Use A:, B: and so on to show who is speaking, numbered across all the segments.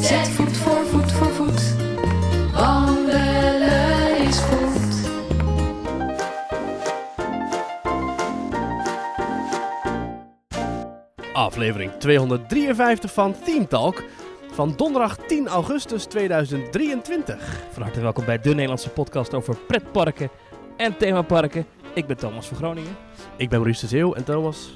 A: Zet voet voor voet voor voet. Wandelen is goed.
B: Aflevering 253 van Team Talk van donderdag 10 augustus 2023.
C: Van harte welkom bij de Nederlandse podcast over pretparken en themaparken. Ik ben Thomas van Groningen.
B: Ik ben Maurice de Zeeuw en Thomas,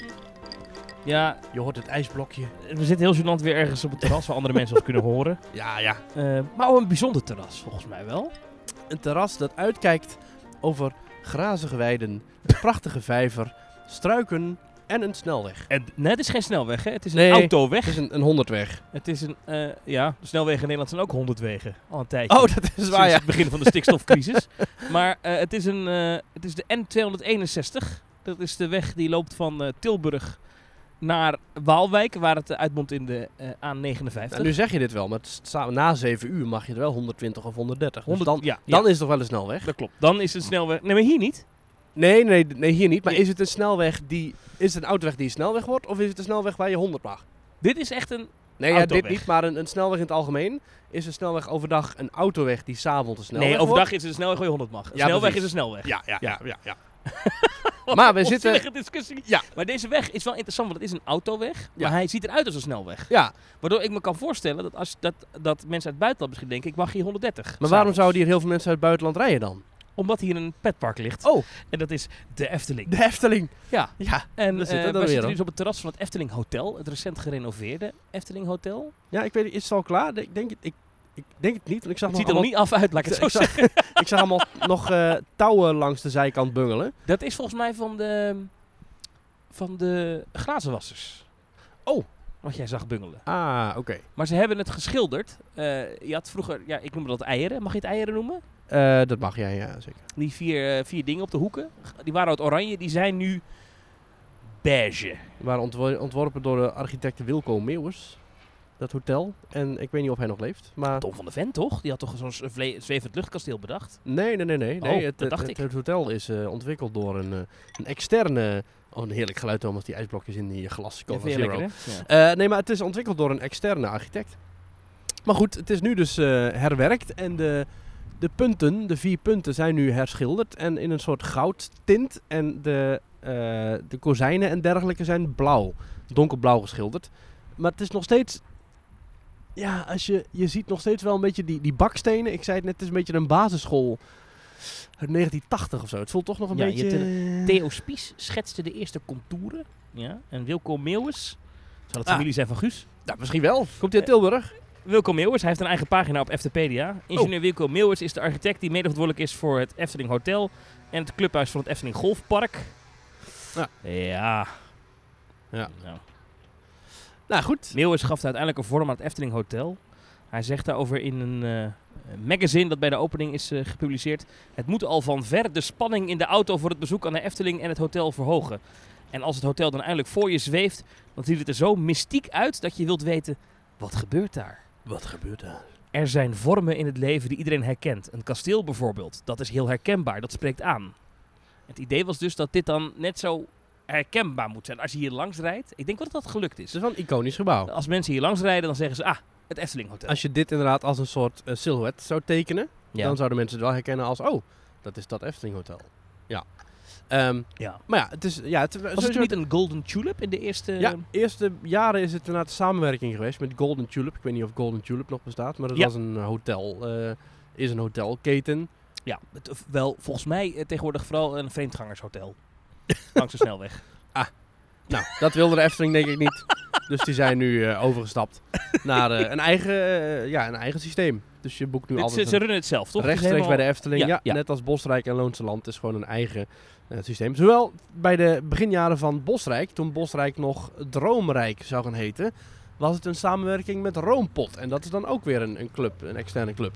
C: Ja,
B: je hoort het ijsblokje.
C: we zitten heel gênant weer ergens op het terras waar andere mensen ons kunnen horen.
B: Ja, ja.
C: Eh, maar ook een bijzonder terras, volgens mij wel.
B: Een terras dat uitkijkt over grazige weiden, een prachtige vijver, struiken en een snelweg.
C: En, nee, het is geen snelweg, hè? het is een
B: Nee.
C: autoweg.
B: Het is een, een honderdweg.
C: Het is een, eh, ja, de snelwegen in Nederland zijn ook honderd wegen. Al een tijdje.
B: Oh, dat is
C: Sinds
B: waar, ja.
C: het begin van de stikstofcrisis. maar eh, het, is een, eh, het is de N261. Dat is de weg die loopt van eh, Tilburg naar Waalwijk, waar het eh, uitmondt in de eh, A59.
B: Nou, nu zeg je dit wel, maar het staat- na 7 uur mag je er wel 120 of 130. Dus
C: 100,
B: dan,
C: ja,
B: dan
C: ja,
B: is het toch wel een snelweg?
C: dat klopt. Dan is het snelweg. Nee, maar hier niet.
B: Nee, nee, nee, hier niet. Maar
C: Nee.
B: is het een snelweg die... Is het een autoweg die een snelweg wordt? Of is het een snelweg waar je 100 mag?
C: Dit is echt een.
B: Nee, ja, dit
C: Autoweg.
B: niet, maar een, een snelweg in het algemeen. Is een snelweg overdag een autoweg die s'avonds een snelweg
C: nee, overdag
B: wordt?
C: is het een snelweg waar je 100 mag. Een
B: Ja,
C: snelweg
B: precies.
C: is een snelweg.
B: Ja, ja, ja.
C: Ja.
B: ja, maar we zitten...
C: Onzinnige discussie.
B: Ja.
C: Maar deze weg is wel interessant, want het is een autoweg.
B: Ja.
C: Maar hij ziet eruit als een snelweg.
B: Ja,
C: Waardoor ik me kan voorstellen dat, als, dat, dat mensen uit het buitenland misschien denken: ik mag hier 130.
B: maar waarom
C: s'avonds.
B: zouden hier heel veel mensen uit het buitenland rijden dan?
C: Omdat hier een petpark ligt.
B: Oh.
C: En dat is de Efteling.
B: De Efteling.
C: Ja.
B: Ja,
C: En
B: daar
C: we
B: zitten we dan
C: zitten
B: weer
C: nu
B: op.
C: dus op het terras van het Efteling Hotel. Het recent gerenoveerde Efteling Hotel.
B: ja ik weet niet, is het al klaar? Ik denk het, ik, ik denk het niet, want ik zag
C: Het
B: nog
C: ziet er nog
B: allemaal-
C: niet af uit, laat ik het zo
B: Ik zag-
C: zeggen.
B: Ik zag allemaal nog eh, touwen langs de zijkant bungelen.
C: Dat is volgens mij van de, van de glazenwassers.
B: Oh.
C: Wat jij zag bungelen.
B: Ah, oké.
C: Maar ze hebben het geschilderd. Eh, je had vroeger, ja, ik noemde dat eieren. Mag je het eieren noemen?
B: Eh, dat mag jij, ja, zeker.
C: Die vier, eh, vier dingen op de hoeken. G- Die waren uit oranje. Die zijn nu beige.
B: Die waren ontwor- ontworpen door de architect Wilco Meeuwers. Dat hotel. En ik weet niet of hij nog leeft. Maar
C: Tom van de Ven, toch? Die had toch zo'n s- vle- zwevend luchtkasteel bedacht?
B: Nee, nee, nee. nee. nee.
C: Oh,
B: het,
C: dat dacht
B: het,
C: ik.
B: het hotel is eh, ontwikkeld door een, eh, een externe... Oh, een heerlijk geluid, Thomas. Die ijsblokjes in die glas.
C: Ja,
B: Cola
C: vind je
B: Zero.
C: lekker, hè? Ja.
B: Eh, nee, maar het is ontwikkeld door een externe architect. Maar goed, het is nu dus eh, herwerkt. En de, de punten, de vier punten, zijn nu herschilderd. En in een soort goudtint. En de, eh, de kozijnen en dergelijke zijn blauw. Donkerblauw geschilderd. Maar het is nog steeds... Ja, als je, je ziet nog steeds wel een beetje die, die bakstenen. Ik zei het net, het is een beetje een basisschool. Uit 1980 of zo. Het voelt toch nog een
C: Ja, je
B: beetje... eh,
C: Theo Spies schetste de eerste contouren. Ja. En Wilco Meeuwis. Zou dat
B: Ah.
C: familie zijn van Guus?
B: Nou, misschien wel. Komt hij uit Tilburg?
C: Wilco Meeuwers, hij heeft een eigen pagina op Eftepedia.
B: Oh.
C: Ingenieur Wilco Meeuwers is de architect die mede verantwoordelijk is voor het Efteling Hotel en het clubhuis van het Efteling Golfpark.
B: Ja.
C: Ja.
B: Ja.
C: Nou,
B: Nou, goed.
C: Meeuwis gaf uiteindelijk een vorm aan het Efteling Hotel. Hij zegt daarover in een eh, magazine dat bij de opening is eh, gepubliceerd. Het moet al van ver de spanning in de auto voor het bezoek aan de Efteling en het hotel verhogen. En als het hotel dan eindelijk voor je zweeft, dan ziet het er zo mystiek uit dat je wilt weten, wat gebeurt daar?
B: Wat gebeurt daar?
C: Er zijn vormen in het leven die iedereen herkent. Een kasteel bijvoorbeeld, dat is heel herkenbaar, dat spreekt aan. Het idee was dus dat dit dan net zo herkenbaar moet zijn. Als je hier langs rijdt, ik denk wel dat dat gelukt
B: Het
C: is.
B: is wel een iconisch gebouw.
C: Als mensen hier langs rijden, dan zeggen ze, ah, het Efteling Hotel.
B: Als je dit inderdaad als een soort eh, silhouet zou tekenen,
C: ja.
B: dan zouden mensen het wel herkennen als, oh, dat is dat Efteling Hotel. Ja. Ehm,
C: ja.
B: maar ja, het is... Ja, het,
C: Was het
B: sowieso-
C: toen niet een Golden Tulip in de eerste...
B: ja, eerste jaren is het inderdaad samenwerking geweest met Golden Tulip. Ik weet niet of Golden Tulip nog bestaat, maar dat
C: Ja.
B: was een hotel, eh, is een hotelketen.
C: ja het, of wel, volgens mij eh, tegenwoordig vooral een vreemdgangershotel. langs de snelweg.
B: Nou, dat wilde de Efteling denk ik niet. Dus die zijn nu eh, overgestapt naar eh, een, eigen, eh, ja, een eigen systeem. Dus je boekt nu
C: Dit, ze,
B: altijd
C: ze runnen het zelf, toch? Het is
B: Rechtstreeks bij de Efteling, ja,
C: Ja, ja.
B: Net als Bosrijk en Loonse Land is gewoon een eigen eh, systeem. Zowel bij de beginjaren van Bosrijk, toen Bosrijk nog Droomrijk zou gaan heten, was het een samenwerking met Roompot. En dat is dan ook weer een, een club, een externe club.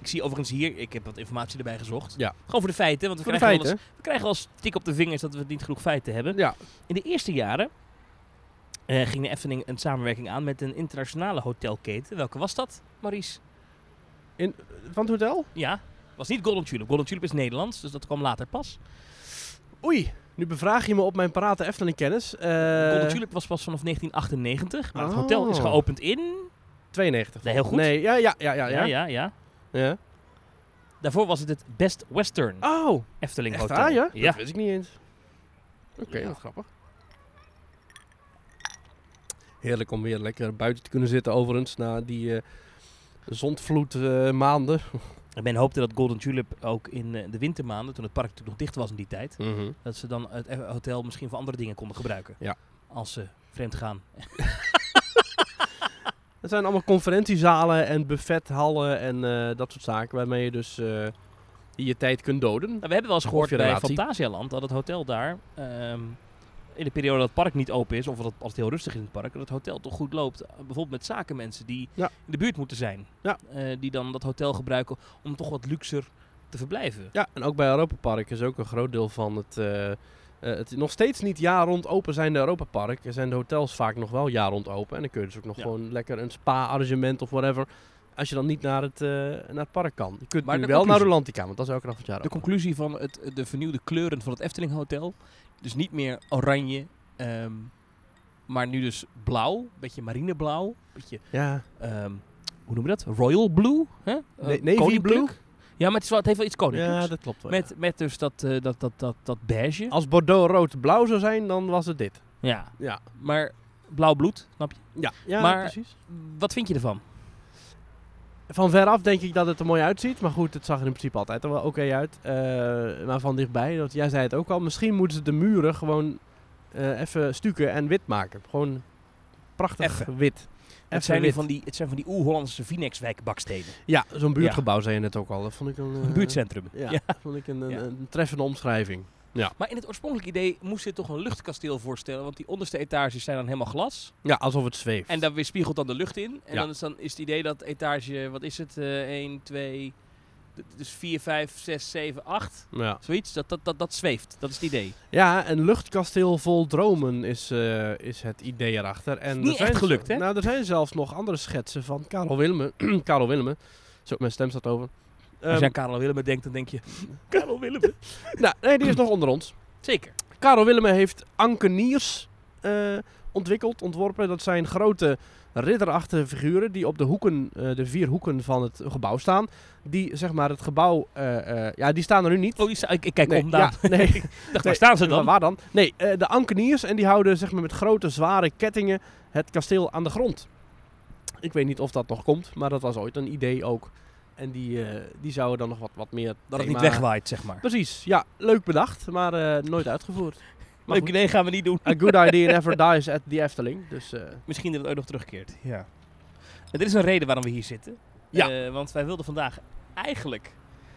C: Ik zie overigens hier, ik heb wat informatie erbij gezocht.
B: Ja.
C: Gewoon voor de feiten, want we
B: Voor de
C: krijgen wel eens
B: feiten.
C: We krijgen wel eens tik op de vingers dat we niet genoeg feiten hebben.
B: Ja,
C: In de eerste jaren eh, ging de Efteling een samenwerking aan met een internationale hotelketen. Welke was dat, Maurice?
B: van het hotel?
C: Ja, was niet Golden Tulip. Golden Tulip is Nederlands, dus dat kwam later pas.
B: Oei, nu bevraag je me op mijn Eh, parate Efteling kennis.
C: Eh. Golden Tulip was pas vanaf 1998, maar het
B: oh.
C: hotel is geopend in
B: 92.
C: Nee, heel goed.
B: Nee, ja, ja, ja, ja.
C: ja,
B: ja,
C: ja, ja.
B: Ja.
C: Daarvoor was het het Best Western
B: Oh,
C: Efteling
B: echt
C: Hotel.
B: waar, ja?
C: Ah, ja.
B: Dat wist ik niet eens. Oké,
C: Ja.
B: wat grappig. Heerlijk om weer lekker buiten te kunnen zitten overigens, na die eh zondvloed eh, maanden.
C: En men hoopte dat Golden Tulip ook in eh, de wintermaanden, toen het park natuurlijk nog dicht was in die tijd,
B: Mhm.
C: dat ze dan het eh, hotel misschien voor andere dingen konden gebruiken.
B: Ja.
C: Als ze vreemd gaan.
B: Het zijn allemaal conferentiezalen en buffethallen en eh, dat soort zaken waarmee je dus eh, hier je tijd kunt doden.
C: Nou, we hebben wel eens
B: Of
C: gehoord
B: je
C: bij
B: relatie.
C: Fantasialand dat het hotel daar ehm, in de periode dat het park niet open is, of dat als het heel rustig is in het park, dat het hotel toch goed loopt. Eh, Bijvoorbeeld met zakenmensen die
B: Ja.
C: in de buurt moeten zijn.
B: Ja.
C: Eh, die dan dat hotel gebruiken om toch wat luxer te verblijven.
B: Ja, en ook bij Europa Park is ook een groot deel van het. eh, eh, het nog steeds niet jaar rond open zijn de Europa Park. Er zijn de hotels vaak nog wel jaar rond open. En dan kun je dus ook nog
C: Ja.
B: gewoon lekker een spa-arrangement of whatever. Als je dan niet naar het, eh, naar het park kan. Je kunt
C: Maar dus-
B: nu
C: de
B: wel naar
C: conclusie-
B: Rolantica, want dat is elke dag van het jaar
C: De
B: open.
C: conclusie van het, de vernieuwde kleuren van het Efteling Hotel. Dus niet meer oranje, ehm, maar nu dus blauw. Beetje marineblauw. Beetje,
B: Ja,
C: ehm, hoe noem je dat? Royal blue? Hè? Eh,
B: Ne- navy
C: koninklijk?
B: blue?
C: Ja, maar het, is wel, het heeft wel iets koninklijks.
B: ja, dat klopt wel.
C: Met, met dus dat, eh, dat, dat, dat, dat beige.
B: Als Bordeaux rood-blauw zou zijn, dan was het dit.
C: Ja.
B: Ja.
C: Maar blauw bloed, snap je?
B: Ja, ja
C: Maar-
B: precies.
C: Wat vind je ervan?
B: Van veraf denk ik dat het er mooi uitziet. Maar goed, het zag er in principe altijd al wel oké uit. Eh, maar van dichtbij, dat, jij zei het ook al. Misschien moeten ze de muren gewoon eh, even stukken en wit maken. Gewoon prachtig
C: Effen.
B: wit. Effen
C: Het zijn, nu
B: wit.
C: van die, het zijn van die oer-Hollandse Vinex-wijkbakstenen.
B: Ja, zo'n buurtgebouw zei je net ook al. Dat vond ik een... eh,
C: Een buurtcentrum.
B: Ja,
C: Mhm. Ja.
B: dat vond ik een, een,
C: Ja.
B: een treffende omschrijving.
C: Maar in het oorspronkelijke idee moest dit toch een luchtkasteel voorstellen. Want die onderste etages zijn dan helemaal glas.
B: Ja, alsof het zweeft.
C: En daar weer spiegelt dan de lucht in. En
B: Ja.
C: dan, is, dan is het idee dat etage, wat is het? eh 1, 2, dus 4, 5, 6, 7, 8.
B: ja.
C: Zoiets. Dat, dat, dat, dat zweeft. Dat is het idee.
B: Ja, een luchtkasteel vol dromen is, eh, is het idee erachter. En
C: niet
B: er zijn
C: echt gelukt, hè?
B: Nou, er zijn zelfs nog andere schetsen van Karel Willemme. Karel Willemme. Zo, mijn stem staat over.
C: Als
B: Ehm,
C: je aan Karel Willem denkt, dan denk je... Karel Willem.
B: nou, nee, die is nog onder ons.
C: Zeker.
B: Karel Willemme heeft ankeniers eh, ontwikkeld, ontworpen. Dat zijn grote ridderachtige figuren die op de hoeken, eh, de vier hoeken van het gebouw staan. Die zeg maar het gebouw, eh, eh, ja, die staan er nu niet.
C: Oh, die sta- ik, ik kijk
B: Nee,
C: om
B: ja,
C: daar.
B: nee.
C: ik dacht, waar staan ze
B: Maar
C: dan?
B: Waar dan? Nee, eh, de ankeniers en die houden zeg maar, met grote zware kettingen het kasteel aan de grond. Ik weet niet of dat nog komt, maar dat was ooit een idee ook. En die, eh, die zouden dan nog wat, wat meer...
C: Dat het
B: thema-
C: niet wegwaait, zeg maar.
B: Precies, ja. Leuk bedacht, maar eh, nooit uitgevoerd. Maar
C: Leuk
B: goed,
C: idee gaan we niet doen.
B: a good idea never dies at the Efteling. Dus eh,
C: Misschien dat het ooit nog terugkeert. Ja. En er is een reden waarom we hier zitten.
B: Ja.
C: Eh, want wij wilden vandaag eigenlijk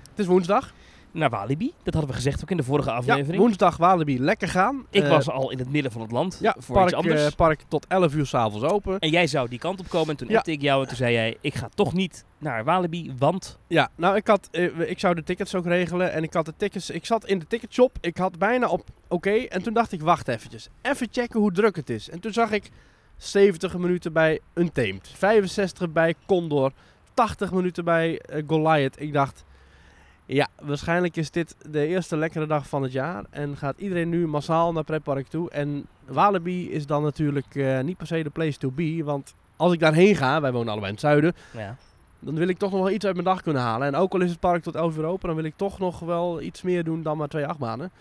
B: het is woensdag.
C: naar Walibi. Dat hadden we gezegd ook in de vorige
B: Ja,
C: aflevering.
B: woensdag Walibi, lekker gaan.
C: ik
B: Eh,
C: was al in het midden van het land
B: ja,
C: voor
B: park,
C: iets anders.
B: eh, park tot 11 uur s'avonds open.
C: en jij zou die kant op komen. En toen
B: Ja.
C: appte ik jou en toen zei jij, ik ga toch niet naar Walibi, want...
B: Ja, nou ik had, eh, ik zou de tickets ook regelen en ik had de tickets, ik zat in de ticketshop, ik had bijna op oké en toen dacht ik wacht eventjes, even checken hoe druk het is. En toen zag ik 70 minuten bij Untamed, 65 bij Condor, 80 minuten bij eh, Goliath. Ik dacht, ja waarschijnlijk is dit de eerste lekkere dag van het jaar en gaat iedereen nu massaal naar pretpark toe. En Walibi is dan natuurlijk eh, niet per se de place to be, want als ik daarheen ga, wij wonen allebei in het zuiden
C: Ja.
B: dan wil ik toch nog wel iets uit mijn dag kunnen halen. En ook al is het park tot 11 uur open, dan wil ik toch nog wel iets meer doen dan maar twee achtbanen.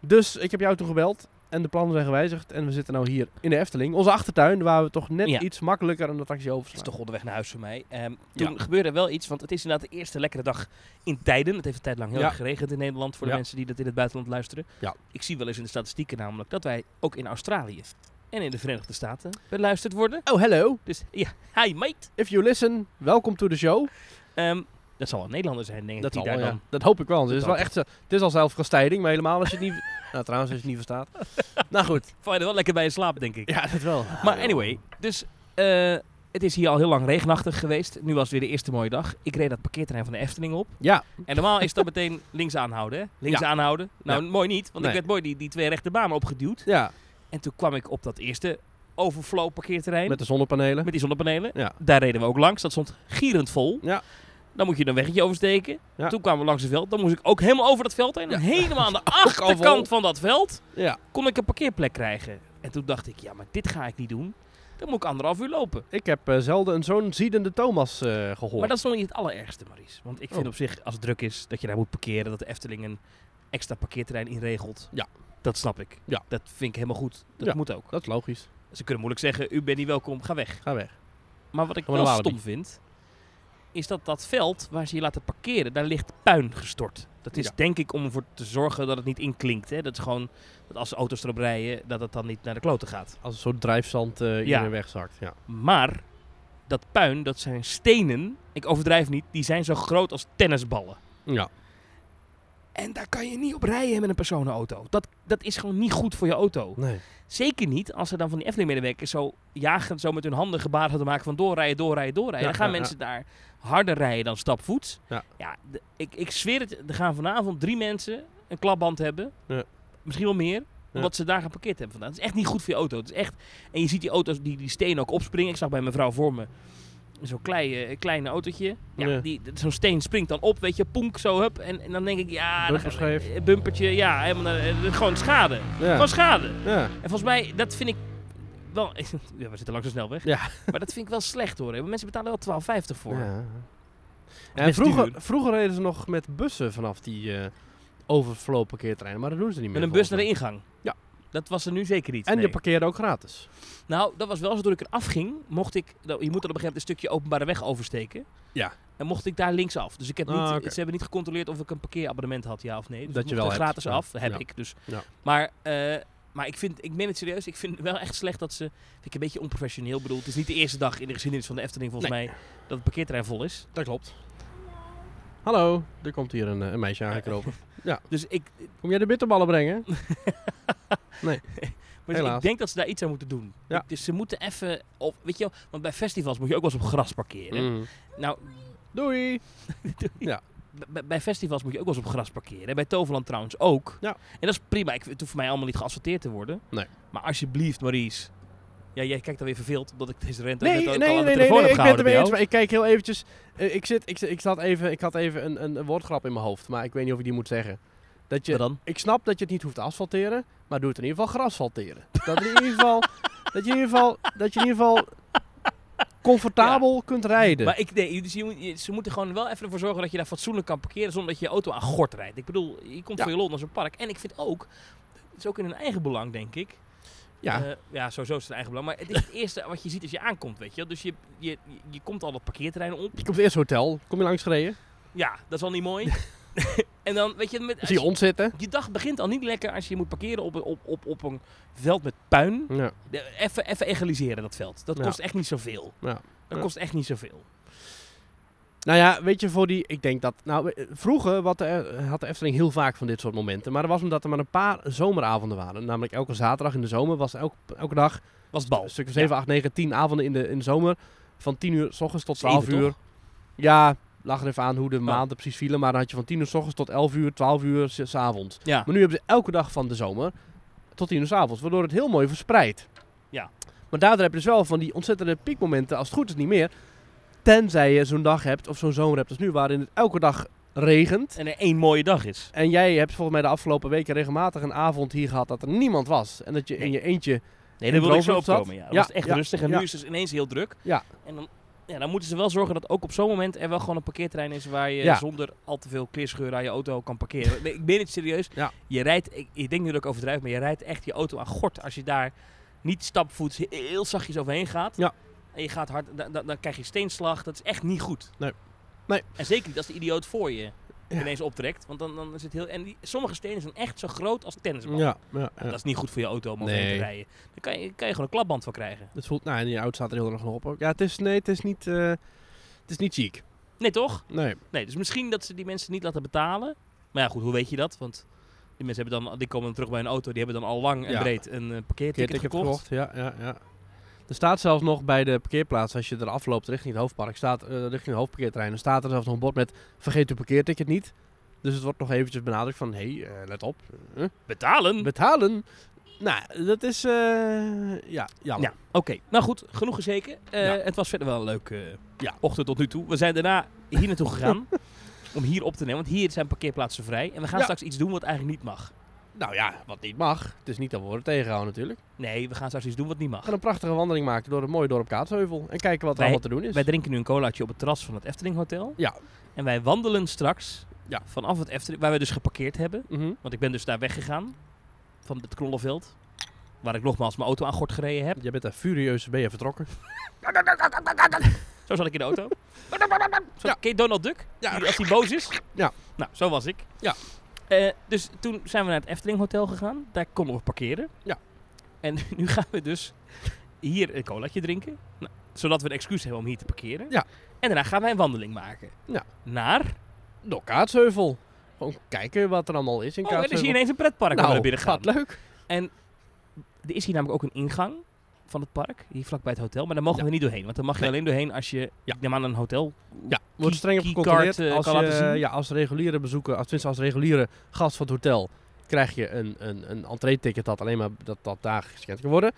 B: Dus ik heb jou toen gebeld en de plannen zijn gewijzigd. En we zitten nou hier in de Efteling, onze achtertuin, waar we toch net
C: Ja.
B: iets makkelijker een attractie over
C: is toch onderweg naar huis voor mij. Ehm, toen gebeurde wel iets, want het is inderdaad de eerste lekkere dag in tijden. Het heeft een tijd lang heel
B: Ja.
C: erg geregend in Nederland voor de
B: Ja.
C: mensen die dat in het buitenland luisteren.
B: Ja.
C: Ik zie wel eens in de statistieken namelijk dat wij ook in Australië en in de Verenigde Staten beluisterd worden.
B: Oh, hello.
C: Dus ja, hi mate.
B: If you listen, welcome to the show.
C: Ehm, dat zal wel Nederlander zijn, denk ik.
B: Dat,
C: die
B: zal wel,
C: daar
B: ja.
C: dan.
B: dat hoop ik wel. want Het is,
C: Dat
B: wel echt, zo- het is al zelfkastijding, maar helemaal als je het niet... nou, trouwens, als je het niet verstaat. nou goed.
C: Val je er wel lekker bij in slaap, denk ik.
B: Ja, dat wel.
C: Maar anyway, dus eh, het is hier al heel lang regenachtig geweest. Nu was het weer de eerste mooie dag. Ik reed dat parkeerterrein van de Efteling op.
B: Ja,
C: En normaal is dat meteen links aanhouden, hè? Links
B: Ja.
C: aanhouden. Nou, mooi niet, want
B: Nee.
C: ik werd mooi die, die twee rechte banen opgeduwd.
B: ja.
C: En toen kwam ik op dat eerste overflow parkeerterrein
B: Met
C: met,
B: de zonnepanelen.
C: die zonnepanelen.
B: Ja.
C: Daar reden we ook langs, dat stond gierend vol.
B: Ja.
C: Dan moet je een weggetje oversteken.
B: Ja.
C: Toen kwamen we langs het veld. Dan moest ik ook helemaal over dat veld heen. En
B: Ja.
C: helemaal aan de
B: al vol.
C: achterkant van dat veld
B: Ja.
C: kon ik een parkeerplek krijgen. En toen dacht ik, ja, maar dit ga ik niet doen. dan moet ik anderhalf uur lopen.
B: Ik heb eh, zelden een zo'n ziedende Thomas eh, gehoord.
C: Maar dat is nog niet het allerergste, Maries. Want ik vind
B: Oh.
C: op zich, als het druk is, dat je daar moet parkeren. Dat de Efteling een extra parkeerterrein inregelt.
B: Ja.
C: Dat snap ik.
B: Ja.
C: Dat vind ik helemaal goed. Dat
B: Ja.
C: moet ook.
B: Dat is logisch.
C: Ze kunnen moeilijk zeggen, u bent niet welkom, ga weg.
B: Ga weg.
C: Maar wat ik
B: Gaan
C: wel
B: we naar
C: stom vind, is dat dat veld waar ze je laten parkeren, daar ligt puin gestort. Dat is
B: Ja.
C: denk ik om ervoor te zorgen dat het niet inklinkt. Hè? Dat is gewoon, dat als auto's erop rijden, dat het dan niet naar de kloten gaat.
B: Als een soort drijfzand eh
C: Ja.
B: iedereen wegzakt. Ja.
C: Maar dat puin, dat zijn stenen, ik overdrijf niet, die zijn zo groot als tennisballen.
B: ja.
C: En daar kan je niet op rijden met een personenauto. Dat, dat is gewoon niet goed voor je auto.
B: Nee.
C: Zeker niet als er dan van die Efteling-medewerkers zo jagend zo met hun handen gebaren hadden maken van doorrijden, doorrijden, doorrijden.
B: Ja,
C: dan gaan
B: ja, ja.
C: mensen daar harder rijden dan stapvoets.
B: Ja.
C: de- ik, ik zweer het, er gaan vanavond drie mensen een klapband hebben.
B: Ja.
C: Misschien wel meer. Omdat ze daar geparkeerd hebben vandaag. Het is echt niet goed voor je auto. Het is echt... En je ziet die auto's, die, die stenen ook opspringen. Ik zag bij mevrouw voor me zo'n klein, klein autootje. Ja,
B: Ja.
C: die- Zo'n steen springt dan op, weet je, ponk zo, hup. En, en dan denk ik, ja... dan
B: Bumper
C: ga-
B: scheef.
C: eh, Bumpertje, ja. Helemaal, naar- eh, gewoon schade.
B: Ja.
C: Gewoon schade.
B: Ja.
C: En volgens mij, dat vind ik wel... Ja, we zitten langs de snelweg.
B: Ja.
C: Maar dat vind ik wel slecht hoor. hè. Mensen betalen wel 12,50 voor.
B: Ja.
C: is
B: En
C: best
B: vroeger,
C: duur.
B: vroeger reden ze nog met bussen vanaf die eh overflow parkeerterreinen, maar dat doen ze niet meer.
C: Met een bus naar de
B: volgens
C: ingang.
B: Ja.
C: Dat was er nu zeker niet.
B: mij. En
C: nee.
B: je parkeerde ook gratis.
C: Nou, dat was wel zo. Toen ik eraf ging, mocht ik... nou, Je moet dan op een gegeven moment een stukje openbare weg oversteken.
B: Ja.
C: En mocht ik daar linksaf. Dus ik heb niet,
B: Ah, oké.
C: ze hebben niet gecontroleerd of ik een parkeerabonnement had, ja of nee. Dus
B: Dat
C: ik
B: je
C: mocht
B: wel
C: er
B: hebt.
C: gratis af,
B: Ja.
C: heb
B: Ja.
C: ik. Dus.
B: Ja.
C: Maar, eh, maar ik vind, ik meen het serieus, ik vind het wel echt slecht dat ze... Vind ik een beetje onprofessioneel. Ik bedoel, het is niet de eerste dag in de geschiedenis van de Efteling volgens mij dat het parkeerterrein vol is.
B: Dat klopt. Hallo, er komt hier een, eh, een meisje aangekropen.
C: Dus ik,
B: Kom jij de bitterballen brengen?
C: Maar dus ik
B: Helaas.
C: denk dat ze daar iets aan moeten doen.
B: Ja.
C: Dus ze moeten even, op, weet je wel, want bij festivals moet je ook wel eens op gras parkeren.
B: Mm.
C: Nou,
B: Doei! Ja.
C: bij- bij festivals moet je ook wel eens op gras parkeren. Bij Toverland trouwens ook.
B: Ja.
C: En dat is prima. Ik, het hoeft voor mij allemaal niet geasfalteerd te worden.
B: Nee.
C: Maar alsjeblieft, Maries. Ja, jij kijkt alweer verveeld omdat ik deze rente
B: Nee,
C: net ook
B: nee,
C: al
B: nee,
C: aan de
B: nee,
C: telefoon
B: nee, ik
C: heb
B: ben het
C: gehouden.
B: ermee
C: bij
B: eens.
C: jou.
B: Maar ik kijk heel eventjes. eh, ik, zit, ik, zit- ik, zat even, ik had even een, een, een woordgrap in mijn hoofd, maar ik weet niet of ik die moet zeggen. Dat je,
C: Maar dan?
B: ik snap dat je het niet hoeft te asfalteren, maar doe het in ieder geval grasfalteren. Dat, in ieder geval, dat, je in ieder geval, dat je in ieder geval comfortabel kunt rijden.
C: Maar ik, nee, dus je moet- je- ze moeten gewoon wel even ervoor zorgen dat je daar fatsoenlijk kan parkeren zonder dat je je auto aan gort rijdt. Ik bedoel, je komt
B: Ja.
C: voor je lol naar zo'n park. En ik vind ook, het is ook in hun eigen belang, denk ik,
B: ja,
C: Eh, ja, sowieso is het een eigen belang. Maar het is het eerste wat je ziet als je aankomt, weet je. wel. Dus je, je, je komt al dat parkeerterrein op.
B: je komt eerst hotel, kom je langs gereden,
C: Ja, dat is al niet mooi. en dan, weet je, met, als
B: zie je
C: je,
B: ons zitten.
C: je dag begint al niet lekker als je moet parkeren op, een- op, op, op een veld met puin.
B: Ja.
C: De- Even, even egaliseren dat veld. Dat
B: Ja.
C: kost echt niet zoveel.
B: Ja.
C: Dat
B: Ja.
C: kost echt niet zoveel.
B: Nou ja, weet je, voor die, ik denk dat, nou, eh, vroeger wat de- had de Efteling heel vaak van dit soort momenten. Maar dat was omdat er maar een paar zomeravonden waren. Namelijk elke zaterdag in de zomer was elk, elke dag
C: Was het bal.
B: Een stuk of 7, 8, 9, 10 avonden in de, in de zomer. Van 10 uur s ochtends tot 12
C: Zeven,
B: uur. Ja, lag er even aan hoe de
C: Ja.
B: maanden precies vielen. Maar dan had je van 10 uur s ochtends tot 11 uur, 12 uur s s avonds.
C: Ja.
B: Maar nu hebben ze elke dag van de zomer tot 10 uur s avonds. Waardoor het heel mooi verspreidt.
C: Ja.
B: Maar daardoor heb je dus wel van die ontzettende piekmomenten, als het goed is niet meer. Tenzij je zo'n dag hebt, of zo'n zomer hebt als nu, waarin het elke dag regent.
C: En er één mooie dag is.
B: En jij hebt volgens mij de afgelopen weken regelmatig een avond hier gehad dat er niemand was. En dat je in
C: Nee.
B: je eentje...
C: Nee,
B: In
C: daar wil ik zo op
B: Droomvlucht zat.
C: komen. Ja. Dat
B: Ja,
C: was echt
B: ja,
C: rustig. En
B: ja.
C: nu is het ineens heel druk.
B: Ja.
C: En dan, ja, dan moeten ze wel zorgen dat ook op zo'n moment er wel gewoon een parkeerterrein is waar je
B: Ja.
C: zonder al te veel kleerscheuren aan je auto kan parkeren. Nee, ik ben het serieus.
B: Ja.
C: Je rijdt, ik, ik denk nu dat ik overdrijf, maar je rijdt echt je auto aan gort als je daar niet stapvoets he- heel zachtjes overheen gaat.
B: Ja.
C: En je gaat hard, dan, dan, dan krijg je steenslag. Dat is echt niet goed.
B: Nee. Nee.
C: En zeker niet als de idioot voor je
B: Ja.
C: ineens optrekt. Want dan, dan is het heel. En die, sommige stenen zijn echt zo groot als tennisballen.
B: Ja, ja,
C: Nou, Dat is niet goed voor je auto om
B: Nee.
C: overheen te rijden. Daar kan je, kan je gewoon een klapband van krijgen.
B: Het voelt, nou, en je oud staat er heel erg nog op ook. Ja, het is, nee, het is niet, eh, het is niet ziek.
C: Nee, toch?
B: Nee.
C: Nee, dus misschien dat ze die mensen niet laten betalen. Maar ja, goed, hoe weet je dat? Want die mensen hebben dan, die komen dan terug bij een auto, die hebben dan al lang en
B: Ja.
C: breed een eh, parkeerticket
B: Ticket
C: gekocht.
B: gekocht, ja, ja, ja. Er staat zelfs nog bij de parkeerplaats, als je er afloopt richting het hoofdpark, staat, eh, richting het hoofdparkeerterrein, dan staat er zelfs nog een bord met vergeet uw parkeerticket niet. Dus het wordt nog eventjes benadrukt van, hé, hey, eh, let op, eh,
C: Betalen?
B: betalen. Nou, dat is, eh, ja, jammer.
C: ja, oké. Nou goed, genoeg gezeken. Eh,
B: Ja.
C: Het was verder wel een leuke eh, ochtend tot nu toe. We zijn daarna hier naartoe gegaan om hier op te nemen, want hier zijn parkeerplaatsen vrij. En we gaan
B: Ja.
C: straks iets doen wat eigenlijk niet mag.
B: Nou ja, wat niet mag. Het is niet dat we worden tegengehouden natuurlijk.
C: Nee, we gaan straks iets doen wat niet mag.
B: En een prachtige wandeling maken door het mooie dorp Kaatsheuvel. En kijken wat er
C: Wij-
B: allemaal te doen is.
C: Wij drinken nu een colaatje op het terras van het Efteling Hotel.
B: Dus- Ja.
C: En wij wandelen straks
B: Ja.
C: vanaf het Efteling, waar we dus geparkeerd hebben.
B: Mhm.
C: Want ik ben dus daar weggegaan van het Knollenveld. Waar ik nogmaals mijn auto aan gort gereden heb.
B: Je bent daar furieus ben je vertrokken.
C: Zo zat ik in de auto. zo,
B: Ja.
C: Ken je Donald Duck?
B: Ja.
C: Die- Als hij boos is?
B: Ja.
C: Nou, zo was ik.
B: Ja.
C: Eh, dus toen zijn we naar het Efteling Hotel gegaan. Daar konden we parkeren.
B: Ja.
C: En nu gaan we dus hier een colaatje drinken. Nou, zodat we een excuus hebben om hier te parkeren.
B: Ja.
C: En daarna gaan wij een wandeling maken.
B: Ja.
C: Naar...
B: Door Kaatsheuvel. Gewoon kijken wat er allemaal is in
C: Oh, er is
B: Kaatsheuvel.
C: hier ineens een pretpark waar we naar
B: nou,
C: binnen gaan.
B: gaat leuk.
C: Er is hier namelijk ook een ingang van het park. Hier vlakbij het hotel. Maar daar mogen
B: Ja.
C: we niet doorheen. Want daar mag je
B: Nee.
C: alleen doorheen als je...
B: Ja.
C: Ik neem aan een hotel.
B: Ja, wordt
C: Key-
B: streng op
C: keycard,
B: gecontroleerd.
C: eh,
B: als,
C: kan laten
B: je,
C: zien.
B: ja, als reguliere bezoeker, als, tenminste als reguliere gast van het hotel, krijg je een, een, een entree-ticket dat alleen maar dat, dat dagen gescand kan worden.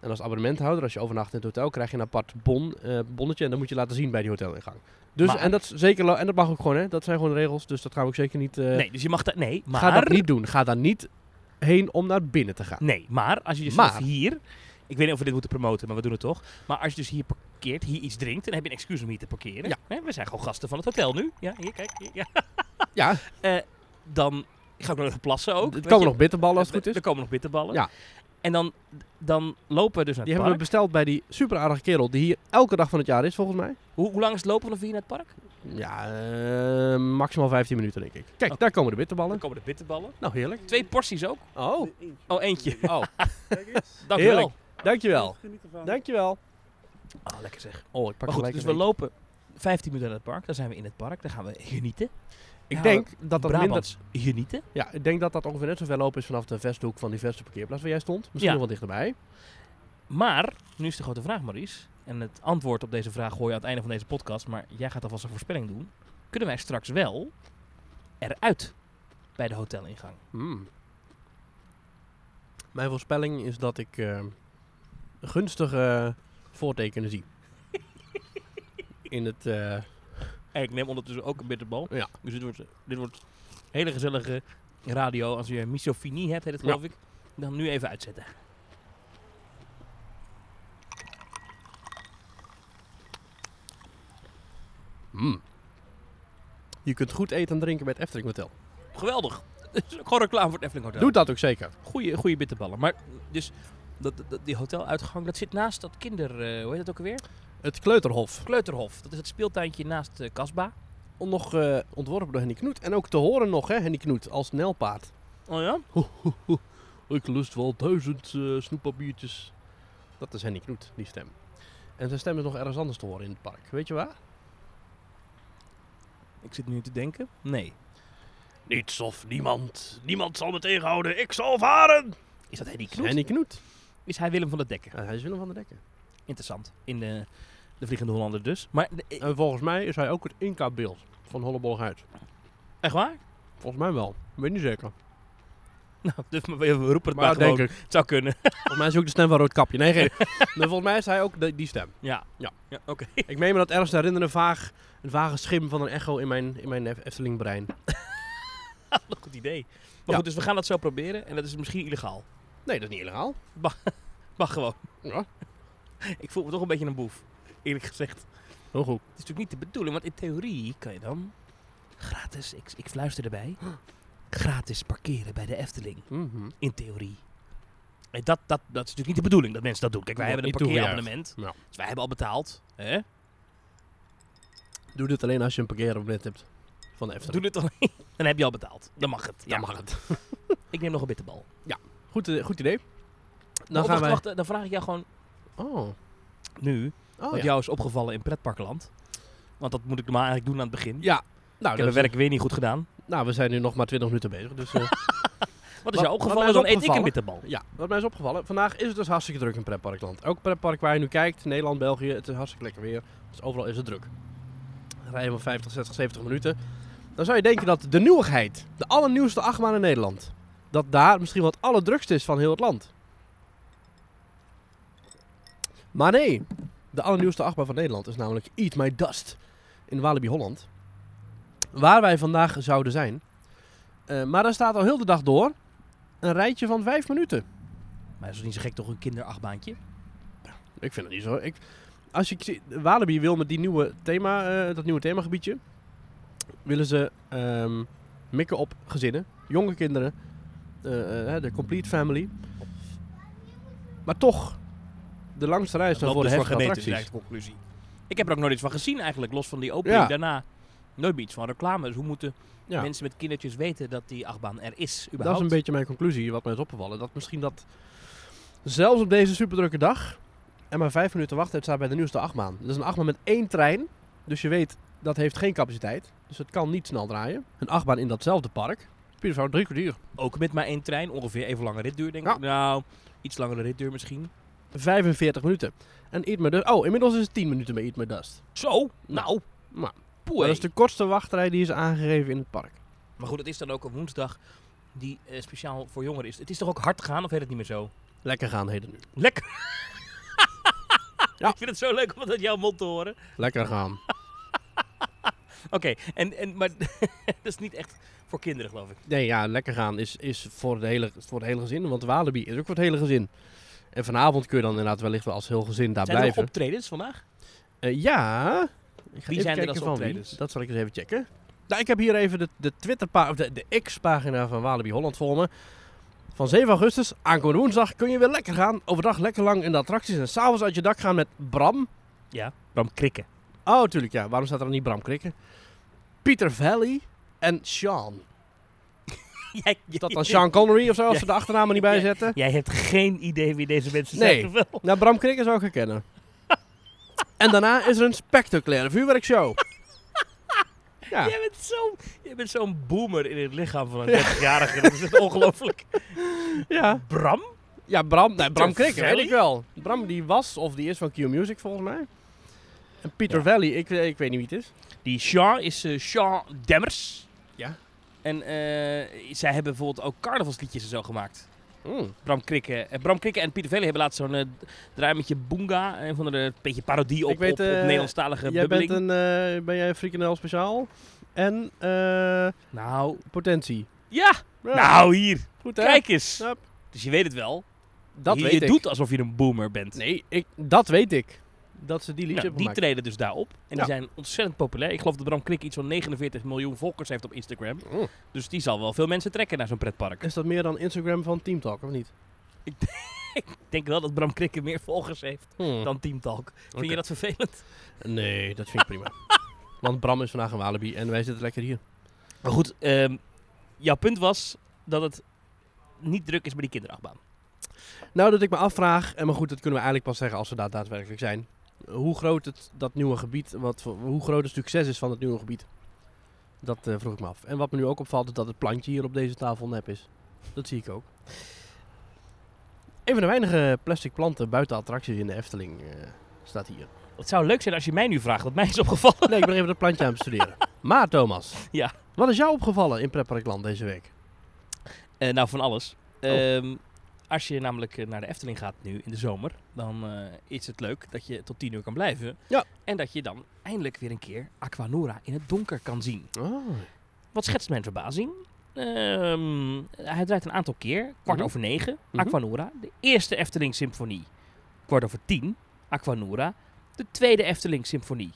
B: En als abonnementhouder, als je overnacht in het hotel, krijg je een apart bon, eh, bonnetje. En dat moet je laten zien bij die hotelingang. Dus,
C: Maar-
B: en, dat is zeker, lo- en dat mag ook gewoon, hè? dat zijn gewoon de regels. Dus dat gaan we ook zeker niet. eh,
C: Nee, dus je mag daar... Nee, maar...
B: Ga dat niet doen. Ga daar niet heen om naar binnen te gaan.
C: Nee, maar als je dus
B: Maar-
C: of hier... Ik weet niet of we dit moeten promoten, maar we doen het toch. Maar als je dus hier parkeert, hier iets drinkt, dan heb je een excuus om hier te parkeren.
B: Ja.
C: Hè, we zijn gewoon gasten van het hotel nu. Ja, hier, kijk. Hier, ja. Eh,
B: Ja,
C: Dan ga ik nog even plassen ook.
B: er
C: Nou, weet
B: komen
C: je. Eh,
B: nog bitterballen als het goed is.
C: Er komen nog bitterballen.
B: Ja.
C: En dan, dan lopen we dus naar
B: Die hebben we
C: het park.
B: besteld bij die super aardige kerel die hier elke dag van het jaar is, volgens mij.
C: Hoe, hoe lang is het lopen vanaf hier naar het park?
B: Ja, eh, maximaal 15 minuten, denk ik. Kijk,
C: Oh.
B: daar komen de
C: Dan
B: bitterballen.
C: komen de bitterballen.
B: Nou, heerlijk.
C: Twee porties ook.
B: Oh,
C: Oh, eentje.
B: oh.
D: Kijk eens.
C: Dank u wel.
B: Heerlijk. dankjewel.
D: Geniet ervan.
B: Dankjewel.
C: Ah, lekker zeg.
B: Oh, ik pak
C: Maar goed,
B: gelijk
C: dus
B: een
C: we
B: eentje.
C: lopen 15 minuten naar het park. Dan zijn we in het park. Dan gaan we genieten.
B: Ik
C: Ja,
B: denk dat dat minder...
C: Brabants genieten.
B: Ja, ik denk dat dat ongeveer net zo ver lopen is vanaf de vesthoek van die vestparkeerplaats waar jij stond. Misschien
C: Ja.
B: nog wel dichterbij.
C: Maar, nu is de grote vraag, Maurice. En het antwoord op deze vraag hoor je aan het einde van deze podcast. Maar jij gaat alvast een voorspelling doen. Kunnen wij straks wel eruit bij de hotelingang?
B: Hmm. Mijn voorspelling is dat ik eh, gunstige eh, voortekenen zie. In het... eh,
C: ik neem ondertussen ook een bitterbal.
B: Ja.
C: Dus dit wordt, dit wordt hele gezellige radio. Als je misofinie hebt, heet het geloof ik. Dan nu even uitzetten.
B: hmm. Je kunt goed eten en drinken bij het Efteling Hotel.
C: Geweldig. Het is ook Gewoon reclame voor het Efteling Hotel.
B: Doe dat ook zeker.
C: Goeie, goeie bitterballen. Maar dus dat, dat, die hoteluitgang, dat zit naast dat kinder... eh, hoe heet dat ook alweer?
B: Het Kleuterhof.
C: Kleuterhof. Dat is het speeltuintje naast eh, Kasba.
B: Nog eh, ontworpen door Henny Knoet. En ook te horen nog, hè, Henny Knoet, als nelpaard.
C: Oh ja?
B: Ik lust wel duizend eh snoeppapiertjes. Dat is Henny Knoet, die stem. En zijn stem is nog ergens anders te horen in het park. Weet je waar?
C: Ik zit nu te denken. Nee.
B: Niets of niemand. Niemand zal me tegenhouden. Ik zal varen.
C: Is dat Henny Knoet?
B: Henny Knoet.
C: Is hij Willem van der Dekker?
B: Ja, hij is Willem van der Dekker.
C: Interessant. In de, de Vliegende Hollander dus. Maar, de- eh,
B: En volgens mij is hij ook het Inca-beeld van Hollebolligheid.
C: echt waar?
B: Volgens mij wel. Ik weet niet zeker.
C: Nou, dus we we roepen het maar,
B: Maar
C: gewoon.
B: denk ik.
C: Het zou kunnen.
B: Volgens mij is hij ook de stem van Roodkapje. Nee, geen. Maar volgens mij is hij ook de- die stem.
C: ja.
B: Ja.
C: ja Oké.
B: Ik meen me dat ergens te herinneren, vaag, een vage schim van een echo in mijn, in mijn Efteling brein.
C: Wat een goed idee. Maar
B: Ja.
C: goed, dus we gaan dat zo proberen. En dat is misschien illegaal.
B: Nee, dat is niet illegaal.
C: Mag gewoon.
B: Ja.
C: Ik voel me toch een beetje een boef. Eerlijk gezegd.
B: Heel goed.
C: Het is natuurlijk niet de bedoeling. Want in theorie kan je dan gratis... Ik, ik fluister erbij. Gratis parkeren bij de Efteling.
B: Mhm.
C: In theorie. En Dat, dat, dat is natuurlijk niet de bedoeling dat mensen dat doen. Kijk, wij
B: Wordt
C: hebben een
B: niet
C: parkeerabonnement.
B: Ja.
C: Dus wij hebben al betaald. Hè?
B: Doe dit alleen als je een parkeerabonnement hebt van de Efteling.
C: Doe dit alleen. Dan heb je al betaald. Dan mag het. Ja.
B: Dan mag het.
C: Ik neem nog een bitterbal.
B: Goed, eh, goed idee. Dan
C: Nou,
B: gaan wij...
C: wacht, dan vraag ik jou gewoon
B: Oh.
C: nu.
B: Oh,
C: wat
B: ja.
C: jou is opgevallen in pretparkland. Want dat moet ik normaal eigenlijk doen aan het begin.
B: Ja. Nou,
C: ik heb
B: dat
C: mijn
B: is-
C: werk weer niet goed gedaan.
B: nou, we zijn nu nog maar 20 minuten bezig. Dus, eh,
C: Wat is
B: Wat-
C: jou opgevallen?
B: wat mij is
C: dan eet ik een
B: opgevallen?
C: bitterbal.
B: ja, wat mij is opgevallen. Vandaag is het dus hartstikke druk in pretparkland. Elk pretpark waar je nu kijkt, Nederland, België, het is hartstikke lekker weer. Dus overal is het druk. Rijden van 50, 60, 70 minuten. Dan zou je denken dat de nieuwigheid, de allernieuwste achtbaan in Nederland, dat daar misschien wel het allerdrukst is van heel het land. Maar nee, de allernieuwste achtbaan van Nederland is namelijk Eat My Dust in Walibi Holland. Waar wij vandaag zouden zijn. Eh, maar daar staat al heel de dag door Een rijtje van vijf minuten.
C: Maar dat is niet zo gek toch een kinderachtbaantje?
B: Ik vind het niet zo. Ik, als je, zie- Walibi wil met die nieuwe thema, eh, dat nieuwe themagebiedje, willen ze ehm, mikken op gezinnen, jonge kinderen, eh, eh, de complete family. Maar toch, de langste reis dan
C: loopt
B: voor de
C: dus
B: heftige
C: geweten, is
B: attracties.
C: eigenlijk de conclusie. Ik heb er ook nooit iets van gezien eigenlijk, los van die opening
B: Ja.
C: daarna. Nooit meer iets van reclame. Dus hoe moeten
B: Ja.
C: mensen met kindertjes weten dat die achtbaan er is
B: Dat is
C: überhaupt?
B: een beetje mijn conclusie, wat mij is opgevallen. Dat misschien dat, zelfs op deze superdrukke dag, en maar vijf minuten wachten, het staat bij de nieuwste achtbaan. Dat is een achtbaan met één trein, dus je weet, dat heeft geen capaciteit. Dus het kan niet snel draaien. Een achtbaan in datzelfde park, Pieter van drie kwartier.
C: Ook met maar één trein, ongeveer even lange ritduur denk
B: Ja.
C: ik. Nou, iets langere ritduur misschien.
B: 45 minuten. En Eat Me Dust, oh, inmiddels is het 10 minuten bij Eat Me Dust.
C: Zo, nou.
B: Nou.
C: Poeh,
B: Dat
C: hé.
B: is de kortste wachtrij die is aangegeven in het park.
C: Maar goed, het is dan ook een woensdag die eh, speciaal voor jongeren is. Het is toch ook hard gaan of heet het niet meer zo?
B: Lekker gaan heet het nu.
C: Lekker.
B: Ja.
C: Ik vind het zo leuk om dat uit jouw mond te horen.
B: Lekker gaan.
C: Oké, en, en, maar dat is niet echt voor kinderen, geloof ik.
B: Nee, ja, lekker gaan is, is voor, de hele, voor het hele gezin. Want Walibi is ook voor het hele gezin. En vanavond kun je dan inderdaad wellicht wel als heel gezin daar
C: Zijn er nog
B: blijven.
C: optredens vandaag?
B: Eh, ja. Ik ga even
C: zijn er
B: kijken
C: als
B: van wie.
C: optredens?
B: Dat zal ik eens even checken. Nou, ik heb hier even de, de Twitterpa- of de, de X-pagina van Walibi Holland voor me. Van 7 augustus, aankomende woensdag, kun je weer lekker gaan. Overdag lekker lang in de attracties en s'avonds uit je dak gaan met Bram.
C: Ja, Bram Krikken.
B: Oh, tuurlijk, ja. Waarom staat er dan niet Bram Krikken? Pieter Valley en Sean.
C: Jij,
B: Is dat dan Sean Connery of zo, als ze de achternaam er niet bij
C: Ja.
B: zetten?
C: Jij hebt geen idee wie deze mensen
B: Nee.
C: zijn. of wel?
B: Nou, Bram Krikken zou ik herkennen. en daarna is er een spectaculaire vuurwerkshow. ja.
C: Jij bent zo- jij bent zo'n boomer in het lichaam van een 30-jarige. Dat is echt ongelooflijk.
B: ja.
C: Bram?
B: Ja, Bram, nee, Bram
C: Pieter
B: Krikken, weet
C: Valley?
B: ik wel. Bram die was, of die is van Q-Music volgens mij. En Pieter
C: Ja.
B: Valley, ik, eh, ik weet niet wie het is.
C: Die Sean is eh, Sean Demmers.
B: Ja.
C: En eh, zij hebben bijvoorbeeld ook carnavalsliedjes en zo gemaakt.
B: Mm.
C: Bram Krikken. En Bram Krikken en Pieter Vele hebben laatst zo'n eh draai met je Boonga. Een van de beetje parodie op,
B: Ik weet,
C: op, op
B: eh,
C: Nederlandstalige
B: Jij bent
C: bubbeling.
B: een, eh, ben jij een frikandel speciaal? En eh,
C: Nou,
B: potentie.
C: ja.
B: Ja,
C: Nou, hier.
B: goed hè?
C: Kijk eens.
B: Hup.
C: Dus je weet het wel.
B: dat
C: je
B: weet
C: je
B: ik.
C: doet alsof je een boomer bent.
B: Nee, ik, dat weet ik. Dat ze die liedje
C: Nou,
B: hebben
C: die
B: gemaakt.
C: treden dus daarop.
B: Ja.
C: En die zijn ontzettend populair. Ik geloof dat Bram Krikken iets van 49 miljoen volgers heeft op Instagram.
B: Mm.
C: Dus die zal wel veel mensen trekken naar zo'n pretpark.
B: Is dat meer dan Instagram van Team Talk, of niet?
C: Ik denk wel dat Bram Krikken meer volgers heeft
B: Hmm.
C: dan Team Talk. Vind
B: Oké.
C: je dat vervelend?
B: Nee, dat vind ik prima. Want Bram is vandaag een Walibi en wij zitten lekker hier.
C: Maar goed, ehm, jouw punt was dat het niet druk is bij die kinderachtbaan.
B: Nou, dat ik me afvraag, en maar goed, dat kunnen we eigenlijk pas zeggen als we daar daadwerkelijk zijn. Hoe groot het, dat nieuwe gebied, wat, voor- hoe groot het succes is van het nieuwe gebied. Dat eh, vroeg ik me af. En wat me nu ook opvalt, is dat het plantje hier op deze tafel nep is. Dat zie ik ook. Een van de weinige plastic planten buiten attracties in de Efteling eh, staat hier.
C: Het zou leuk zijn als je mij nu vraagt, want mij is opgevallen.
B: Nee, ik ben even dat plantje aan het bestuderen. Maar Thomas,
C: Ja.
B: wat is jou opgevallen in Pretparkland deze week?
C: Eh, nou, van alles.
B: Oh.
C: Ehm, als je namelijk eh, naar de Efteling gaat nu in de zomer, dan eh, is het leuk dat je tot tien uur kan blijven.
B: Ja.
C: En dat je dan eindelijk weer een keer Aquanura in het donker kan zien.
B: Oh,
C: Wat schetst mijn verbazing? Ehm, hij draait een aantal keer. Kwart
B: Mhm.
C: over negen,
B: Mhm.
C: Aquanura. De eerste Efteling Symfonie. Kwart over tien, Aquanura. De tweede Efteling Symfonie.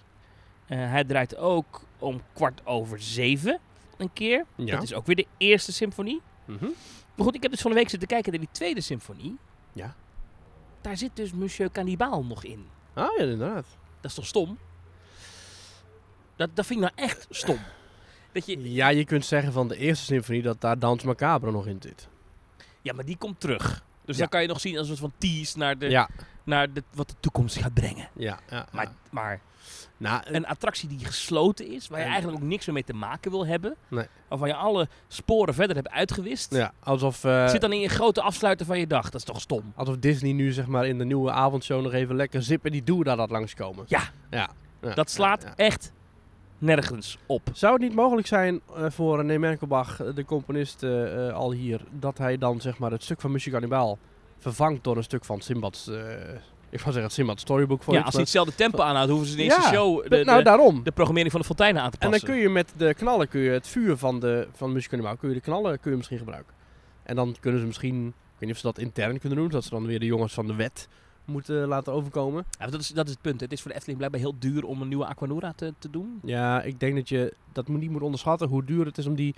C: Eh, hij draait ook om kwart over zeven een keer.
B: ja.
C: Dat is ook weer de eerste symfonie.
B: Mhm.
C: Maar goed, ik heb dus van de week zitten kijken naar die tweede symfonie.
B: Ja.
C: Daar zit dus Monsieur Cannibal nog in.
B: Ah, ja, inderdaad.
C: Dat is toch stom? Dat, dat vind ik nou echt stom. Dat je,
B: Ja, je kunt zeggen van de eerste symfonie dat daar Dans Macabre nog in zit.
C: Ja, maar die komt terug. Dus
B: Ja.
C: dan kan je nog zien als een soort van tease naar, de,
B: ja,
C: naar de, wat de toekomst gaat brengen.
B: ja, ja.
C: Maar,
B: ja.
C: maar
B: nou, eh,
C: een attractie die gesloten is, waar je
B: En-
C: eigenlijk ook niks meer mee te maken wil hebben.
B: Nee.
C: Waarvan je alle sporen verder hebt uitgewist.
B: ja, alsof, eh,
C: Zit dan in je grote afsluiter van je dag. Dat is toch stom?
B: alsof Disney nu zeg maar in de nieuwe avondshow nog even lekker zippen die doe daar dat langskomen.
C: Ja.
B: ja, ja,
C: Dat slaat
B: ja, ja.
C: echt nergens op.
B: Zou het niet mogelijk zijn eh, voor René Merkelbach, eh, de componist eh, eh, al hier, dat hij dan zeg maar het stuk van Muziek Animaal vervangt door een stuk van Simbad's, eh, ik wou zeggen het Simbad Storybook voor
C: Ja, als hij hetzelfde tempo aanhoudt, hoeven ze in de eerste
B: Ja,
C: show de, de,
B: Nou, daarom.
C: de programmering van de fonteinen aan te
B: En
C: passen.
B: dan kun je met de knallen, kun je het vuur van, de, van Muziek Animaal, kun je de knallen kun je misschien gebruiken. En En dan kunnen ze misschien, ik weet niet of ze dat intern kunnen doen, dat ze dan weer de jongens van de wet moeten eh, laten overkomen.
C: Ja, want dat, is, dat is het punt. Het is voor de Efteling blijkbaar heel duur om een nieuwe Aquanura te, te doen.
B: Ja, ik denk dat je dat moet- niet moet onderschatten hoe duur het is om die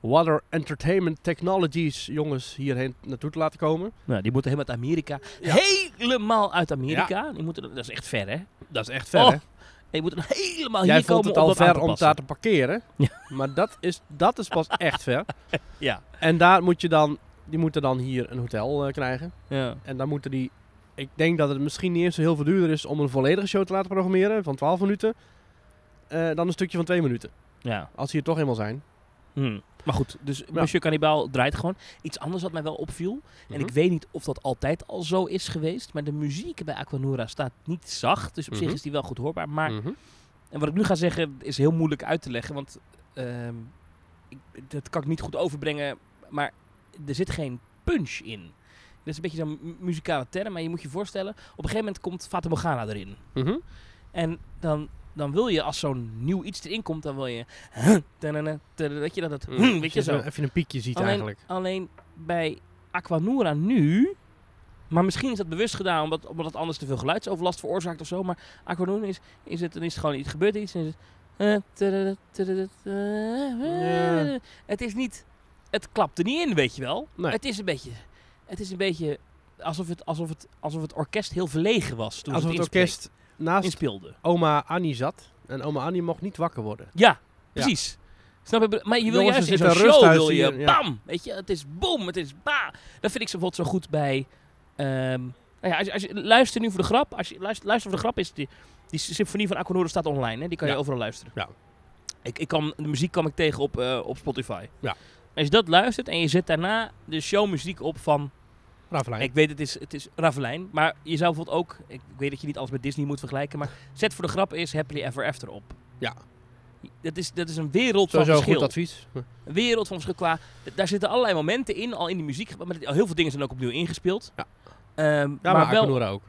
B: Water Entertainment Technologies jongens hierheen naartoe te laten komen.
C: Nou, die moeten helemaal uit Amerika.
B: Ja.
C: Helemaal uit Amerika. Die moeten, dat is echt ver, hè?
B: Dat is echt ver,
C: Oh,
B: hè?
C: Die moeten helemaal
B: Jij
C: hier
B: vond
C: komen
B: het
C: om
B: al
C: dat aan
B: ver
C: te
B: om
C: passen.
B: daar te parkeren.
C: Ja.
B: Maar dat is, dat is pas echt ver.
C: Ja.
B: En daar moet je dan, die moeten dan hier een hotel eh, krijgen.
C: ja.
B: En dan moeten die. Ik denk dat het misschien niet eens zo heel veel duurder is om een volledige show te laten programmeren van 12 minuten. eh, dan een stukje van 2 minuten.
C: Ja.
B: Als die er toch helemaal zijn.
C: Hm. Maar goed, dus Monsieur Cannibal draait gewoon. Iets anders wat mij wel opviel. En ik weet niet of dat altijd al zo is geweest. Maar de muziek bij Aquanura staat niet zacht. Dus op zich
B: Mhm.
C: is die wel goed hoorbaar. Maar en wat ik nu ga zeggen is heel moeilijk uit te leggen. Want ehm, ik, dat kan ik niet goed overbrengen. Maar er zit geen punch in. Dat is een beetje zo'n mu- muzikale term. Maar je moet je voorstellen. Op een gegeven moment komt Fata Morgana erin.
B: Mhm.
C: En dan, dan wil je als zo'n nieuw iets erin komt. Dan wil je... tadana, tadana, Weet je dat? het- Mm, Weet je zo.
B: Even een piekje ziet
C: Mhm. Alleen-
B: eigenlijk.
C: Alleen bij Aquanura nu. Maar misschien is dat bewust gedaan omdat, omdat het anders te veel geluidsoverlast veroorzaakt of zo. Maar Aquanura is, is het, dan is het gewoon iets gebeurd iets. En is het, eh, tadada, tadada, tadada.
B: Ja.
C: het is niet. Het klapt er niet in, weet je wel.
B: Nee.
C: Het is een beetje. Het is een beetje alsof het, alsof het, alsof het orkest heel verlegen was toen
B: Alsof
C: ze
B: het
C: het,
B: orkest
C: inspreek-
B: naast
C: inspeelde.
B: oma Annie zat. En oma Annie mocht niet wakker worden.
C: Ja, precies. Snap je? Maar je wil
B: Jongens,
C: juist
B: er zit
C: in zo'n
B: een
C: show
B: rusthuis
C: wil je
B: hier, ja.
C: bam. Weet je, het is boom, het is ba. Dat vind ik ze bijvoorbeeld zo goed bij... ehm, nou ja, als, je, als je luister nu voor de grap. Als je luistert, luistert voor de grap is die, die symfonie van Aquanura staat online. Hè? Die kan
B: Ja.
C: je overal luisteren.
B: Ja.
C: Ik, ik kan, de muziek kwam ik tegen op, eh, op Spotify.
B: Ja.
C: Als je dat luistert en je zet daarna de showmuziek op van...
B: Ravelijn.
C: Ik weet, het is, het is Ravelijn. Maar je zou bijvoorbeeld ook... Ik weet dat je niet alles met Disney moet vergelijken. Maar zet voor de grap is Happily Ever After op.
B: Ja.
C: Dat is, dat is een wereld van
B: Sowieso een
C: verschil.
B: goed advies. Hm.
C: Een wereld van verschil qua... Daar zitten allerlei momenten in, al in die muziek. Maar heel veel dingen zijn ook opnieuw ingespeeld.
B: Ja.
C: Ehm,
B: Ja,
C: maar
B: maar
C: wel,
B: Aquanura ook.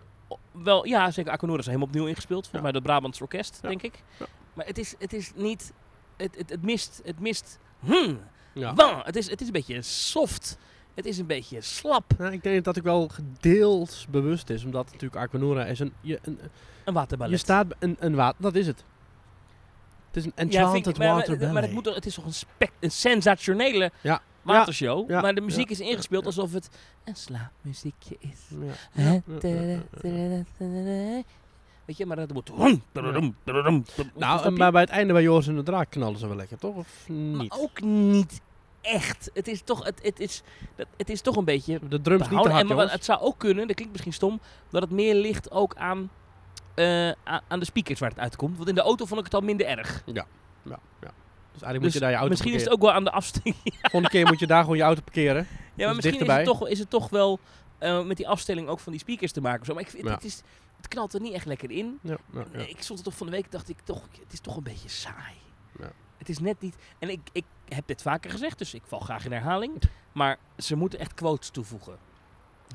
C: wel... Ja, zeker. Aquanura is helemaal opnieuw ingespeeld.
B: Ja.
C: Volgens mij door het Brabants Orkest,
B: Ja.
C: denk ik.
B: Ja.
C: Maar het is, het is niet... Het, het, het mist... Het mist... hmm,
B: Ja.
C: wah. Het, is, het is een beetje soft. Het is een beetje slap.
B: Nou, ik denk dat dat ook wel gedeels bewust is. Omdat natuurlijk Aquanura is een... Je, een
C: Een
B: je
C: waterballet.
B: staat bij een, een water... Dat is het. Het is een
C: Ja,
B: enchanted
C: vind ik- maar-
B: water
C: maar, maar
B: ballet.
C: het, moet, toch- het is toch een, spek- een sensationele
B: Ja.
C: watershow.
B: Ja.
C: Maar de muziek
B: Ja.
C: is ingespeeld alsof het een slaapmuziekje is.
B: Ja.
C: Hè?
B: ja,
C: Tada,
B: ja,
C: tada, tada. Weet je, maar dat moet... Nou,
B: Nou, en maar bij het einde bij Joris en de Draak knallen ze wel lekker, toch? Of niet?
C: maar ook niet echt. Het is toch, het, het is, dat- het is toch een beetje
B: de drums niet te
C: behouden.
B: hard,
C: En, maar
B: jongens.
C: het zou ook kunnen, dat klinkt misschien stom, dat het meer ligt ook aan, eh, aan, aan de speakers waar het uitkomt. Want in de auto vond ik het al minder erg.
B: Ja, ja. Dus eigenlijk moet
C: Dus
B: je daar je auto
C: misschien is het
B: parkeren.
C: ook wel aan de afstelling.
B: Volgende keer moet je daar gewoon je auto parkeren.
C: Ja, maar
B: Dus
C: misschien is
B: dichterbij.
C: het, toch, is het toch wel eh, met die afstelling ook van die speakers te maken. of Zo. Maar ik, vind-
B: Ja.
C: het, is, het knalt er niet echt lekker in.
B: Ja, ja, ja.
C: Nee, ik stond er toch van de week dacht ik toch, het is toch een beetje saai.
B: Ja.
C: Het is net niet. En ik, ik heb dit vaker gezegd, dus ik val graag in herhaling. Maar ze moeten echt quotes toevoegen.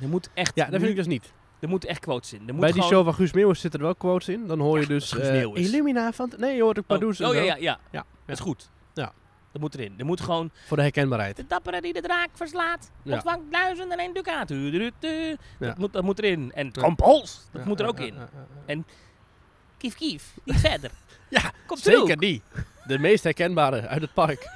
C: Er moet echt,
B: Ja, dat
C: nu-
B: vind ik dus niet.
C: er moet echt quotes in. Er moet
B: Bij die
C: gewoon,
B: show van Guus Meeuwis zitten er wel quotes in. Dan hoor je
C: Ja,
B: dus
C: dat is
B: eh,
C: Guus Meeuwis.
B: Illumina van... Nee, je hoort ook Pardoes.
C: Oh,
B: en
C: oh ja,
B: zo.
C: ja, ja.
B: Ja,
C: Dat is goed.
B: Ja.
C: Dat moet erin. Er moet gewoon
B: Voor de herkenbaarheid.
C: de dappere die de draak verslaat,
B: Ja.
C: ontvangt duizenden en ducaat. Du- du- du- du.
B: Ja.
C: Dat, moet, dat moet erin. En
B: Ja.
C: Kompols, dat
B: Ja,
C: moet er
B: ja,
C: ook
B: ja,
C: in.
B: ja, ja, ja.
C: Kief kief, niet verder.
B: Ja,
C: Komt
B: Zeker die. De meest herkenbare uit het park.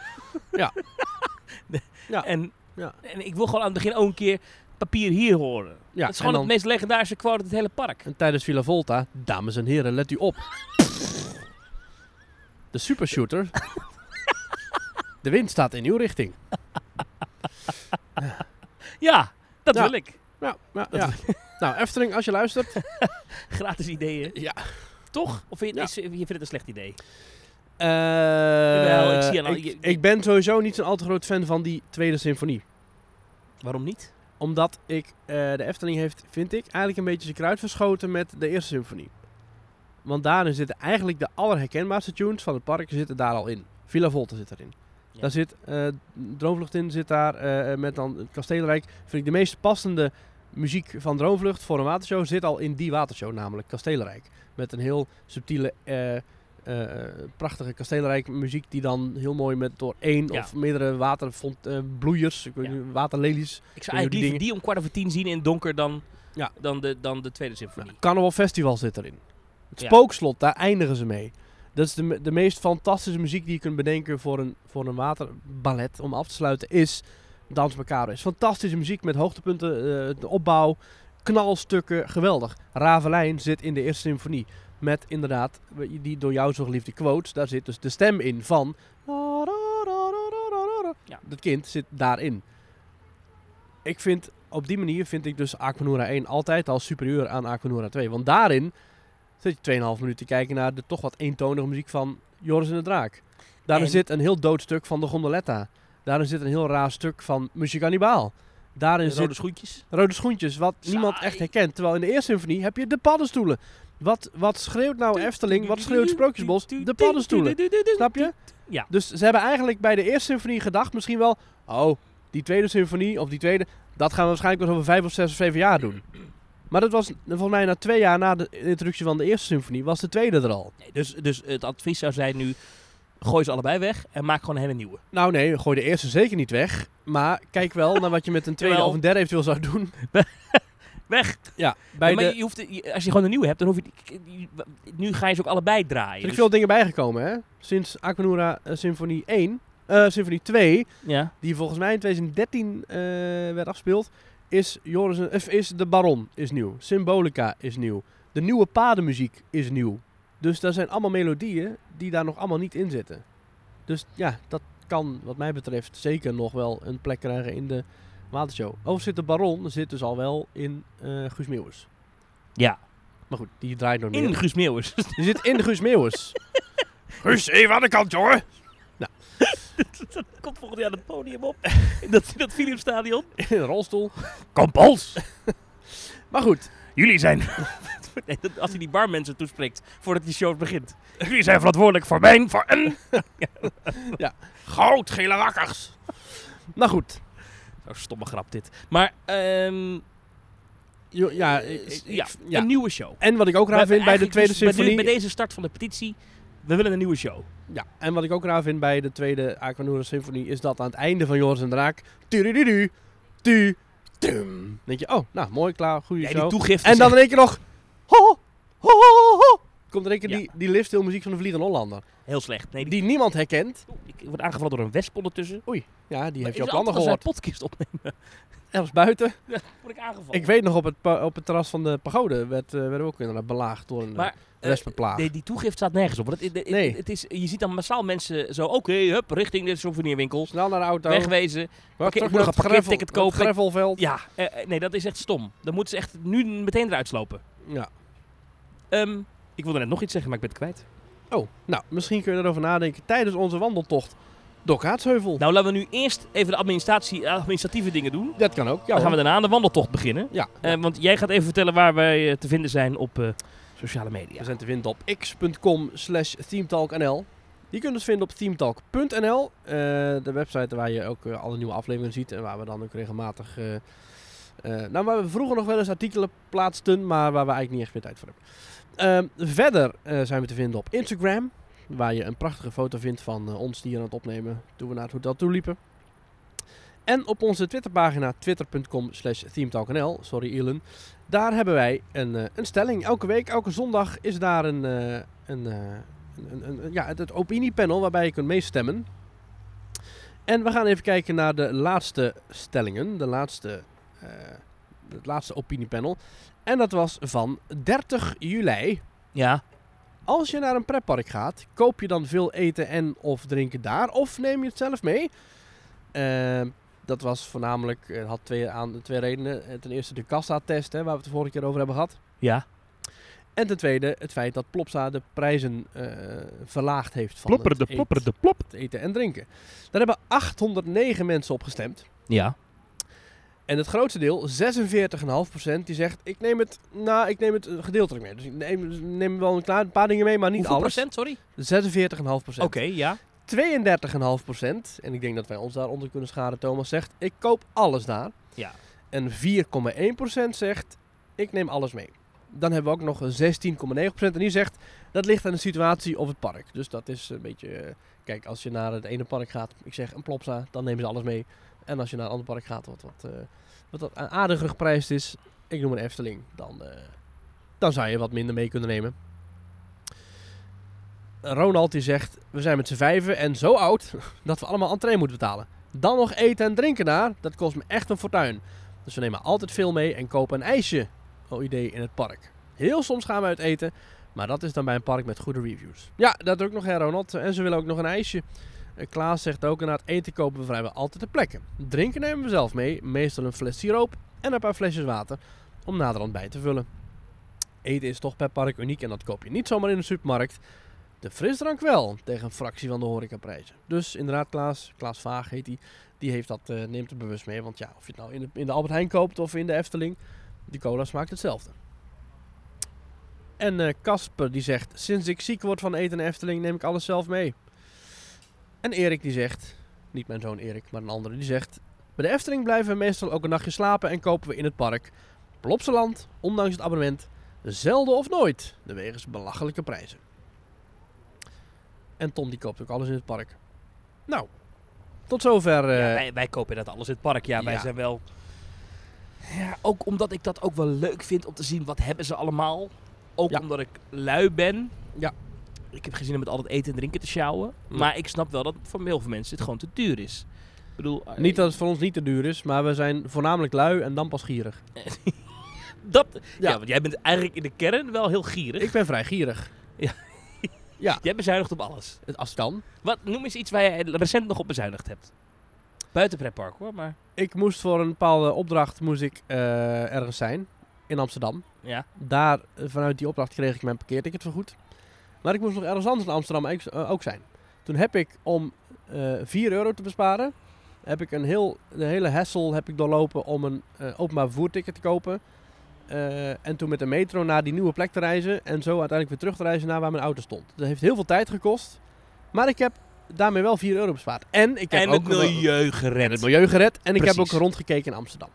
C: En,
B: Ja.
C: en ik wil gewoon aan het begin ook een keer papier hier horen.
B: Ja,
C: dat is gewoon
B: en
C: het
B: dan-
C: meest legendarische quote uit het hele park.
B: En tijdens Villa Volta, dames en heren, let u op. De supershooter. De wind staat in uw richting.
C: Ja, dat
B: Ja.
C: wil ik.
B: Nou, nou, ja. nou Efteling, als je luistert.
C: Gratis ideeën.
B: Ja.
C: Toch? Of vind je,
B: Ja.
C: is- je vindt het een slecht idee?
B: Eh,
C: ik zie aan al-
B: ik,
C: je-
B: ik ben sowieso niet zo'n al te groot fan van die Tweede Symfonie.
C: Waarom niet?
B: Omdat ik, eh, de Efteling heeft, vind ik, eigenlijk een beetje zijn kruid verschoten met de Eerste Symfonie. Want daarin zitten eigenlijk de allerherkenbaarste tunes van het park zitten daar al in. Villa Volta zit erin.
C: Ja.
B: Daar zit eh Droomvlucht in, zit daar eh, met dan het Kastelenrijk. Vind ik de meest passende muziek van Droomvlucht voor een watershow zit al in die watershow, namelijk Kastelenrijk. Met een heel subtiele eh, eh, prachtige kasteelrijke muziek die dan heel mooi met door één
C: Ja.
B: of meerdere waterfont, eh, bloeiers, ik weet
C: Ja.
B: niet, waterlelies.
C: Ik
B: hoe
C: zou eigenlijk
B: die
C: liever die om kwart over tien zien in het donker dan,
B: Ja.
C: dan, de, dan de tweede symfonie.
B: Carnaval Festival Nou, zit erin. Het
C: Ja.
B: spookslot, daar eindigen ze mee. Dat is de, me- de meest fantastische muziek die je kunt bedenken voor een, voor een waterballet. Om af te sluiten is Dans Macabre. Is fantastische muziek met hoogtepunten, eh, de opbouw, knalstukken, geweldig. Ravelijn zit in de eerste symfonie. Met inderdaad die door jou zo geliefde quotes. Daar zit dus de stem in van...
C: Ja.
B: Dat kind zit daarin. Ik vind, op die manier vind ik dus Aquanura 1 altijd al superieur aan Aquanura 2. Want daarin zit je 2,5 minuten te kijken naar de toch wat eentonige muziek van Joris en de Draak. Daarin
C: En-
B: zit een heel dood stuk van de Gondoletta. Daarin zit een heel raar stuk van Muziek Annibaal. Daarin
C: De
B: zit
C: rode schoentjes.
B: Rode Schoentjes, wat niemand
C: Saai.
B: echt herkent. Terwijl in de eerste symfonie heb je de paddenstoelen. Wat, wat schreeuwt nou Efteling, wat schreeuwt Sprookjesbos? De paddenstoelen. Snap je?
C: Ja.
B: Dus ze hebben eigenlijk bij de eerste symfonie gedacht, misschien wel, oh, die tweede symfonie of die tweede, dat gaan we waarschijnlijk pas over vijf of zes of zeven jaar doen. Maar dat was eh, volgens mij na twee jaar na de introductie van de eerste symfonie, was de tweede er al.
C: Nee, dus, dus het advies zou zijn nu, gooi ze allebei weg en maak gewoon een hele nieuwe.
B: Nou nee, gooi de eerste zeker niet weg. Maar kijk wel naar wat je met een tweede
C: Jawel.
B: of een derde eventueel zou doen.
C: Weg!
B: Ja, bij
C: Ja, maar
B: de...
C: je hoeft, je- als je gewoon een nieuwe hebt, dan hoef je... die- Nu ga je ze ook allebei
B: Er
C: draaien.
B: zijn
C: dus-
B: veel dingen bijgekomen, hè? Sinds Aquanura eh, Symfonie 1, eh Symfonie 2,
C: ja.
B: die volgens mij in 2013 eh, werd afgespeeld, is, Joris, en- of is De Baron is nieuw. Symbolica is nieuw. De nieuwe padenmuziek is nieuw. Dus daar zijn allemaal melodieën die daar nog allemaal niet in zitten. Dus ja, dat kan wat mij betreft zeker nog wel een plek krijgen in de watershow. Overigens zit De Baron zit dus al wel in eh Guus Meeuwis.
C: Ja.
B: Maar goed, die draait nog
C: In
B: niet.
C: Guus Meeuwis.
B: Die zit in de Guus Meeuwis.
D: Guus, even aan de kant, jongen.
C: Nou. Komt volgend jaar het podium op. In dat, in dat Philipsstadion.
B: in een rolstoel.
D: Kom, Pols.
B: Maar goed,
D: Jullie zijn,
C: Nee, dat- als hij die barmensen toespreekt voordat die show begint.
D: jullie zijn verantwoordelijk voor mijn, voor een...
B: Ja.
D: Goudgele rakkers.
B: nou goed.
C: Zo'n stomme grap dit. Maar ehm,
B: Jo- ja, ik- Eh, ik-
C: Eh, ja,
B: ja.
C: een nieuwe show.
B: En wat ik ook
C: We
B: raar vind bij de
C: eigenlijk
B: tweede
C: dus nu-
B: symfonie...
C: Bij, deze start van de petitie, we willen een nieuwe show.
B: Ja, en wat ik ook raar vind bij de tweede Aquanura Symfonie is dat aan het einde van Joris en de Draak. Tudududu, tu, tum. denk je, oh, nou mooi, klaar, goede
C: Ja, die
B: show.
C: toegifte.
B: En dan in één keer nog. Ho, ho, ho, ho. Komt in één keer
C: Ja.
B: die, die lifthill muziek van de Vliegende Hollander.
C: heel slecht. Nee, die,
B: Die niemand herkent.
C: Oeh, ik word aangevallen door een wesp ondertussen.
B: Ja, die
C: Maar
B: heeft je op
C: is altijd
B: landen
C: als wij
B: gehoord.
C: podcast opnemen,
B: Ergens buiten.
C: word ik aangevallen.
B: Ik weet nog, op het, pa- op het terras van de pagode werd, eh, werden we ook inderdaad belaagd door een
C: Maar,
B: maar,
C: eh, Nee, die toegift staat nergens op. want het- het- het-
B: Nee.
C: het is, je ziet dan massaal mensen zo, oké, hup, richting de souvenirwinkel.
B: Snel naar de auto.
C: Wegwezen.
B: Wat
C: Oké,
B: terug
C: ik moet
B: naar
C: nog een
B: het
C: parkeerticket
B: gravel-
C: kopen.
B: het gravelveld.
C: Ja, eh, eh, nee, dat is echt stom. Dan moeten ze echt nu meteen eruit slopen.
B: ja.
C: Ehm, ik wilde net nog iets zeggen, maar ik ben het kwijt.
B: Oh, nou, misschien kun je erover nadenken tijdens onze wandeltocht door Kaatsheuvel.
C: Nou, laten we nu eerst even de administratie, administratieve dingen doen.
B: Dat kan ook, ja
C: Dan gaan we
B: hoor.
C: daarna aan de wandeltocht beginnen.
B: Ja,
C: Eh, want jij gaat even vertellen waar wij eh, te vinden zijn op eh, sociale media.
B: we zijn te vinden op x.com slash themetalk.nl. Je kunt ons vinden op themetalk.nl, eh, de website waar je ook eh, alle nieuwe afleveringen ziet en waar we dan ook regelmatig... eh, eh, nou, waar we vroeger nog wel eens artikelen plaatsten, maar waar we eigenlijk niet echt meer tijd voor hebben. Ehm, verder eh, zijn we te vinden op Instagram, waar je een prachtige foto vindt van eh, ons die hier aan het opnemen toen we naar het hotel toe liepen. En op onze Twitterpagina twitter.com slash themetalk.nl, sorry Elon, daar hebben wij een, eh, een stelling. Elke week, elke zondag is daar een, eh, een, eh, een, een, een- ja, het, het opiniepanel waarbij je kunt meestemmen. En we gaan even kijken naar de laatste stellingen, de laatste, eh, het laatste opiniepanel. En dat was van 30 juli.
C: Ja,
B: Als je naar een pretpark gaat, koop je dan veel eten en of drinken daar of neem je het zelf mee? Ehm, dat was voornamelijk, eh, had twee, aan, twee redenen. Eh, Ten eerste de kassa-test, hè, waar we het de vorige keer over hebben gehad.
C: ja.
B: En ten tweede het feit dat Plopsa de prijzen eh, verlaagd heeft van
C: Plopper
B: het,
C: de
B: eet-
C: plopper de plop.
B: het eten en drinken. Daar hebben 809 mensen op gestemd.
C: Ja.
B: En het grootste deel, 46,5%, die zegt: Ik neem het, nou, ik neem het eh, gedeeltelijk mee. Dus ik neem, neem wel een, klaar, een paar dingen mee, maar niet
C: Hoeveel
B: alles. Eh.
C: procent, sorry?
B: 46,5%.
C: Oké, ja.
B: 32,5%. En ik denk dat wij ons daaronder kunnen schaden. Thomas zegt, ik koop alles daar.
C: Ja.
B: En 4,1% zegt, ik neem alles mee. Dan hebben we ook nog 16,9%. En die zegt, Dat ligt aan de situatie of het park. Dus dat is een beetje... eh, kijk, als je naar het ene park gaat, ik zeg een plopsa, dan nemen ze alles mee. En als je naar een ander park gaat wat wat, eh, wat, wat a- aardiger geprijsd is, ik noem een Efteling, dan, eh, dan zou je wat minder mee kunnen nemen. Ronald die zegt, we zijn met z'n vijven en zo oud dat we allemaal entree moeten betalen. Dan nog eten en drinken daar, dat kost me echt een fortuin. Dus we nemen altijd veel mee en kopen een ijsje. Oh idee in het park. Heel soms gaan we uit eten, maar dat is dan bij een park met goede reviews. Ja, dat ook nog hè Ronald. En ze willen ook nog een ijsje. Eh, Klaas zegt ook, inderdaad eten kopen we vrijwel altijd ter plekke. Drinken nemen we zelf mee, meestal een fles siroop en een paar flesjes water om naderhand bij te vullen. Eten is toch per park uniek en dat koop je niet zomaar in de supermarkt. De frisdrank wel, tegen een fractie van de horecaprijzen. Dus inderdaad, Klaas, Klaas Vaag heet die, die heeft dat, eh, neemt het bewust mee. Want ja, of je het nou in de, in de Albert Heijn koopt of in de Efteling, die cola smaakt hetzelfde. En eh, Casper die zegt, sinds ik ziek word van eten en Efteling neem ik alles zelf mee. En Erik die zegt, niet mijn zoon Erik, maar een andere, die zegt... Bij de Efteling blijven we meestal ook een nachtje slapen en kopen we in het park. Plopsaland, ondanks het abonnement, zelden of nooit, de wegens belachelijke prijzen. En Tom die koopt ook alles in het park. Nou, tot zover. eh,
C: Ja, wij, wij kopen dat alles in het park. Ja, wij
B: ja.
C: zijn wel... Ja, ook omdat ik dat ook wel leuk vind om te zien wat hebben ze allemaal. Ook
B: Ja.
C: omdat ik lui ben.
B: Ja.
C: Ik heb gezien om met al dat eten en drinken te sjouwen.
B: Ja.
C: Maar ik snap wel dat voor heel veel mensen het gewoon te duur is. Ik bedoel, eh,
B: Niet dat het voor ons niet te duur is, maar we zijn voornamelijk lui en dan pas gierig.
C: dat... Ja.
B: Ja.
C: want jij bent eigenlijk in de kern wel heel gierig.
B: Ik ben vrij gierig.
C: Jij bezuinigt op alles.
B: Het- Als het kan.
C: Wat, noem eens iets waar jij recent nog op bezuinigd hebt. Buiten pretpark hoor, maar...
B: Ik moest voor een bepaalde opdracht moest ik, eh, ergens zijn in Amsterdam.
C: Ja.
B: Daar, eh, vanuit die opdracht kreeg ik mijn parkeerticket vergoed. Maar ik moest nog ergens anders in Amsterdam ook- eh, ook zijn. Toen heb ik, om eh 4 euro te besparen, heb ik een, heel, een hele hassle heb ik doorlopen om een eh, openbaar vervoerticket te kopen. Eh, en toen met de metro naar die nieuwe plek te reizen. En zo uiteindelijk weer terug te reizen naar waar mijn auto stond. Dat heeft heel veel tijd gekost. Maar ik heb daarmee wel 4 euro bespaard. En ik heb
C: en
B: ook
C: het milieu
B: en het
C: gered.
B: milieu gered. En ik heb ook
C: Precies.
B: rondgekeken in Amsterdam.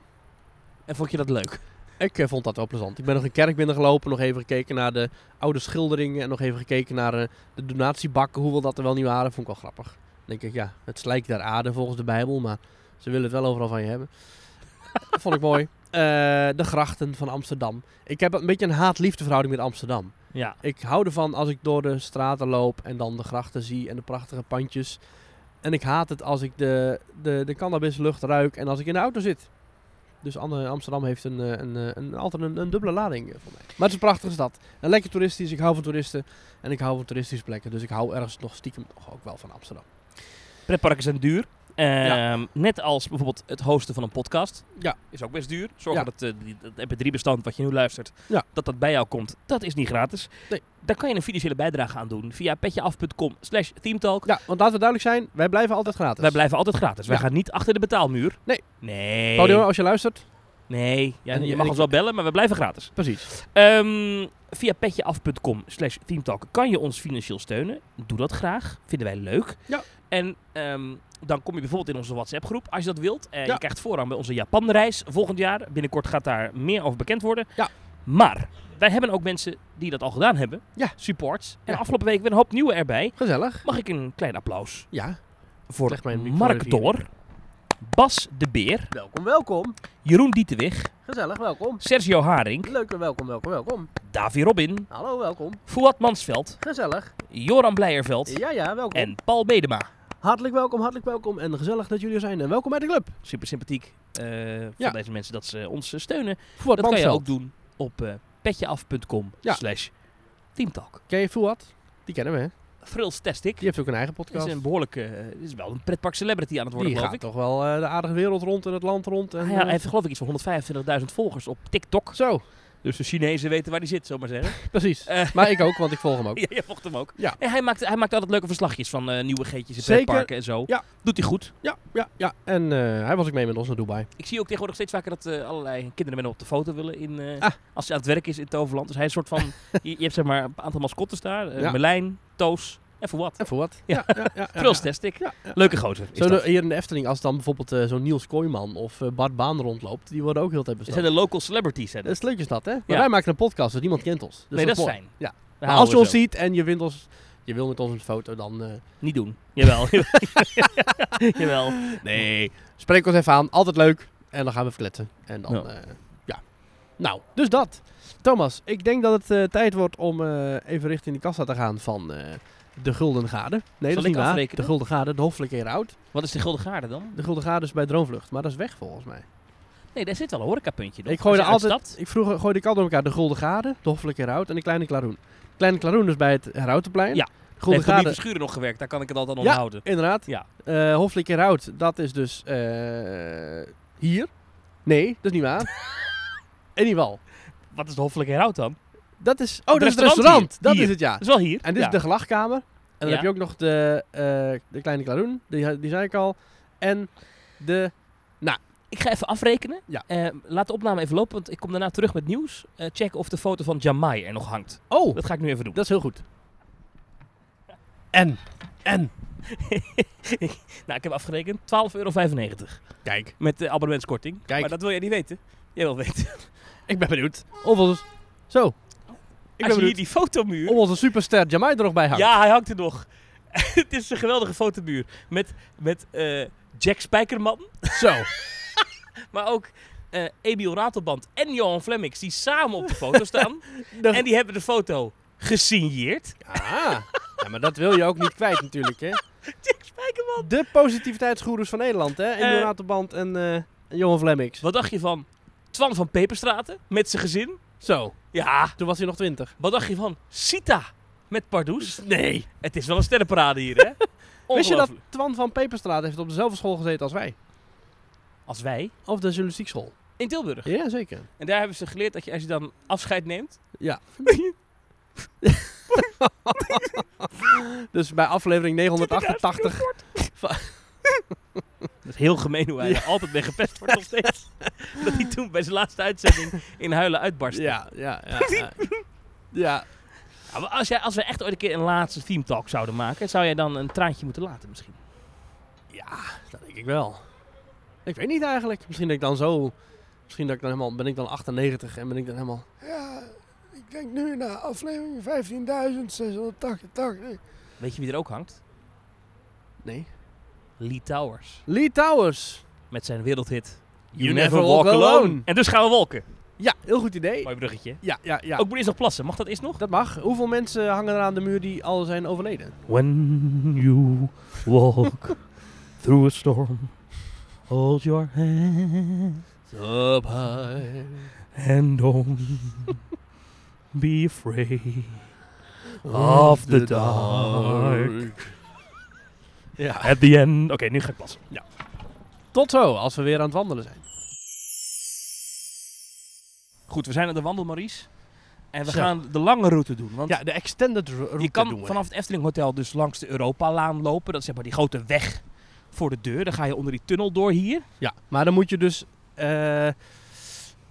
C: En vond je dat leuk?
B: Ik eh, vond dat wel plezant. Ik ben nog een kerk binnengelopen, nog even gekeken naar de oude schilderingen. En nog even gekeken naar eh, de donatiebakken, hoewel dat er wel niet waren. Vond ik wel grappig. Dan denk ik, ja, het slijkt daar aarde volgens de Bijbel, maar ze willen het wel overal van je hebben. Dat vond ik mooi. Eh, de grachten van Amsterdam. Ik heb een beetje een haat-liefde verhouding met Amsterdam.
C: Ja.
B: Ik hou ervan als ik door de straten loop en dan de grachten zie en de prachtige pandjes. En ik haat het als ik de, de, de cannabislucht ruik en als ik in de auto zit. Dus Anne- Amsterdam heeft een, eh, een, eh, een, altijd een, een dubbele lading eh, voor mij. Maar het is een prachtige stad. En lekker toeristisch. Ik hou van toeristen. En ik hou van toeristische plekken. Dus ik hou ergens nog stiekem toch ook wel van Amsterdam.
C: Pretparken zijn duur.
B: Ja.
C: Ehm, Net als bijvoorbeeld het hosten van een podcast.
B: Ja.
C: Is ook best duur. Zorg
B: Ja.
C: dat eh, die- dat mp3-bestand wat je nu luistert,
B: Ja.
C: dat dat bij jou komt. Dat is niet gratis.
B: Nee.
C: Daar kan je een financiële bijdrage aan doen via petjeaf.com slash teamtalk.
B: Ja, want laten we duidelijk zijn. Wij blijven altijd gratis.
C: Wij blijven altijd gratis. Wij
B: Ja.
C: gaan niet achter de betaalmuur.
B: Nee.
C: Nee.
B: Paul, als je luistert.
C: Nee. Ja,
B: En-
C: je
B: en
C: mag
B: ik-
C: ons wel bellen, maar we blijven gratis.
B: Precies.
C: Ehm, via petjeaf.com slash teamtalk kan je ons financieel steunen. Doe dat graag. Vinden wij leuk.
B: Ja.
C: En ehm, dan kom je bijvoorbeeld in onze WhatsApp groep als je dat wilt. Eh,
B: Ja.
C: Je krijgt voorrang bij onze Japanreis volgend jaar. Binnenkort gaat daar meer over bekend worden.
B: Ja.
C: Maar wij hebben ook mensen die dat al gedaan hebben.
B: Ja.
C: Supports. En
B: Ja.
C: afgelopen week weer een hoop nieuwe erbij.
B: Gezellig.
C: Mag ik een klein applaus
B: Ja.
C: voor
B: Leg mijn microfoon
C: Mark
B: even
C: Dor, Bas de Beer,
B: Welkom, welkom.
C: Jeroen Dietewig,
B: Gezellig, welkom.
C: Sergio Haring,
B: Leuk, welkom, welkom, welkom.
C: Davy Robin,
B: Hallo, welkom.
C: Fuad Mansveld,
B: Gezellig.
C: Joran Blijerveld.
B: Ja, ja, welkom.
C: En Paul Bedema.
B: Hartelijk welkom, hartelijk welkom en gezellig dat jullie er zijn. En welkom bij de club.
C: Super sympathiek eh, van
B: Ja.
C: deze mensen dat ze ons eh, steunen.
B: Voet
C: dat kan je ook doen op eh, petjeaf.com
B: Ja.
C: slash teamtalk.
B: Ken je Fuad? Die kennen we, hè?
C: Frills Tastic
B: Die heeft ook een eigen
C: is
B: podcast.
C: een behoorlijke, eh, dit is wel een pretpark celebrity aan het worden
B: die
C: geloof
B: gaat
C: ik.
B: toch wel eh, de aardige wereld rond en het land rond. En,
C: Ah ja,
B: eh,
C: hij heeft geloof ik iets van 125.000 volgers op TikTok.
B: Zo,
C: Dus de Chinezen weten waar die zit, zomaar zeggen.
B: precies.
C: Eh.
B: Maar ik ook, want ik volg hem ook.
C: ja, je volgt hem ook.
B: Ja.
C: En hij maakt, hij maakt altijd leuke verslagjes van eh, nieuwe geetjes in
B: Zeker.
C: pretparken en zo.
B: Ja.
C: Doet hij goed.
B: Ja, ja, ja. En eh, hij was ook mee met ons naar Dubai.
C: Ik zie ook tegenwoordig steeds vaker dat eh, allerlei kinderen met hem op de foto willen. In, eh,
B: Ah.
C: Als hij aan het werk is in Toverland. Dus hij is een soort van. je, je hebt zeg maar een aantal mascottes daar: eh,
B: Ja.
C: Merlijn, Toos en voor wat?
B: En voor wat?
C: Ja.
B: ja, ja, ja,
C: Prils
B: ja.
C: Testic.
B: Ja, ja.
C: Leuke gozer. Is
B: Zo
C: dat.
B: de- hier in de Efteling, als dan bijvoorbeeld eh, zo'n Niels Kooijman of eh, Bart Baan rondloopt, die worden ook heel tijd
C: Dat
B: besteld.
C: zijn de local celebrities. Hè,
B: Dat is leuk is dat, hè? Maar
C: Ja.
B: wij maken een podcast, dus niemand kent ons. Dus
C: nee, dat is
B: mooi.
C: fijn.
B: Ja. Maar als je ons ziet en je, wint ons, je wil met ons een foto, dan... eh,
C: Niet doen. Jawel. Jawel.
B: nee, spreek ons even aan. Altijd leuk. En dan gaan we verkletten. En dan,
C: Ja.
B: eh, ja. Nou, dus dat. Thomas, ik denk dat het eh, tijd wordt om eh, even richting de kassa te gaan van eh, de Gulden Gade. Nee,
C: Zal
B: dat is
C: ik
B: niet waar.
C: afrekenen?
B: De Gulden Gade, de hoffelijke heroud.
C: Wat is de Gulden Gaarde dan?
B: De Gulden Gade is bij Droomvlucht, maar dat is weg volgens mij.
C: Nee, daar zit al een horecapuntje. toch?
B: Ik gooi
C: Als
B: er
C: je
B: altijd,
C: uitstapt.
B: ik vroeger gooide ik altijd door elkaar de Golden Gade, de Hoffelijke Heraut en de Kleine Klaroen. De Kleine Klaroen is bij het Herautenplein.
C: Ja.
B: De
C: Heeft
B: Golden
C: Tommy
B: Gade,
C: Verschuren nog gewerkt, daar kan ik het altijd aan
B: Ja.
C: onthouden.
B: inderdaad.
C: Ja.
B: Eh, Hoffelijke Heraut, dat is dus eh, hier. Nee, dat is niet waar. in ieder geval.
C: Wat is de hoffelijke herhoud dan?
B: Dat is, oh, dat is het
C: restaurant
B: restaurant.
C: hier.
B: Dat
C: Hier.
B: is het, ja.
C: Dat is wel hier.
B: En dus dit
C: Ja.
B: is de gelachkamer. En dan
C: Ja.
B: heb je ook nog de, eh, de Kleine Klaroen, die, die zei ik al. En de...
C: Ik ga even afrekenen.
B: Ja.
C: Eh, laat de opname even lopen, want ik kom daarna terug met nieuws. Eh, check of de foto van Jamai er nog hangt.
B: Oh,
C: Dat ga ik nu even doen.
B: dat is heel goed. En, en,
C: Nou, ik heb afgerekend 12,95 euro
B: kijk,
C: met de abonnementskorting.
B: Kijk.
C: Maar dat wil jij niet weten. Jij wil weten.
B: ik ben benieuwd. Of ons... Zo, ik ben
C: Als je hier
B: benieuwd.
C: die fotomuur...
B: Om onze superster Jamai er nog bij hangt.
C: Ja, hij hangt er nog. het is een geweldige fotomuur. Met, met eh, Jack Spijkerman,
B: Zo.
C: maar ook eh Emil Ratelband en Johan Flemmix, die samen op de foto staan.
B: Dan-
C: en die hebben de foto gesigneerd.
B: Ah. Ja, maar dat wil je ook niet kwijt natuurlijk, hè.
C: Jack Spijkerman.
B: De positiviteitsgoeroes van Nederland, hè.
C: Eh.
B: Inderdaad de band en eh, en Johan Flemmix.
C: Wat dacht je van Twan van Peperstraten met zijn gezin?
B: Zo.
C: Ja.
B: Toen was hij nog twintig.
C: Wat dacht je van Sita met Pardoes?
B: Nee.
C: Het is wel een sterrenparade hier, hè?
B: Wist je dat
C: Ongelooflijk.
B: Twan van Peperstraat heeft op dezelfde school gezeten als wij?
C: Als wij
B: Of de journalistiekschool.
C: in Tilburg.
B: Ja, zeker.
C: En daar hebben ze geleerd dat je als je dan afscheid neemt...
B: Dus bij aflevering 988...
C: Dat is heel gemeen hoe hij er altijd mee gepest wordt nog steeds. dat hij toen bij zijn laatste uitzending in huilen uitbarstte.
B: Ja, ja, ja. Ja. ja.
C: Ja, maar als, jij, als we echt ooit een keer een laatste theme talk zouden maken, zou jij dan een traantje moeten laten misschien?
B: Dat denk ik wel. Ik weet niet eigenlijk. Misschien dat ik dan zo... Misschien dat ik dan helemaal... Ben ik dan 98 en ben ik dan helemaal...
E: Ja, ik denk nu naar aflevering 15.688.
C: Weet je wie er ook hangt?
B: Nee.
C: Lee Towers.
B: Lee Towers.
C: Met zijn wereldhit
B: You never walk alone.
C: En dus gaan we wolken.
B: Ja, heel goed idee.
C: Mooi bruggetje.
B: Ja, ja, ja.
C: Ook moet eerst nog plassen. Mag dat eerst nog?
B: Dat mag. Hoeveel mensen hangen er aan de muur die al zijn overleden?
C: When you walk through a storm, hold your hand.
B: Up high.
C: And don't be afraid of the dark.
B: Ja.
C: At the end. Oké, nu ga ik passen.
B: Tot zo, als we weer aan het wandelen zijn.
C: Goed, we zijn aan de wandel, Maurice. En we
B: Zo.
C: gaan de lange route doen. Want
B: Ja, de extended ro- route
C: je kan
B: doen we.
C: vanaf het Efteling Hotel dus langs de Europalaan lopen. Dat is zeg maar die grote weg voor de deur. Dan ga je onder die tunnel door hier.
B: Ja, maar dan moet je dus eh,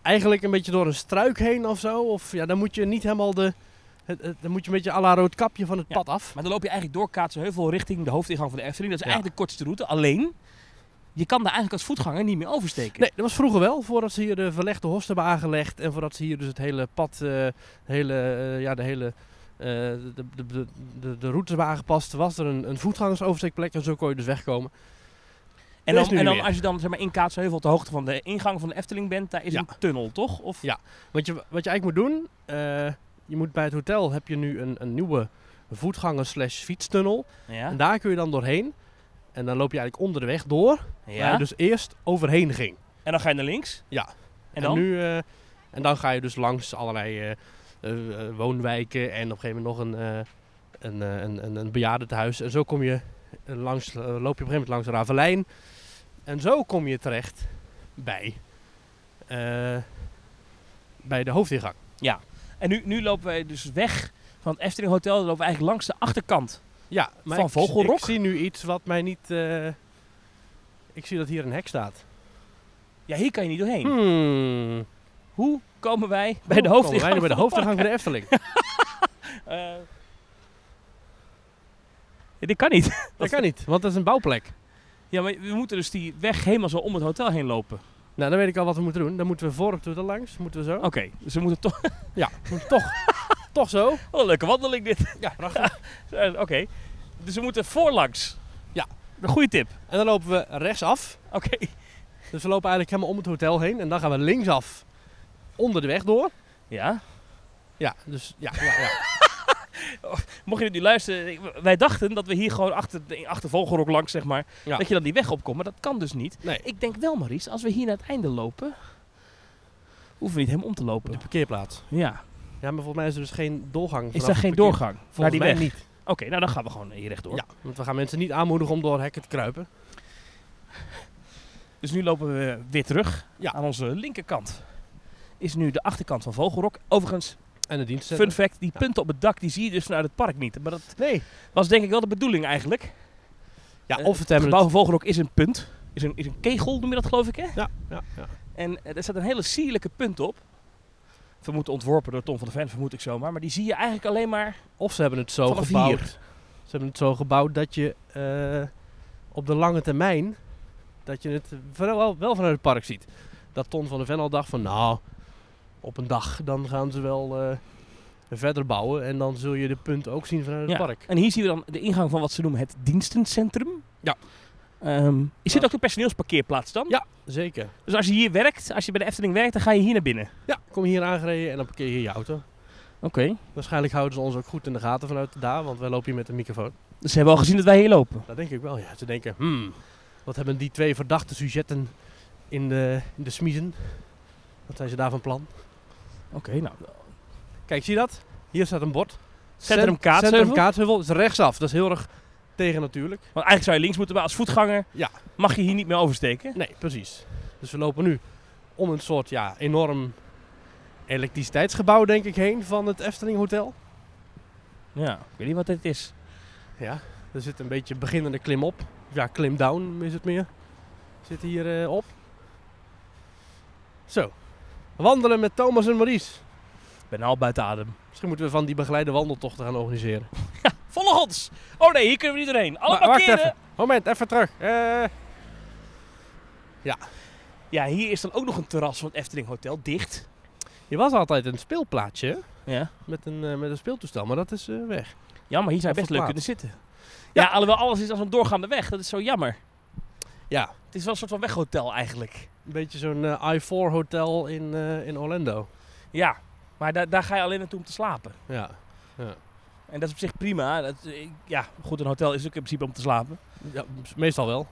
B: eigenlijk een beetje door een struik heen of zo. Of ja, dan moet je niet helemaal de... het- het- dan moet je een beetje à la rood kapje van het
C: Ja.
B: pad af.
C: Maar dan loop je eigenlijk door Kaatsheuvel richting de hoofdingang van de Efteling. Dat is
B: Ja.
C: eigenlijk de kortste route. Alleen, je kan daar eigenlijk als voetganger niet meer oversteken.
B: Nee, dat was vroeger wel, voordat ze hier de verlegde horst hebben aangelegd. En voordat ze hier dus het hele pad, eh, de hele, eh, ja, de hele, eh, de, de, de, de, de routes hebben aangepast. Was er een, een voetgangersoversteekplek en zo kon je dus wegkomen.
C: En
B: Dat is
C: dan,
B: nu
C: en dan
B: weer.
C: als je dan zeg maar, in Kaatsheuvel op de hoogte van de ingang van de Efteling bent, daar is
B: Ja.
C: een tunnel, toch? Of
B: Ja. Wat je, wat je eigenlijk moet doen, eh, je moet bij het hotel heb je nu een, een nieuwe voetganger slash fietstunnel.
C: ja.
B: En daar kun je dan doorheen. En dan loop je eigenlijk onder de weg door, waar
C: Ja.
B: je dus eerst overheen ging.
C: En dan ga je naar links.
B: Ja.
C: En dan?
B: En, nu, eh, en dan ga je dus langs allerlei eh, eh, eh, woonwijken en op een gegeven moment nog een, eh een, eh, een, een, een bejaardentehuis. En zo kom je eh, langs, eh, loop je op een gegeven moment langs Ravelijn. En zo kom je terecht bij, eh, bij de hoofdingang.
C: En nu, nu lopen wij dus weg van het Efteling Hotel. Dan lopen we eigenlijk langs de achterkant.
B: Ja,
C: maar
B: maar
C: Van
B: ik,
C: Vogelrok?
B: ik zie nu iets wat mij niet... eh, ik zie dat hier een hek staat.
C: Ja, hier kan je niet doorheen.
B: Hmm.
C: Hoe komen wij Hm. bij
B: Hoe
C: de
B: komen
C: hoofdingang?
B: wij nu bij de
C: van het
B: hoofdingang van de Efteling.
C: park? Eh, ja, dit kan niet.
B: Dat kan niet, want dat is een bouwplek.
C: Ja, maar we moeten dus die weg helemaal zo om het hotel heen lopen.
B: Nou,
C: Oh.
B: dan weet ik al wat we moeten doen. Dan moeten we voor het hotel langs. Moeten we zo.
C: Oké, dus we moeten toch...
B: Ja, moet toch. Toch zo?
C: Wat een leuke wandeling dit.
B: Ja, prachtig.
C: Eh, Oké. Dus we moeten voorlangs.
B: Ja.
C: Een goede tip.
B: En dan lopen we rechtsaf.
C: Oké.
B: Dus we lopen eigenlijk helemaal om het hotel heen. En dan gaan we linksaf onder de weg door.
C: Ja.
B: Ja, dus ja, ja, ja.
C: Mocht je dit nu luisteren. ik- Wij dachten dat we hier gewoon achter, de- achter Vogelrok langs, zeg maar.
B: Ja.
C: Dat je dan die weg opkomt. Maar dat kan dus niet.
B: Nee.
C: Ik denk wel, Maries, als we hier naar het einde lopen. hoeven we niet helemaal om te
B: De
C: lopen.
B: parkeerplaats.
C: Ja.
B: Ja, maar volgens mij is er dus geen doorgang.
C: Is
B: vanaf
C: daar
B: de
C: geen
B: parkeer-
C: doorgang naar
B: Volgens
C: die
B: mij
C: weg?
B: niet.
C: Oké, nou dan gaan we gewoon hier rechtdoor.
B: Ja, want we gaan mensen niet aanmoedigen om door hekken te kruipen.
C: Dus nu lopen we weer terug.
B: Ja.
C: Aan onze linkerkant is nu de achterkant van Vogelrok. Overigens,
B: En de dienst.
C: fun fact, die punten op het dak die zie je dus vanuit het park niet. Maar dat
B: Nee.
C: was denk ik wel de bedoeling eigenlijk.
B: Ja,
C: Eh,
B: of het
C: Het
B: hebben
C: gebouw van Vogelrok is een punt. Is een, is een kegel, noem je dat geloof ik hè?
B: Ja, ja, ja.
C: En eh, er staat een hele sierlijke punt op. Vermoed ontworpen door Tom van de Ven, vermoed ik zomaar. Maar die zie je eigenlijk alleen maar
B: Of ze hebben het zo
C: vanaf
B: gebouwd.
C: hier.
B: Ze hebben het zo gebouwd dat je eh, op de lange termijn dat je het wel, wel vanuit het park ziet. Dat Ton van de Ven al dacht van nou, op een dag dan gaan ze wel eh, verder bouwen en dan zul je de punt ook zien vanuit het
C: Ja.
B: park.
C: En hier zien we dan de ingang van wat ze noemen het dienstencentrum.
B: Ja.
C: Ehm, is dit
B: Ja.
C: ook de personeelsparkeerplaats dan?
B: Ja. Zeker.
C: Dus als je hier werkt, als je bij de Efteling werkt, dan ga je hier naar binnen.
B: Ja, kom hier aangereden en dan parkeer je je auto.
C: Oké.
B: Waarschijnlijk houden ze ons ook goed in de gaten vanuit daar, want wij lopen hier met een microfoon.
C: Dus ze hebben al gezien dat wij hier lopen.
B: Dat denk ik wel, ja. Ze denken, hmm, wat hebben die twee verdachte sujetten in de, in de smiezen? Wat zijn ze daar van plan?
C: Oké, nou.
B: Kijk, zie je dat? Hier staat een bord.
C: Centrum
B: Cent-
C: Kaatsheuvel?
B: Centrum Kaatsheuvel. Dat is rechtsaf. Dat is heel erg tegen natuurlijk.
C: Want eigenlijk zou je links moeten, maar als voetganger
B: Ja.
C: mag je hier niet meer oversteken.
B: Nee, precies. Dus we lopen nu om een soort ja, enorm elektriciteitsgebouw, denk ik, heen van het Efteling Hotel.
C: Ja, ik weet niet wat dit is.
B: Ja, er zit een beetje beginnende klim op. Ja, klim down is het meer. Zit hier eh, op. Zo. Wandelen met Thomas en Maurice.
C: Ik ben al buiten adem.
B: Misschien moeten we van die begeleide wandeltochten gaan organiseren.
C: Volg ons! Oh nee, hier kunnen we niet doorheen. Alle
B: Maar wacht
C: parkeren!
B: even. Moment, even terug. Eh,
C: Ja, hier is dan ook nog een terras van het Efteling Hotel, dicht.
B: je was altijd een speelplaatsje. hè?
C: Ja.
B: met een, eh, met een speeltoestel, maar dat is eh, weg.
C: Ja, maar hier zou je
B: Of
C: best leuk kunnen
B: verplaatst.
C: zitten. Ja, alhoewel alles is als een doorgaande weg. Dat is zo jammer.
B: Ja.
C: Het is wel een soort van weghotel eigenlijk.
B: Een beetje zo'n eh, I4 hotel in, eh, in Orlando.
C: Ja, maar daar daar ga je alleen naartoe om te slapen.
B: Ja.
C: En dat is op zich prima. Dat, eh, ja, goed, een hotel is ook in principe om te slapen.
B: ja, meestal wel.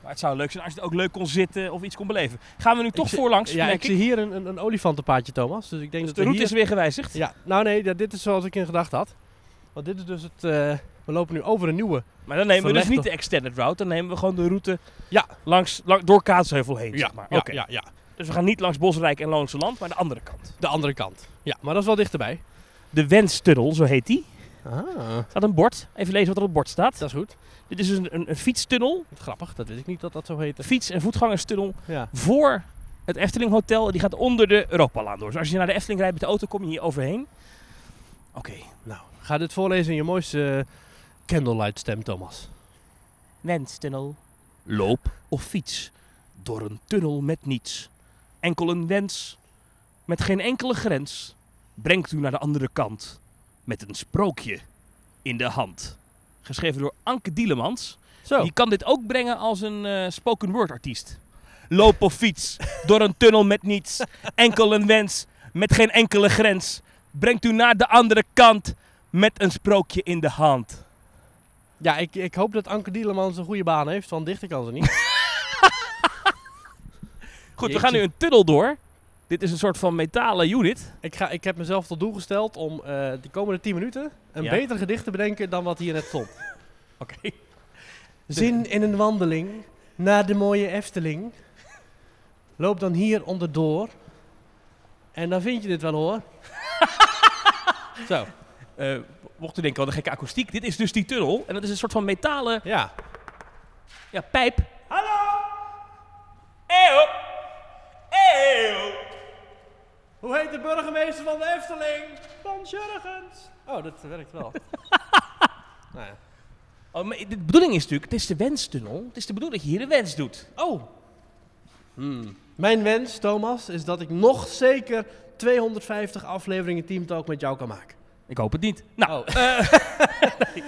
C: Maar het zou leuk zijn als je er ook leuk kon zitten of iets kon beleven. Gaan we nu toch
B: zie-
C: voorlangs,
B: Ja,
C: merk
B: ik zie hier een, een, een olifantenpaadje, Thomas. Dus ik denk
C: Dus
B: dat
C: de
B: we
C: route
B: hier...
C: is weer gewijzigd.
B: Ja, nou nee, ja, dit is zoals ik in gedachten had. Want dit is dus het... eh, we lopen nu over een nieuwe.
C: Maar dan nemen we dus
B: Verlegd
C: niet de extended route. Dan nemen we gewoon de route
B: Ja.
C: langs, lang- door Kaatsheuvel heen, zeg maar.
B: ja,
C: Oké.
B: ja, ja.
C: Dus we gaan niet langs Bosrijk en Loonse Land, maar de andere kant.
B: De andere kant. Ja, maar dat is wel dichterbij.
C: De Wenstunnel, zo heet die.
B: Ah.
C: staat een bord. Even lezen wat er op het bord staat.
B: Dat is goed.
C: Dit is dus een, een, een fietstunnel.
B: Grappig, dat wist ik niet dat dat zo heette.
C: Een fiets- en voetgangerstunnel
B: Ja.
C: voor het Efteling Hotel. Die gaat onder de Europalaan door. Dus als je naar de Efteling rijdt met de auto, kom je hier overheen. Oké.
B: Nou, ga dit voorlezen in je mooiste eh, candlelight stem, Thomas.
C: Wenstunnel. Loop of fiets. Door een tunnel met niets. Enkel een wens. Met geen enkele grens. Brengt u naar de andere kant. Met een sprookje in de hand. Geschreven door Anke Dielemans.
B: Zo.
C: Die kan dit ook brengen als een eh, spoken word artiest. Loop of fiets, door een tunnel met niets. Enkel een wens, met geen enkele grens. Brengt u naar de andere kant, met een sprookje in de hand.
B: Ja, ik, ik hoop dat Anke Dielemans een goede baan heeft, want dichter kan ze niet.
C: Goed, we
B: Jeetje.
C: gaan nu een tunnel door. Dit is een soort van metalen unit.
B: Ik, ga, ik heb mezelf tot doel gesteld om eh, de komende 10 minuten een
C: Ja.
B: beter gedicht te bedenken dan wat hier net stond.
C: Oké.
B: Zin in een wandeling naar de mooie Efteling. Loop dan hier onderdoor. En dan vind je dit wel hoor. Zo,
C: mocht u denken, wat een gekke akoestiek. Dit is dus die tunnel. En dat is een soort van metalen
B: ja.
C: ja, pijp. Hallo! Eeuw! Eeuw!
B: Hoe heet de burgemeester van de Efteling? Van Jurgens. Oh, dat werkt wel. nou ja.
C: Oh, maar de bedoeling is natuurlijk, het is de wenstunnel. Het is de bedoeling dat je hier de wens doet.
B: Oh. Mijn wens, Thomas, is dat ik nog zeker 250 afleveringen Team Talk met jou kan maken.
C: Ik hoop het niet. Nou,
B: Oh.
C: eh,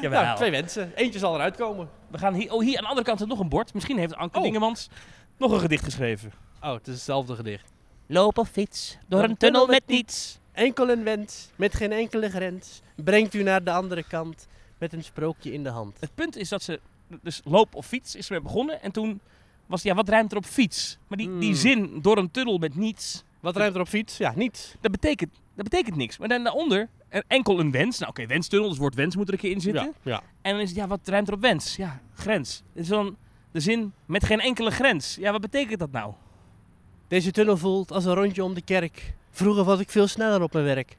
C: jawel.
B: Nou, twee wensen. Eentje zal eruit komen.
C: We gaan hier, oh, hier aan de andere kant zit nog een bord. Misschien heeft Anke
B: Oh.
C: Dingemans nog een gedicht geschreven.
B: Oh, het is hetzelfde gedicht.
C: Loop of fiets, door een tunnel met niets.
B: Enkel een wens, met geen enkele grens, brengt u naar de andere kant met een sprookje in de hand.
C: Het punt is dat ze, dus loop of fiets is mee begonnen. En toen was het, ja, wat ruimt er op fiets? Maar die, die
B: Hmm.
C: zin, door een tunnel met niets,
B: Wat ruimt er op fiets? Ja, niets.
C: dat betekent, dat betekent niks. Maar dan daaronder, er enkel een wens. Nou oké, wenstunnel, dus het woord wens moet er een keer in zitten.
B: ja.
C: En dan is het, ja, wat ruimt er op wens? Ja, grens. Het is dan de zin met geen enkele grens. Ja, wat betekent dat nou?
B: Deze tunnel voelt als een rondje om de kerk. Vroeger was ik veel sneller op mijn werk.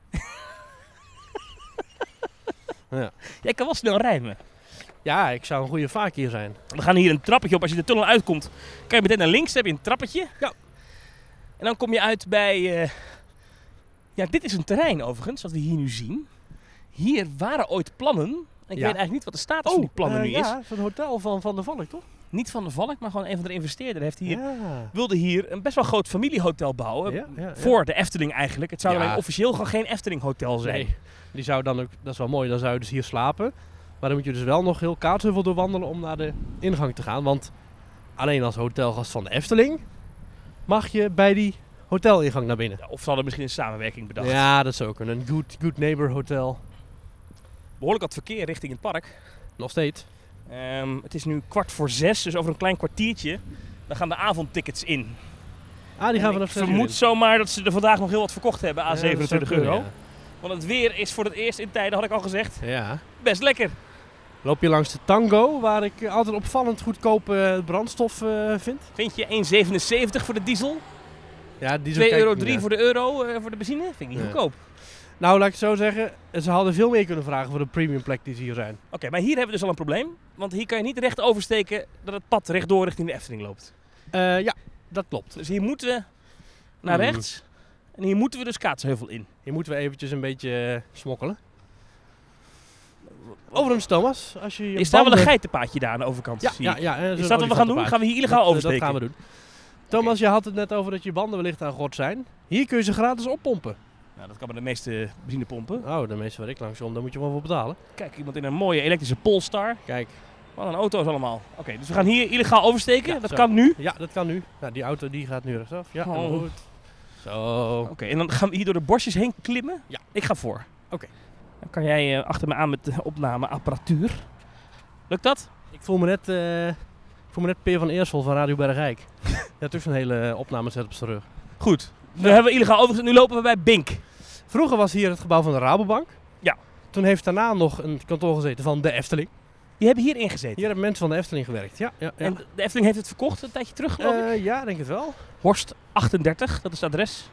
C: Jij kan wel snel rijmen.
B: Ja, ik zou een goede vaak hier zijn.
C: We gaan hier een trappetje op. Als je de tunnel uitkomt, kan je meteen naar links. Dan heb je een trappetje.
B: Ja.
C: En dan kom je uit bij... eh, Ja, dit is een terrein overigens, wat we hier nu zien. Hier waren ooit plannen. Ik weet eigenlijk niet wat de status van die plannen nu is.
B: Oh, eh, Ja, van het hotel van Van der Valk, toch?
C: Niet van de Valk, maar gewoon een van de investeerders heeft hier...
B: Ja.
C: Wilde hier een best wel groot familiehotel bouwen.
B: Ja, ja, ja.
C: Voor de Efteling eigenlijk. Het zou
B: Ja.
C: alleen officieel gewoon geen Efteling hotel zijn.
B: Nee, die zou dan ook, dat is wel mooi, dan zou je dus hier slapen. Maar dan moet je dus wel nog heel Kaatsheuvel doorwandelen om naar de ingang te gaan. Want alleen als hotelgast van de Efteling mag je bij die hotelingang naar binnen.
C: Ja, Of ze hadden misschien een samenwerking bedacht.
B: Ja, dat zou ook kunnen. Een good, good neighbor hotel.
C: Behoorlijk wat verkeer richting het park.
B: Nog steeds.
C: Ehm, het is nu kwart voor zes, dus over een klein kwartiertje. Dan gaan de avondtickets in.
B: Ah, die
C: En
B: gaan vanaf
C: ik
B: 6 uur
C: vermoed
B: in.
C: zomaar dat ze er vandaag nog heel wat verkocht hebben aan
B: Ja, dat
C: 27
B: zou
C: euro.
B: kunnen,
C: Want het weer is voor het eerst in tijden, had ik al gezegd,
B: Ja. Ja.
C: best lekker.
B: Loop je langs de Tango, waar ik eh, altijd opvallend goedkope eh, brandstof eh, vind.
C: Vind je 1,77 voor de diesel, 2,3
B: Ja, die
C: euro voor de euro eh, voor de benzine? Vind ik niet
B: Ja.
C: goedkoop.
B: Nou, laat ik het zo zeggen. Ze hadden veel meer kunnen vragen voor de premium plek die ze hier zijn.
C: Oké, maar hier hebben we dus al een probleem. Want hier kan je niet recht oversteken dat het pad rechtdoor richting de Efteling loopt.
B: Eh, ja, dat klopt.
C: Dus hier moeten we naar
B: Hmm.
C: rechts. En hier moeten we dus Kaatsheuvel in.
B: Hier moeten we eventjes een beetje eh, smokkelen. Overigens, Thomas, als je je
C: Is daar wel een
B: banden-
C: geitenpaadje daar aan de overkant?
B: Ja,
C: zie
B: ja,
C: ik.
B: ja. eh,
C: Is
B: zo'n
C: dat wat we gaan doen?
B: olifantenpaard.
C: Gaan we hier illegaal
B: Dat-
C: oversteken?
B: Dat gaan we doen. Thomas, je had het net over dat je banden wellicht aan God zijn. Hier kun je ze gratis oppompen.
C: Nou, dat kan bij de meeste benzinepompen.
B: Oh, de meeste waar ik langs kom, daar moet je wel voor betalen.
C: Kijk, iemand in een mooie elektrische Polestar.
B: Kijk,
C: Wat een auto's allemaal. Oké, dus we gaan hier illegaal oversteken.
B: Ja,
C: dat
B: zo.
C: kan nu. Oké,
B: ja, dat kan nu. Nou, die auto die gaat nu rechtsaf. Ja,
C: Oh.
B: goed. Zo.
C: en dan gaan we hier door de borstjes heen klimmen.
B: Ja.
C: Ik ga voor.
B: Oké.
C: Dan kan jij eh, achter me aan met de opnameapparatuur. Lukt dat?
B: Ik voel me net, eh, ik voel me net Peer van Eersel van Radio Bergijk. ja, tussen een hele opname zet op zijn rug.
C: Goed. We hebben illegaal overgezet. Nu lopen we bij Bink.
B: Vroeger was hier het gebouw van de Rabobank.
C: Ja.
B: Toen heeft daarna nog een kantoor gezeten van de Efteling.
C: Die hebben hier ingezeten.
B: Hier hebben mensen van de Efteling gewerkt. Ja, ja, ja.
C: En de Efteling heeft het verkocht een tijdje terug, geloof ik.
B: Eh, ja, denk het wel.
C: Horst 38, dat is het adres.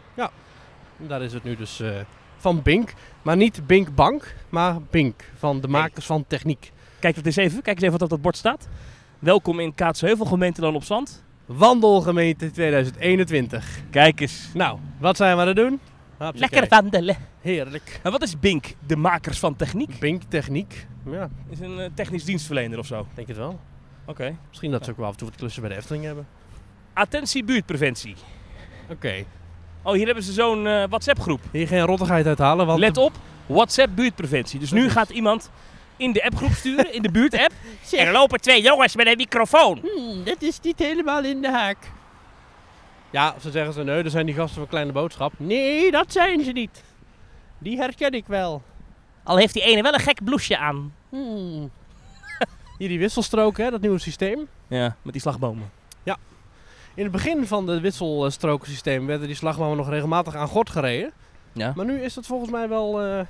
B: Daar is het nu dus eh, van Bink. Maar niet Bink Bank, maar Bink van de makers van techniek.
C: Kijk dat eens even. Kijk eens even wat op dat bord staat. Welkom in Kaatsheuvel, gemeente dan op Zand.
B: Wandelgemeente 2021.
C: Kijk eens.
B: Nou, wat zijn we aan het doen? Hupsakee.
C: Lekker wandelen.
B: Heerlijk.
C: En wat is Bink, de makers van techniek?
B: Bink techniek. Ja,
C: Is een eh, technisch dienstverlener of zo. Oké.
B: denk het wel. Misschien dat ze ook wel af en toe wat klussen bij de Efteling hebben.
C: Attentie buurtpreventie.
B: Oké.
C: Oh, hier hebben ze zo'n eh, WhatsApp-groep.
B: Hier geen rottigheid uithalen, want...
C: Let op, WhatsApp buurtpreventie. Dus nu gaat iemand in de appgroep sturen, in de buurt-app. En er lopen twee jongens met een microfoon.
B: dat Hmm, is niet helemaal in de haak. Ja, ze zeggen ze, nee, dat zijn die gasten van Kleine Boodschap. Nee, dat zijn ze niet. Die herken ik wel.
C: Al heeft die ene wel een gek blouseje aan.
B: Hmm. Hier die wisselstrook, hè, dat nieuwe systeem.
C: Ja, met die slagbomen.
B: In het begin van het wisselstrokensysteem werden die slagmamen nog regelmatig aan gort gereden.
C: Ja.
B: Maar nu is dat volgens mij wel... eh,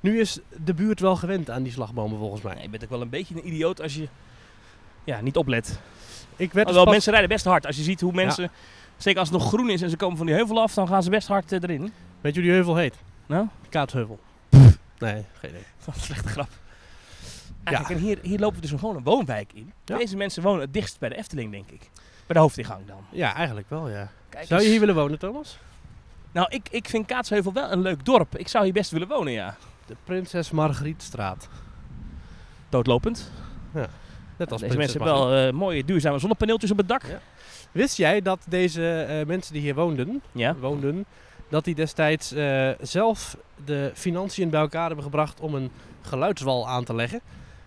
B: nu is de buurt wel gewend aan die slagbomen, volgens mij.
C: Nee, je bent ook wel een beetje een idioot als je ja, niet oplet.
B: Ik werd dus
C: Alhoewel,
B: pas-
C: Oh, mensen rijden best hard. Als je ziet hoe mensen, zeker als het nog groen is en ze komen van die heuvel af, dan gaan ze best hard eh, erin.
B: Weet je hoe die heuvel heet?
C: Nou?
B: Kaatsheuvel. Nee, geen idee.
C: Wat een slechte grap. Eigenlijk, en hier, hier lopen we dus gewoon een woonwijk in.
B: Ja.
C: Deze mensen wonen het dichtst bij de Efteling, denk ik. Bij de hoofdingang dan.
B: Ja, eigenlijk wel, ja.
C: Kijk
B: Zou je
C: eens.
B: hier willen wonen, Thomas?
C: Nou, ik, ik vind Kaatsheuvel wel een leuk dorp. Ik zou hier best willen wonen, ja.
B: De Prinses Margrietstraat.
C: Doodlopend.
B: Net als
C: Deze
B: Prinses
C: mensen hebben wel eh, mooie duurzame zonnepaneeltjes op het dak.
B: Ja. Wist jij dat deze eh, mensen die hier woonden,
C: Ja.
B: woonden dat die destijds eh, zelf de financiën bij elkaar hebben gebracht om een geluidswal aan te leggen.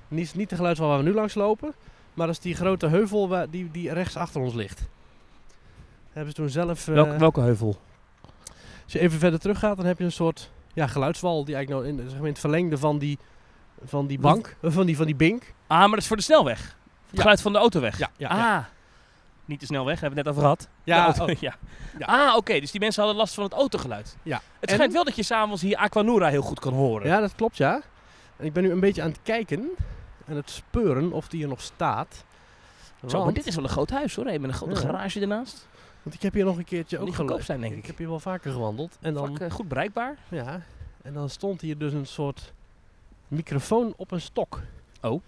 B: Niet, niet de geluidswal waar we nu langs lopen, maar dat is die grote heuvel waar, die, die rechts achter ons ligt. Hebben ze toen zelf... eh,
C: Welke, welke heuvel?
B: als je even verder teruggaat, dan heb je een soort ja, geluidswal die eigenlijk nou in, zeg maar in het verlengde van die, van die
C: Wat?
B: bank, eh, van die, van die bink.
C: Ah, maar dat is voor de snelweg. Voor het
B: Ja.
C: geluid van de autoweg.
B: Ja, ja, ja.
C: ah, niet de snelweg, hebben we het net over gehad.
B: Ja,
C: De auto-
B: oh.
C: ja.
B: Ja.
C: Ah, oké, dus die mensen hadden last van het autogeluid.
B: Ja.
C: Het
B: En-
C: schijnt wel dat je s'avonds hier Aquanura heel goed kan horen.
B: Ja, dat klopt, ja. En ik ben nu een beetje aan het kijken en het speuren of die er nog staat.
C: Zo, maar
B: Want-
C: dit is wel een groot huis hoor, hè, met een grote
B: Ja.
C: garage ernaast.
B: Want ik heb hier nog een keertje ook
C: Niet goedkoop
B: gelopen.
C: zijn, denk
B: Ik
C: ik.
B: heb hier wel vaker gewandeld. En dan,
C: Vlak, eh, goed bereikbaar.
B: ja, en dan stond hier dus een soort microfoon op een stok.
C: Oh.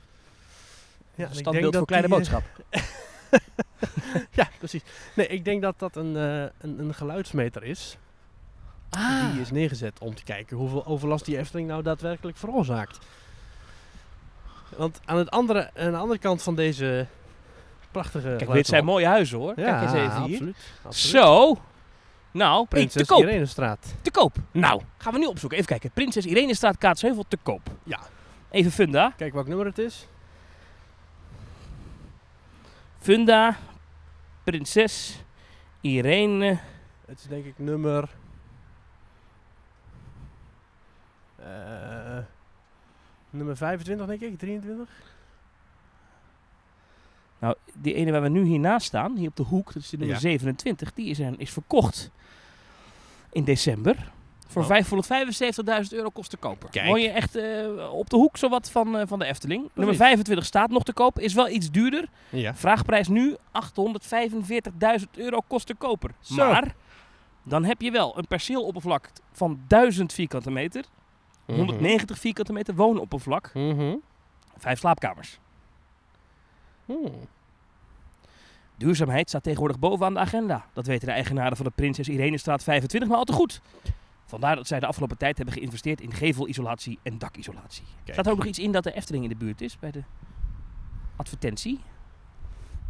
B: Ja, en ik denk
C: Standbeeld
B: dat
C: voor kleine
B: die, eh,
C: boodschap.
B: Ja, precies. Nee, ik denk dat dat een, eh, een, een geluidsmeter is.
C: Ah,
B: Die is neergezet om te kijken hoeveel overlast die Efteling nou daadwerkelijk veroorzaakt. Want aan, het andere, aan de andere kant van deze prachtige
C: kijk, dit
B: geluidswand-
C: zijn mooie huizen hoor.
B: Ja,
C: Kijk eens even hier.
B: absoluut. absoluut.
C: Zo. Nou, hey, te
B: Prinses
C: koop.
B: Irenestraat.
C: Te koop. Nou, gaan we nu opzoeken. Even kijken. Prinses Irenestraat Kaatsheuvel te koop.
B: Ja.
C: Even Funda.
B: Kijk welk nummer het is.
C: Funda. Prinses Irene.
B: Het is denk ik nummer. eh, nummer 25, denk ik, 23.
C: Nou, die ene waar we nu hiernaast staan, hier op de hoek, dat is de nummer
B: Ja.
C: 27, die is, er, is verkocht in december. Voor
B: Oh.
C: 575.000 euro kost te koper.
B: Kijk.
C: Woon je echt eh, op de hoek zowat van, eh, van de Efteling. Nummer 25 staat nog te koop, is wel iets duurder.
B: Ja.
C: Vraagprijs nu 845.000 euro kost te koper.
B: Zo.
C: Maar dan heb je wel een perceeloppervlak van 1000 vierkante meter,
B: Mhm.
C: 190 vierkante meter woonoppervlak, vijf slaapkamers.
B: Mhm.
C: Duurzaamheid staat tegenwoordig bovenaan de agenda. Dat weten de eigenaren van de Prinses Irenestraat 25 maar al te goed. Vandaar dat zij de afgelopen tijd hebben geïnvesteerd in gevelisolatie en dakisolatie.
B: Kijk.
C: Staat er ook nog iets in dat de Efteling in de buurt is bij de advertentie?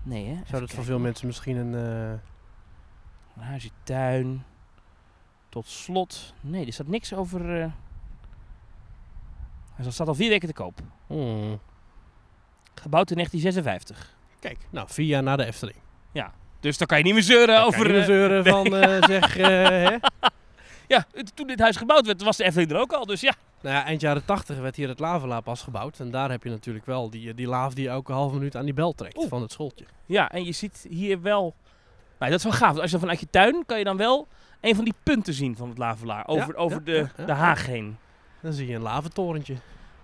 C: Nee, hè? Even
B: Zou dat voor
C: kijken.
B: veel mensen misschien een. eh,
C: Garagetuin. Tot slot. Nee, er staat niks over... eh, Hij staat al vier weken te koop. Hmm. Gebouwd in 1956.
B: Kijk, nou, vier jaar na de Efteling.
C: Dus dan kan je niet meer zeuren
B: Dan
C: over...
B: kan je niet
C: eh,
B: zeuren van eh, zeg. eh, hè?
C: ja, het- toen dit huis gebouwd werd, was de Efteling er ook al. Dus ja,
B: Nou ja, eind jaren 80 werd hier het Lavela pas gebouwd. En daar heb je natuurlijk wel die, eh, die laaf die elke halve minuut aan die bel trekt
C: Oeh.
B: van het schooltje.
C: Ja, en je ziet hier wel... Nou, dat is wel gaaf. want Als je dan vanuit je tuin kan je dan wel een van die punten zien van het lavelaar. Over,
B: Ja,
C: over
B: ja,
C: de,
B: ja, ja.
C: de haag heen.
B: Dan zie je een laventorentje.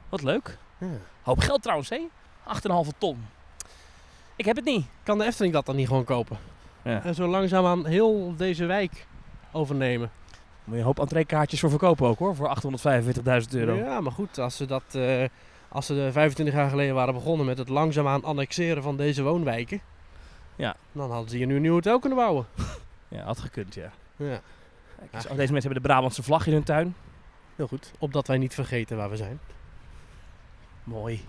C: Wat leuk.
B: Ja.
C: Hoop geld trouwens, hè? 8,5 ton. Ik heb het niet. Eh,
B: Kan de Efteling dat dan niet gewoon kopen?
C: Ja.
B: En zo langzaamaan heel deze wijk overnemen.
C: Moet je een hoop entreekaartjes voor verkopen ook, hoor. Voor 845.000 euro.
B: Ja, maar goed, als ze dat. eh, als ze eh, 25 jaar geleden waren begonnen met het langzaamaan annexeren van deze woonwijken.
C: Ja.
B: Dan hadden ze hier nu een nieuw hotel kunnen bouwen.
C: Ja, had gekund, ja.
B: Ja.
C: Kijk eens, oh, deze mensen hebben de Brabantse vlag in hun tuin.
B: Heel goed. Opdat wij niet vergeten waar we zijn.
C: Mooi.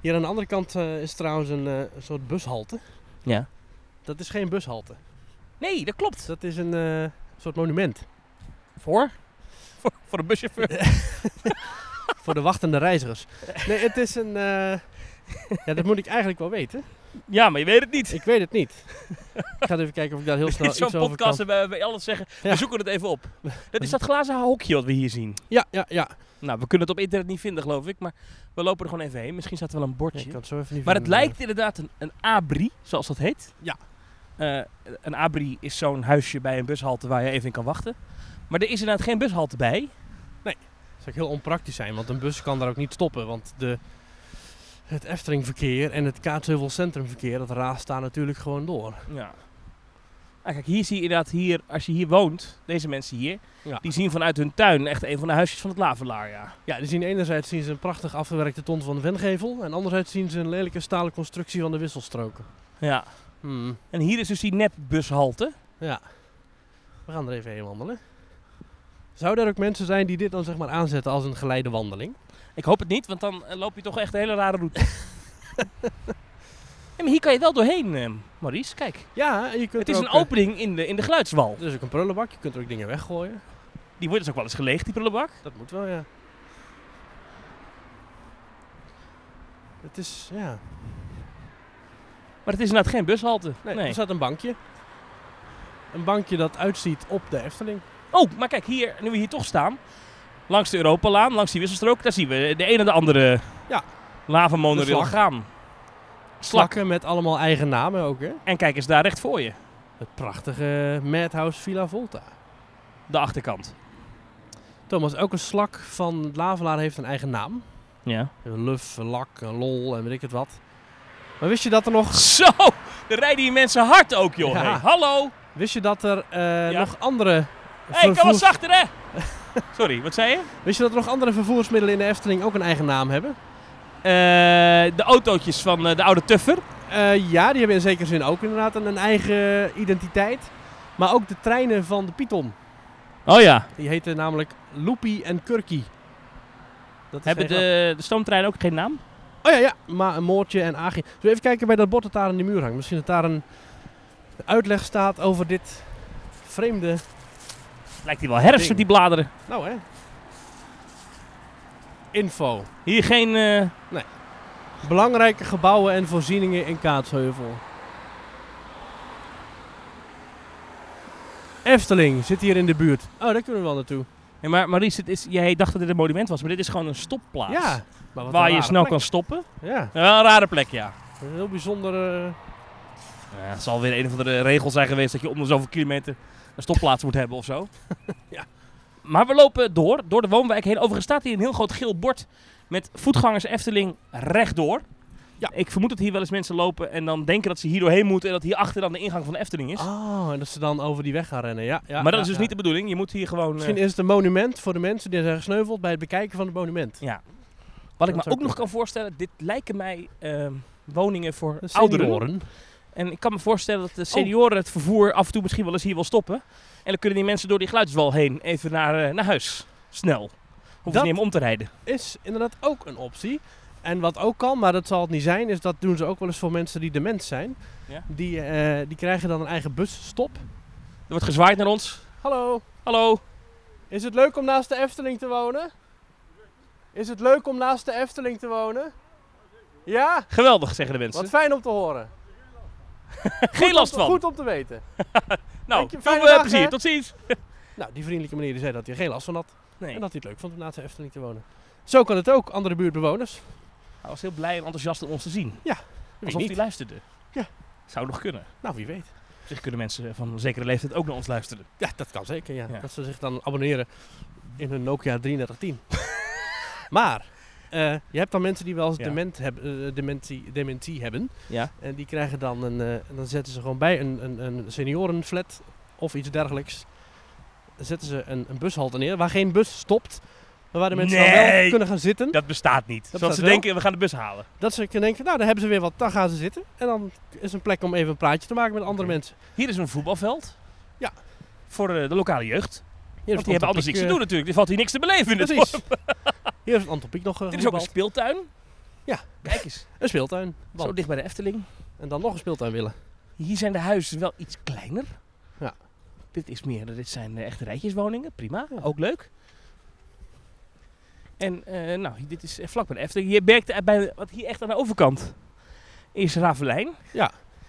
B: Hier aan de andere kant eh, is trouwens een eh, een soort bushalte.
C: Ja.
B: Dat is geen bushalte.
C: Nee, dat klopt.
B: Dat is een eh, soort monument.
C: Voor? Voor, voor een buschauffeur.
B: voor de wachtende reizigers. Nee, het is een. eh, ja, dat moet ik eigenlijk wel weten.
C: Ja, maar je weet het niet.
B: Ik weet het niet. Ik ga even kijken of ik daar heel snel
C: Dit is
B: iets
C: zo'n
B: over
C: podcast
B: kan.
C: en wij, wij alles zeggen,
B: Ja.
C: we zoeken het even op. Dat is dat glazen hokje wat we hier zien.
B: Ja, ja, ja.
C: Nou, we kunnen het op internet niet vinden, geloof ik. Maar we lopen er gewoon even heen. Misschien staat er wel een
B: Ja, ik
C: bordje.
B: kan het zo even niet
C: maar het
B: vinden.
C: lijkt inderdaad een, een abri, zoals dat heet.
B: Ja.
C: Eh, een abri is zo'n huisje bij een bushalte waar je even in kan wachten. Maar er is inderdaad geen bushalte bij.
B: Dat zou ook heel onpraktisch zijn, want een bus kan daar ook niet stoppen. Want de, het Eftelingverkeer en het Kaatsheuvel Centrumverkeer, dat raast daar natuurlijk gewoon door.
C: Ja. Ah, kijk, hier zie je inderdaad, hier, als je hier woont, deze mensen hier,
B: Ja.
C: die zien vanuit hun tuin echt een van de huisjes van het Lavelaar, ja.
B: Ja, die zien enerzijds zien ze een prachtig afgewerkte ton van de Wengevel. En anderzijds zien ze een lelijke stalen constructie van de wisselstroken.
C: ja.
B: Hmm.
C: En hier is dus die nepbushalte.
B: Ja. We gaan er even heen wandelen. Zouden er ook mensen zijn die dit dan zeg maar aanzetten als een geleide wandeling?
C: Ik hoop het niet, want dan eh, loop je toch echt een hele rare route. maar hier kan je wel doorheen, eh, Maurice. Kijk,
B: Ja, en je kunt
C: het
B: er
C: is een
B: ook, eh,
C: opening in de, in de geluidswal.
B: Er is ook een prullenbak, je kunt er ook dingen weggooien.
C: Die wordt dus ook wel eens geleegd, die prullenbak.
B: Dat moet wel, ja. Het is, ja...
C: Maar het is inderdaad geen bushalte.
B: Nee, dus-
C: Nee.
B: er staat een bankje. Een bankje dat uitziet op de Efteling.
C: Oh, maar kijk, hier, nu we hier toch staan, langs de Europalaan, langs die wisselstrook, daar zien we de een en de andere
B: Ja.
C: lavamonorail
B: De slak.
C: gaan. Slak.
B: Slakken met allemaal eigen namen ook, hè?
C: En kijk eens daar recht voor je,
B: Het prachtige Madhouse Villa Volta.
C: de achterkant.
B: Thomas, elke slak van Lavelaar heeft een eigen naam.
C: Ja.
B: Een luf, een lak, een lol en weet ik het wat. Maar wist je dat er nog,
C: Zo, er rijden hier mensen hard ook, joh.
B: Ja.
C: Hey, hallo.
B: wist je dat er eh,
C: Ja.
B: nog andere...
C: Hé, hey, kan wat
B: vervoers-
C: zachter, hè? Sorry, wat zei je?
B: Wist je dat er nog andere vervoersmiddelen in de Efteling ook een eigen naam hebben?
C: Eh, de autootjes van eh, de oude Tuffer.
B: Eh, ja, die hebben in zekere zin ook inderdaad een, een eigen identiteit. Maar ook de treinen van de Python.
C: Oh ja.
B: Die heten namelijk Loopy en Kurky. Dat is
C: Hebben
B: geen
C: de, de stoomtreinen ook geen naam?
B: grap. Oh ja, ja. Maar een moordje en aagje. Zullen we even kijken bij dat bord dat daar aan die muur hangt? Misschien dat daar een uitleg staat over dit vreemde...
C: Lijkt hier wel herfst met die bladeren.
B: Nou hè. Info.
C: Hier geen... eh,
B: Belangrijke gebouwen en voorzieningen in Kaatsheuvel. Efteling zit hier in de buurt. Oh, daar kunnen we wel naartoe.
C: Ja, maar Maurice, het is, jij dacht dat dit een monument was, maar dit is gewoon een stopplaats.
B: Ja. Maar wat een
C: waar je
B: rare
C: snel
B: plek.
C: kan stoppen.
B: Ja,
C: Ja, Wel een rare plek, ja.
B: een heel bijzonder... eh,
C: ja. Het zal weer een of andere regel zijn geweest dat je om de zoveel kilometer een stopplaats moet hebben of zo.
B: Ja.
C: Maar we lopen door, door de woonwijk heen. Overigens staat hier een heel groot geel bord met voetgangers Efteling rechtdoor.
B: Ja.
C: Ik vermoed dat hier wel eens mensen lopen en dan denken dat ze hier doorheen moeten en dat hierachter dan de ingang van de Efteling is.
B: Oh, en dat ze dan over die weg gaan rennen. Ja, ja,
C: maar dat
B: ja,
C: is dus
B: ja.
C: niet de bedoeling. Je moet hier gewoon... eh,
B: Misschien is het een monument voor de mensen die zijn gesneuveld bij het bekijken van het monument.
C: wat ik
B: dat
C: me
B: zou
C: ook nog
B: kunnen.
C: kan voorstellen, dit lijken mij ehm, woningen voor
B: De
C: ouderen.
B: senioren.
C: En ik kan me voorstellen
B: Oh.
C: dat de senioren het vervoer af en toe misschien wel eens hier wil stoppen. En dan kunnen die mensen door die geluidswal heen even naar, eh, naar huis. Snel. Hoeven
B: Dat-
C: ze niet om om te rijden.
B: Is inderdaad ook een optie. En wat ook kan, maar dat zal het niet zijn, is dat doen ze ook wel eens voor mensen die dement zijn.
C: Ja.
B: Die, eh, die krijgen dan een eigen busstop.
C: Er wordt gezwaaid naar ons.
B: Hallo,
C: Hallo.
B: is het leuk om naast de Efteling te wonen? Is het leuk om naast de Efteling te wonen? Ja?
C: Geweldig, zeggen de mensen.
B: Wat fijn om te horen.
C: Geen last van.
B: Goed om te weten.
C: Nou,
B: Dank je,
C: veel
B: fijne
C: eh,
B: dag,
C: plezier.
B: hè.
C: Tot ziens.
B: Nou, die vriendelijke meneer die zei dat hij geen last van had.
C: Nee,
B: En dat hij het leuk vond om naast de Efteling te wonen. Zo kan het ook, andere buurtbewoners.
C: hij was heel blij en enthousiast om ons te zien.
B: Wie
C: Alsof
B: niet?
C: hij luisterde.
B: Ja.
C: Zou nog kunnen.
B: Nou, wie weet.
C: Op zich kunnen mensen van een zekere leeftijd ook naar ons luisteren.
B: Ja, dat kan zeker, ja.
C: Ja.
B: Dat ze zich dan abonneren in hun Nokia 3310. maar, eh, je hebt dan mensen die wel eens
C: Ja.
B: dement hebben, eh, dementie, dementie hebben.
C: Ja.
B: En die krijgen dan een... eh, en dan zetten ze gewoon bij een, een, een seniorenflat of iets dergelijks. Dan zetten ze een, een bushalte neer waar geen bus stopt. Maar waar de mensen dan wel
C: Nee.
B: kunnen gaan zitten.
C: Dat bestaat niet.
B: Dat
C: Zoals
B: bestaat
C: ze
B: wel.
C: denken, we gaan de bus halen.
B: Dat ze kunnen denken, nou, daar hebben ze weer wat. Dan gaan ze zitten. En dan is een plek om even een praatje te maken met andere
C: Oké.
B: mensen.
C: Hier is een voetbalveld.
B: Ja.
C: Voor eh, de lokale jeugd.
B: Hier
C: Want die hebben anders niks te
B: eh,
C: doen natuurlijk. Er valt hier niks te beleven in dit
B: Precies. Hier heeft Anton Pieck nog eh,
C: Dit is ook een
B: gevoetbald.
C: speeltuin.
B: Ja.
C: Kijk eens,
B: een speeltuin. Want-
C: zo dicht bij de Efteling.
B: En dan nog een speeltuin willen.
C: Hier zijn de huizen wel iets kleiner.
B: Ja.
C: Dit is meer, dit zijn eh, echt rijtjeswoningen. Prima,
B: Ja.
C: ook leuk. En eh, nou, dit is eh, vlak bij de Efteling. Je merkt eh, bij, wat hier echt aan de overkant is Ravelijn.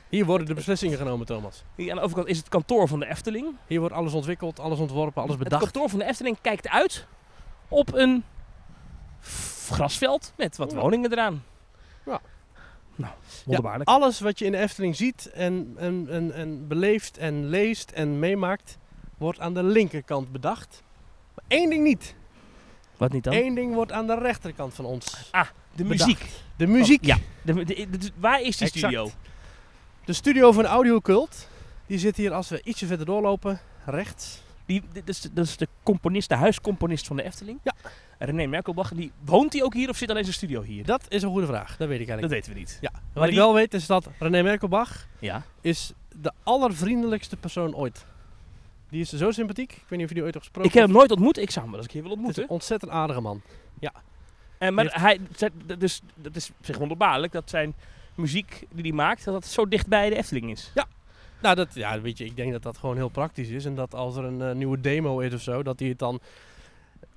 B: Hier worden de beslissingen genomen, Thomas.
C: Hier aan de overkant is het kantoor van de Efteling.
B: Hier wordt alles ontwikkeld, alles ontworpen, alles
C: Het
B: bedacht.
C: kantoor van de Efteling kijkt uit op een f- grasveld met wat
B: Ja.
C: woningen eraan.
B: Ja.
C: Nou, wonderbaarlijk.
B: Alles wat je in de Efteling ziet en, en, en, en beleeft en leest en meemaakt, wordt aan de linkerkant bedacht. Maar één ding niet.
C: Wat niet dan?
B: Eén ding wordt aan de rechterkant van ons.
C: de
B: bedacht.
C: muziek.
B: De muziek.
C: Oh, Ja. De, de- de- de- waar is die
B: Exact.
C: studio?
B: De studio van Audiocult, die zit hier als we ietsje verder doorlopen, rechts.
C: Die, dit is, dat is de componist, de huiscomponist van de Efteling.
B: Ja.
C: René Merkelbach, die, woont hij ook hier of zit alleen zijn studio hier?
B: Dat is een goede vraag, dat weet ik
C: Dat
B: eigenlijk.
C: weten we niet.
B: Ja. Wat
C: Maar
B: ik
C: die-
B: wel weet is dat René Merkelbach
C: Ja.
B: is de allervriendelijkste persoon ooit. Die is zo sympathiek. Ik weet niet of je die ooit hebt gesproken.
C: Ik heb hem nooit ontmoet. Ik zou hem wel eens een keer willen
B: Het is
C: ontmoeten. Eh,
B: een ontzettend aardige man.
C: En, maar hij, zij- dat is, dat is op zich wonderbaarlijk dat zijn muziek die hij maakt, dat dat zo dicht bij de Efteling is.
B: Nou, dat, ja, weet je, ik denk dat dat gewoon heel praktisch is. En dat als er een eh, nieuwe demo is of zo, dat hij het dan...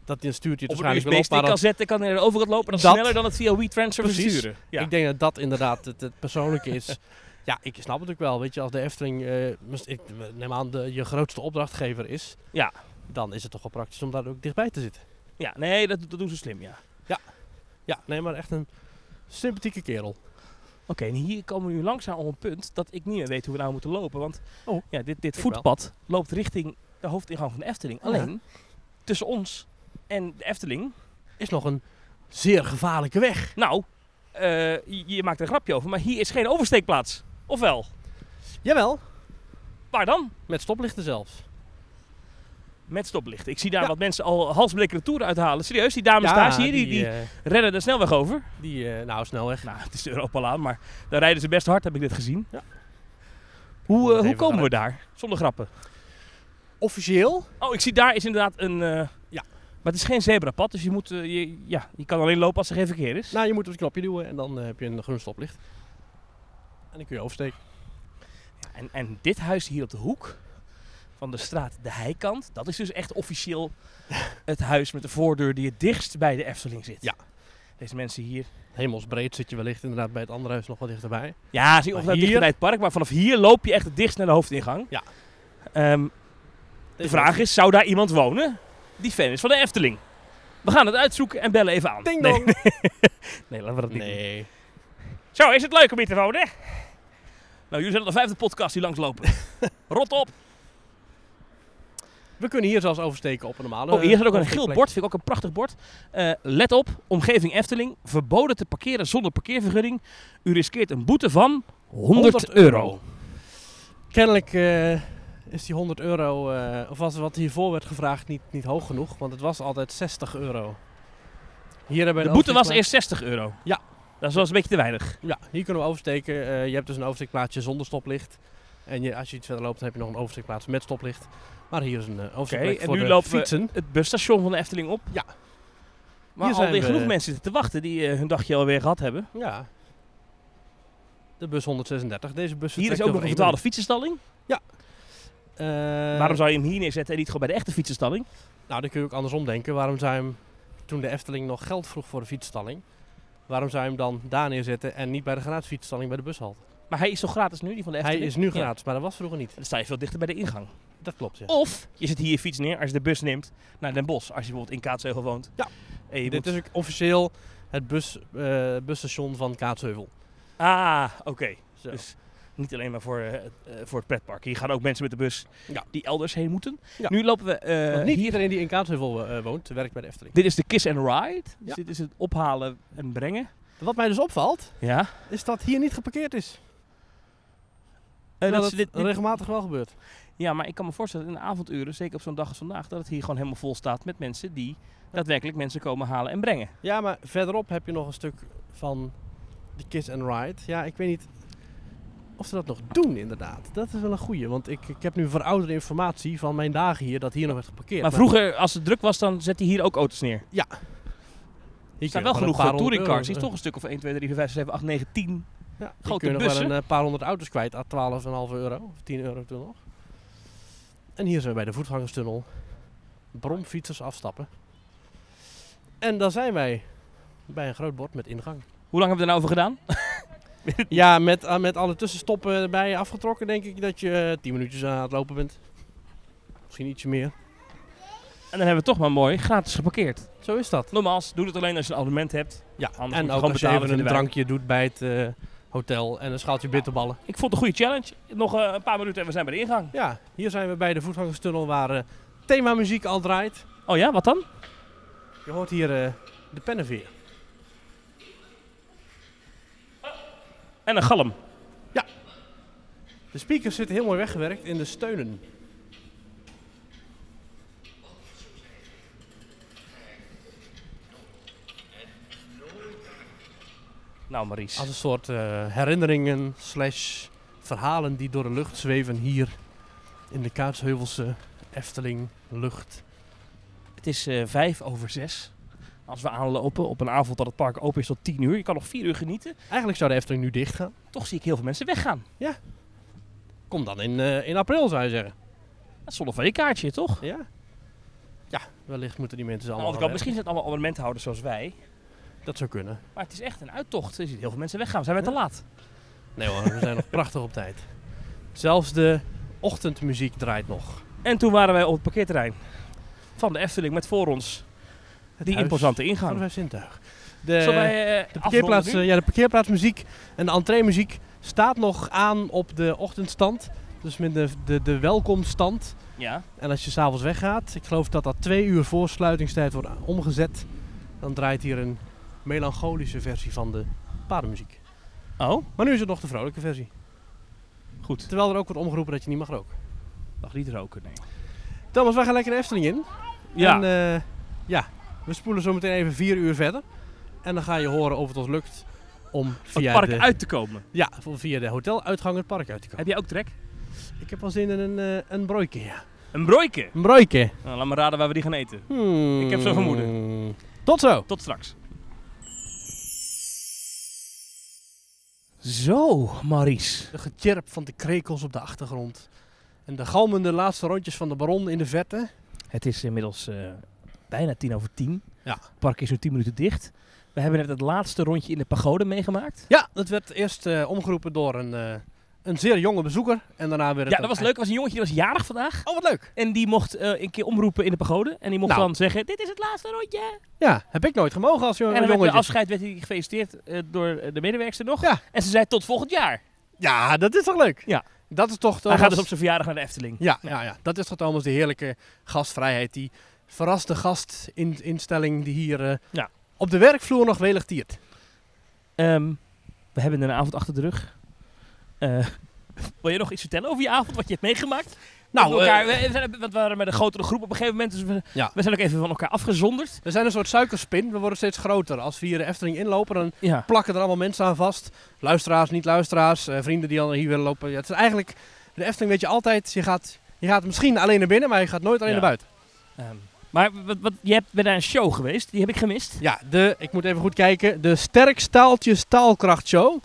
B: Dat hij stuurt hij het
C: Op een
B: waarschijnlijk wel op.
C: USB-stick
B: Maar
C: kan
B: dat-
C: zetten, kan er overal lopen. Dat is
B: Dat-
C: sneller dan het via WeTransfer
B: Precies.
C: versturen. Ja.
B: Ik denk dat dat inderdaad het, het persoonlijke is. ja, ik snap het ook wel. Weet je, als de Efteling, eh, mis- ik neem aan, de, je grootste opdrachtgever is...
C: Ja.
B: Dan is het toch wel praktisch om daar ook dichtbij te zitten.
C: ja, nee, dat, dat doen ze slim, ja.
B: Ja, nee, maar echt een sympathieke kerel.
C: Oké, en hier komen we nu langzaam op een punt dat ik niet meer weet hoe we nou moeten lopen. Want
B: Oh,
C: ja, dit, dit
B: ik
C: voetpad loopt richting de hoofdingang van de Efteling.
B: Ja.
C: Alleen tussen ons en de Efteling.
B: Is nog een zeer gevaarlijke weg.
C: Nou, eh, je, je maakt er een grapje over, maar hier is geen oversteekplaats. Ofwel,
B: Jawel,
C: waar dan?
B: met stoplichten zelfs.
C: Met stoplichten. Ik zie daar
B: Ja.
C: wat mensen al halsblikken de toeren uithalen. Serieus, die dames daar, zie je, die, die,
B: eh,
C: rennen de snelweg over.
B: die eh, nou, snelweg.
C: Nou, het is de Europalaan, maar daar rijden ze best hard, heb ik dit gezien.
B: Ja.
C: Hoe, eh,
B: Even
C: hoe komen we daar? Zonder grappen.
B: Officieel?
C: Oh, ik zie daar is inderdaad een... eh,
B: Ja.
C: Maar het is geen zebrapad, dus je, moet, eh, je, ja, je kan alleen lopen als er geen verkeer is.
B: Nou, je moet op het knopje duwen en dan eh, heb je een groen stoplicht. En dan kun je oversteken.
C: En, en dit huis hier op de hoek van de straat De Heikant, dat is dus echt officieel het huis met de voordeur die het dichtst bij de Efteling zit.
B: Ja.
C: Deze mensen hier.
B: Hemelsbreed zit je wellicht inderdaad bij het andere huis nog wat dichterbij.
C: Ja, zie of
B: Maar
C: dat dicht
B: hier-
C: bij het park, maar vanaf hier loop je echt het dichtst naar de hoofdingang.
B: Ja.
C: Ehm, de vraag is, zou daar iemand wonen die fan is van de Efteling? We gaan het uitzoeken en bellen even aan.
B: Ding
C: nee,
B: dong!
C: nee, laten we dat niet doen.
B: Nee.
C: Zo, is het leuk om hier te wonen? Nou, jullie zijn al de vijfde podcast die langslopen. Rot op!
B: We kunnen hier zelfs oversteken op een normale...
C: Oh, hier staat ook een
B: eh,
C: geel
B: plek.
C: bord, vind ik ook een prachtig bord. Eh, let op, omgeving Efteling, verboden te parkeren zonder parkeervergunning. U riskeert een boete van 100, euro.
B: Kennelijk eh, is die 100 euro, eh, of was wat hiervoor werd gevraagd, niet, niet hoog genoeg. Want het was altijd 60 euro. Hier hebben we
C: De
B: een
C: boete was
B: oversteekplaats-
C: eerst 60 euro.
B: Ja.
C: Dat was een beetje te weinig.
B: Ja, hier kunnen we oversteken. Eh, je hebt dus een oversteekplaatsje zonder stoplicht. En je, als je iets verder loopt, dan heb je nog een oversteekplaats met stoplicht. Maar hier is een eh, oversteekplek
C: en
B: voor
C: nu
B: de
C: lopen we-
B: fietsen.
C: Het busstation van de Efteling op.
B: Ja. Hier
C: Maar al
B: zijn
C: weer
B: we.
C: genoeg mensen zitten te wachten die eh, hun dagje alweer gehad hebben.
B: Ja. De bus 136. Deze bus
C: Hier is
B: vertrekt
C: ook nog
B: over
C: een
B: één
C: betaalde fietsenstalling.
B: minuut. Eh,
C: Waarom zou je hem hier neerzetten en niet gewoon bij de echte fietsenstalling?
B: Nou, dan kun je ook andersom denken. Waarom zou je hem, toen de Efteling nog geld vroeg voor de fietsstalling... waarom zou je hem dan daar neerzetten en niet bij de gratis fietsstalling bij de bushalte?
C: Maar hij is toch gratis nu, die van de
B: Hij
C: Efteling?
B: is nu
C: Ja.
B: gratis, maar dat was vroeger niet.
C: Dan sta je veel dichter bij de ingang.
B: Dat klopt, ja.
C: Of je zet hier je fiets neer als je de bus neemt naar Den Bosch. Als je bijvoorbeeld in Kaatsheuvel woont.
B: Ja.
C: En je
B: Dit
C: moet-
B: is ook officieel het bus, eh, busstation van Kaatsheuvel.
C: Ah, oké.
B: Zo.
C: Dus niet alleen maar voor, eh, eh, voor het pretpark. Hier gaan ook mensen met de bus
B: Ja.
C: die elders heen moeten.
B: Ja.
C: Nu lopen we... eh,
B: Want niet
C: hier-
B: iedereen die in Kaatsheuvel eh, woont, werkt bij de Efteling.
C: Dit is de kiss and ride. Dus
B: Ja.
C: dit is het ophalen en brengen.
B: Wat mij dus opvalt,
C: Ja.
B: is dat hier niet geparkeerd is.
C: Eh,
B: Terwijl
C: dat
B: dat
C: ze dit- dit-
B: regelmatig wel gebeurt.
C: ja, maar ik kan me voorstellen in de avonduren, zeker op zo'n dag als vandaag, dat het hier gewoon helemaal vol staat met mensen die daadwerkelijk mensen komen halen en brengen.
B: Ja, maar verderop heb je nog een stuk van de Kiss and Ride. Ja, ik weet niet of ze dat nog doen inderdaad. Dat is wel een goeie, want ik, ik heb nu verouderde informatie van mijn dagen hier, dat hier nog werd geparkeerd.
C: maar vroeger, als het druk was, dan zet hij hier ook auto's neer.
B: hier
C: Er
B: kun
C: staan wel
B: je nog
C: genoeg
B: een paar
C: eh,
B: honderd
C: touringcars.
B: euro-
C: Hier is toch een stuk of 1, 2, 3, 4, 5, 6, 7, 8, 9, 10.
B: Ja,
C: grote
B: grote kun je nog
C: bussen.
B: wel een eh, paar honderd auto's kwijt aan 12,5 euro. Of 10 euro toen nog. En hier zijn we bij de voetgangerstunnel. Bromfietsers afstappen. En dan zijn wij bij een groot bord met ingang.
C: Hoe lang hebben we er nou over gedaan?
B: Ja, met, ah, met alle tussenstoppen erbij afgetrokken denk ik dat je eh, 10 minuutjes aan het lopen bent. Misschien ietsje meer.
C: En dan hebben we toch maar mooi gratis geparkeerd.
B: Zo is dat.
C: Nogmaals, doe het alleen als je een abonnement hebt.
B: Ja,
C: moet je
B: en
C: gewoon
B: ook als je
C: betalen,
B: even een
C: vinden wij.
B: drankje doet bij het eh, hotel en een schaaltje bitterballen.
C: Ik vond het een goede challenge. Nog eh, een paar minuten en we zijn bij de ingang.
B: Ja, hier zijn we bij de voetgangerstunnel waar eh, themamuziek al draait.
C: Oh ja, wat dan?
B: Je hoort hier eh, de pennenveer.
C: En een galm.
B: De speakers zitten heel mooi weggewerkt in de steunen.
C: Nou, Maries.
B: Als een soort eh, herinneringen slash verhalen die door de lucht zweven hier in de Kaatsheuvelse Efteling lucht.
C: Het is eh, vijf over zes. Als we aanlopen op een avond dat het park open is tot 10 uur. Je kan nog 4 uur genieten.
B: Eigenlijk zou de Efteling nu dicht gaan.
C: Toch zie ik heel veel mensen weggaan.
B: Kom dan in, eh, in april, zou je zeggen.
C: Dat is zonder van je kaartje, toch?
B: Ja? Ja, wellicht moeten die mensen
C: Aan
B: allemaal...
C: de andere
B: gaan
C: kant, misschien zijn het allemaal abonnementhouders zoals wij.
B: werken. Dat zou kunnen.
C: Maar het is echt een uittocht. Je ziet heel veel mensen weggaan. Zijn wij te laat?
B: Nee hoor, we zijn nog prachtig op tijd. Zelfs de ochtendmuziek draait nog.
C: En toen waren wij op het parkeerterrein van de Efteling met voor ons
B: Het
C: die
B: huis
C: imposante
B: van de
C: ingang.
B: vijf zintuigen. De,
C: Zullen wij, eh,
B: de,
C: afronden
B: parkeerplaats,
C: nu?
B: eh, ja, de parkeerplaatsmuziek en de entreemuziek staat nog aan op de ochtendstand. Dus met de, de, de welkomstand.
C: Ja.
B: En als je s'avonds weggaat, ik geloof dat dat twee uur voor sluitingstijd wordt a- omgezet. Dan draait hier een melancholische versie van de paardenmuziek.
C: Oh,
B: Maar nu is het nog de vrolijke versie.
C: goed.
B: Terwijl er ook wordt omgeroepen dat je niet mag roken.
C: Mag niet roken, nee.
B: Thomas, wij gaan lekker de Efteling in.
C: Ja,
B: En, eh, ja, we spoelen zo meteen even vier uur verder. En dan ga je horen of het ons lukt om
C: het
B: via,
C: park
B: de,
C: uit te komen.
B: Ja, om via de hoteluitgang het park uit te komen.
C: Heb jij ook trek?
B: Ik heb al zin in een, eh, een broeike, ja.
C: Een broeike.
B: Een broeike.
C: Nou, laat me raden waar we die gaan eten.
B: Hmm.
C: Ik heb zo'n
B: Tot zo.
C: Tot straks. Zo, Maries.
B: De getjerp van de krekels op de achtergrond. En de galmende laatste rondjes van de baron in de vette.
C: Het is inmiddels eh, bijna tien over tien.
B: Ja.
C: Het park is nu tien minuten dicht. We hebben net het laatste rondje in de pagode meegemaakt.
B: Ja, dat werd eerst eh, omgeroepen door een, eh, een zeer jonge bezoeker. En daarna werd het
C: Ja, dat
B: ook
C: was leuk. Er was een jongetje die was jarig vandaag.
B: echt- Oh, wat leuk.
C: En die mocht eh, een keer omroepen in de pagode. En die mocht
B: Nou.
C: dan zeggen, dit is het laatste rondje.
B: Ja, heb ik nooit gemogen als jo-
C: en dan werd de
B: jongetje.
C: afscheid werd hij gefeliciteerd eh, door eh, de medewerkster nog.
B: Ja.
C: En ze zei tot volgend jaar.
B: Ja, dat is toch leuk?
C: Ja.
B: Dat is toch...
C: Hij
B: Thomas-
C: gaat dus op zijn verjaardag naar de Efteling.
B: ja, ja, ja, dat is toch Thomas de heerlijke gastvrijheid. Die verraste gastinstelling die hier eh,
C: Ja.
B: op de werkvloer nog welig tiert.
C: Ehm, we hebben een avond achter de rug. Eh, wil je nog iets vertellen over je avond, wat je hebt meegemaakt?
B: Nou,
C: we, elkaar,
B: eh,
C: we- we, zijn- we waren met een grotere groep op een gegeven moment. Dus we,
B: Ja.
C: we zijn ook even van elkaar afgezonderd.
B: we zijn een soort suikerspin. We worden steeds groter. Als we hier de Efteling inlopen, dan
C: Ja.
B: plakken er allemaal mensen aan vast. Luisteraars, niet-luisteraars, eh, vrienden die al hier willen lopen. Ja, het is eigenlijk, de Efteling weet je altijd, je gaat, je gaat misschien alleen naar binnen, maar je gaat nooit alleen
C: Ja.
B: naar buiten.
C: Ehm, maar wat, wat, je hebt, bent naar een show geweest, die heb ik gemist.
B: Ja, de, ik moet even goed kijken, de Sterk Staaltjes Taalkrachtshow.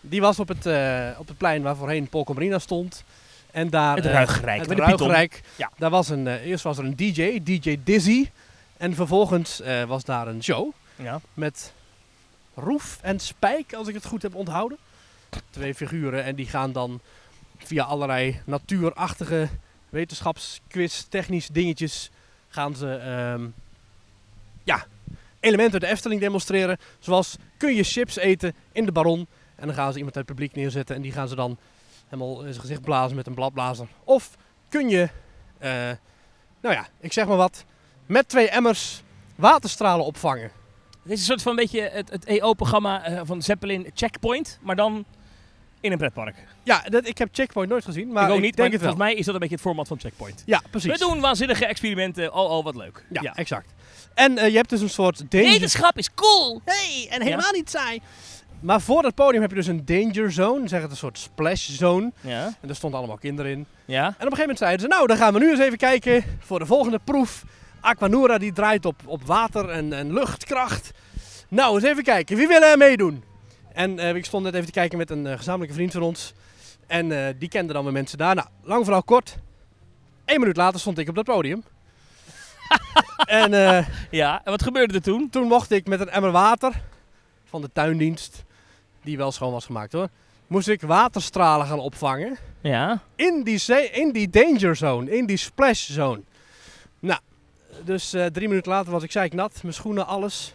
B: Die was op het, eh, op het plein waar voorheen Polko Marina stond. En daar,
C: het
B: eh,
C: Ruigrijk.
B: het
C: met de Python.
B: Ruigrijk.
C: Ja.
B: Daar was een, eh, eerst was er een DJ, DJ Dizzy. En vervolgens eh, was daar een show.
C: Ja.
B: met Roef en Spijk, als ik het goed heb onthouden. Twee figuren en die gaan dan via allerlei natuurachtige wetenschapsquiz, technisch dingetjes, gaan ze ehm, ja, elementen uit de Efteling demonstreren. Zoals kun je chips eten in de baron en dan gaan ze iemand uit het publiek neerzetten en die gaan ze dan helemaal in zijn gezicht blazen met een bladblazer. Of kun je, eh, nou ja, ik zeg maar wat, met twee emmers waterstralen opvangen.
C: Het is een soort van een beetje het, het EO-programma eh, van Zeppelin Checkpoint, maar dan in een pretpark.
B: Ja, dat, ik heb Checkpoint nooit gezien, maar
C: ik
B: ik,
C: ook
B: denk
C: niet, maar
B: het wel.
C: volgens mij is dat een beetje het format van Checkpoint.
B: Ja, precies.
C: We doen waanzinnige experimenten. Oh, oh, wat leuk.
B: Ja, exact. En eh, je hebt dus een soort danger...
C: Wetenschap is cool!
B: Hey, en helemaal niet saai. Maar voor dat podium heb je dus een danger zone, zeg het een soort splash zone.
C: Ja.
B: En daar stonden allemaal kinderen in.
C: Ja.
B: En op een gegeven moment zeiden ze, nou, dan gaan we nu eens even kijken voor de volgende proef. Aquanura die draait op, op water en, en luchtkracht. Nou, eens even kijken. Wie wil er meedoen? En eh, ik stond net even te kijken met een eh, gezamenlijke vriend van ons. En eh, die kende dan weer mensen daar. Nou, lang verhaal kort. Eén minuut later stond ik op dat podium. en eh,
C: Ja. En wat gebeurde er toen?
B: toen mocht ik met een emmer water van de tuindienst, die wel schoon was gemaakt hoor, moest ik waterstralen gaan opvangen
C: Ja.
B: in die, zee- in die danger zone, in die splash zone. Nou, dus eh, drie minuten later was ik zeiknat, mijn schoenen, alles.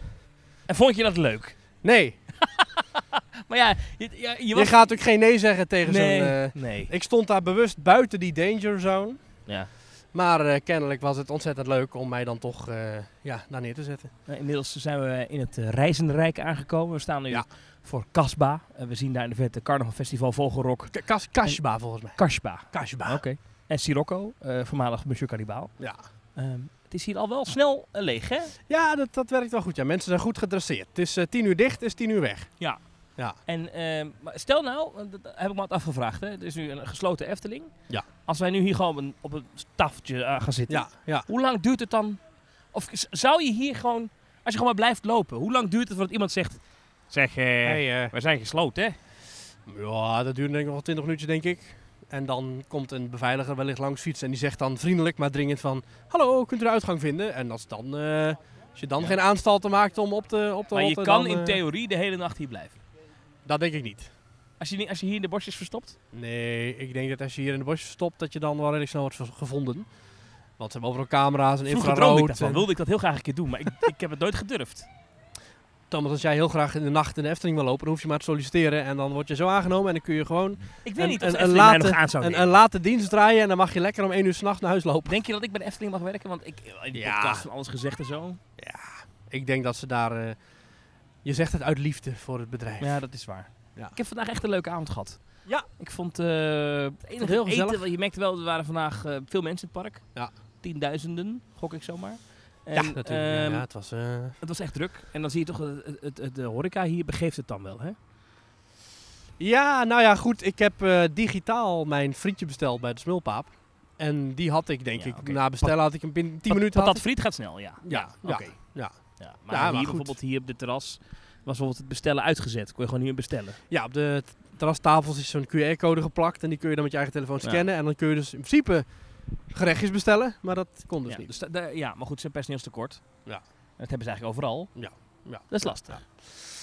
C: En vond je dat leuk?
B: Nee,
C: Maar ja, je, ja, je
B: je,
C: was...
B: gaat ook geen nee zeggen tegen
C: nee.
B: zo'n... eh,
C: nee.
B: ik stond daar bewust buiten die danger zone.
C: Ja.
B: Maar eh, kennelijk was het ontzettend leuk om mij dan toch eh, ja, daar neer te zetten.
C: Nou, Inmiddels zijn we in het eh, reizende rijk aangekomen. We staan nu
B: Ja.
C: voor Kasba. En we zien daar in de verte Carnaval Festival Vogelrok.
B: K- Kas Kashba volgens mij.
C: Kasba.
B: Kashba.
C: Oké. En Sirocco, eh, voormalig Monsieur Cannibal.
B: Ja,
C: Ehm, het is hier al wel snel eh, leeg, hè?
B: ja dat, dat werkt wel goed. Ja, mensen zijn goed gedresseerd. Het is eh, tien uur dicht, is tien uur weg.
C: En ehm, maar stel nou, want dat heb ik me altijd afgevraagd, hè? Er is nu een gesloten Efteling.
B: Ja.
C: Als wij nu hier gewoon op een, op een tafeltje eh, gaan zitten.
B: Ja, ja.
C: Hoe lang duurt het dan? Of z- zou je hier gewoon Als je gewoon maar blijft lopen. Hoe lang duurt het voordat iemand zegt... Zeg, eh, we zijn gesloten, hè?
B: Ja, dat duurt denk ik nog wel 20 minuutjes, denk ik. En dan komt een beveiliger wellicht langs fietsen en die zegt dan vriendelijk maar dringend van... Hallo, kunt u de uitgang vinden? En als, dan, eh, als je dan geen aanstalten maakt om op te op te
C: Maar je
B: hotten,
C: kan
B: dan,
C: in
B: eh,
C: theorie de hele nacht hier blijven.
B: Dat denk ik niet.
C: Als je, niet- als je hier in de bosjes verstopt.
B: Nee, ik denk dat als je hier in de bosjes stopt, dat je dan wel redelijk snel wordt ver- gevonden. Want ze hebben overal camera's en
C: Vroeger droomde ik
B: infrarood.
C: daarvan.
B: en-
C: Wilde ik dat heel graag een keer doen, maar ik, ik heb het nooit gedurfd.
B: Thomas, als jij heel graag in de nacht in de Efteling wil lopen, dan hoef je maar te solliciteren. En dan word je zo aangenomen en dan kun je gewoon
C: Ik weet
B: Een-
C: niet of de
B: een- een
C: Efteling mij
B: late-
C: nog aan zou
B: een,
C: nemen.
B: een late dienst draaien. En dan mag je lekker om 1 uur s'nachts naar huis lopen.
C: Denk je dat ik bij de Efteling mag werken? Want ik eh, in de
B: Ja.
C: podcast van alles gezegd en zo.
B: Ik denk dat ze daar... eh, je zegt het uit liefde voor het bedrijf.
C: Ja, dat is waar.
B: Ja.
C: Ik heb vandaag echt een leuke avond gehad.
B: Ja.
C: Ik vond eh, het enige
B: heel
C: eten,
B: gezellig.
C: wel- je merkte wel, er waren vandaag eh, veel mensen in het park.
B: Ja.
C: Tienduizenden, gok ik zomaar. En,
B: ja, natuurlijk. ja,
C: ehm,
B: ja, het was... eh,
C: Het was echt druk. En dan zie je toch, eh, het, het, het- de horeca hier begeeft het dan wel, hè?
B: Ja, nou ja, goed. Ik heb eh, digitaal mijn frietje besteld bij de Smulpaap. En die had ik, denk
C: Ja,
B: ik,
C: oké.
B: na bestellen had ik hem binnen 10
C: Pat-
B: minuten... had
C: patat friet gaat snel, ja.
B: ik- Ja, ja.
C: oké.
B: ja.
C: Ja, maar
B: Ja, maar
C: hier
B: goed.
C: bijvoorbeeld, hier op de terras, was bijvoorbeeld het bestellen uitgezet. Kon je gewoon niet meer bestellen.
B: Ja, op de t- terrastafels is zo'n QR-code geplakt. En die kun je dan met je eigen telefoon
C: Ja.
B: scannen. En dan kun je dus in principe gerechtjes bestellen. Maar dat kon dus
C: ja,
B: niet.
C: dus da- da- ja, maar goed, ze hebben personeelstekort.
B: Ja.
C: En dat hebben ze eigenlijk overal.
B: Ja.
C: Dat is lastig.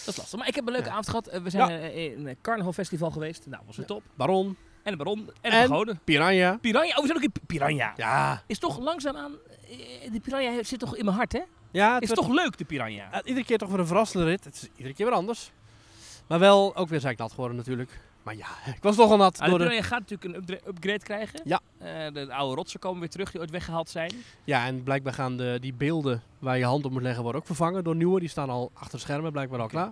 C: Dat is lastig. Maar ik heb een leuke
B: Ja.
C: avond gehad. Eh, we zijn eh, in een carnaval festival geweest. Nou, was het
B: Ja.
C: top.
B: Baron,
C: En de Baron. En de
B: En?
C: Pagode.
B: Piranha.
C: Piranha. Oh, we zijn ook in Pi- Piranha.
B: Ja.
C: Is toch langzaamaan... eh, De Piranha he- zit toch in mijn hart, hè?
B: Ja, het
C: Is
B: werd-
C: toch leuk, de Piranha?
B: eh, iedere keer toch weer een verrassende rit. Het is iedere keer weer anders. Maar wel, ook weer zeiknat geworden natuurlijk. Maar ja, ik was nogal nat
C: Ah, de
B: door de...
C: Piranha gaat natuurlijk een updra- upgrade krijgen.
B: Ja.
C: Eh, de oude rotsen komen weer terug die ooit weggehaald zijn.
B: Ja, en blijkbaar gaan de, die beelden waar je hand op moet leggen worden ook vervangen door nieuwe. Die staan al achter de schermen blijkbaar al
C: Oké.
B: klaar.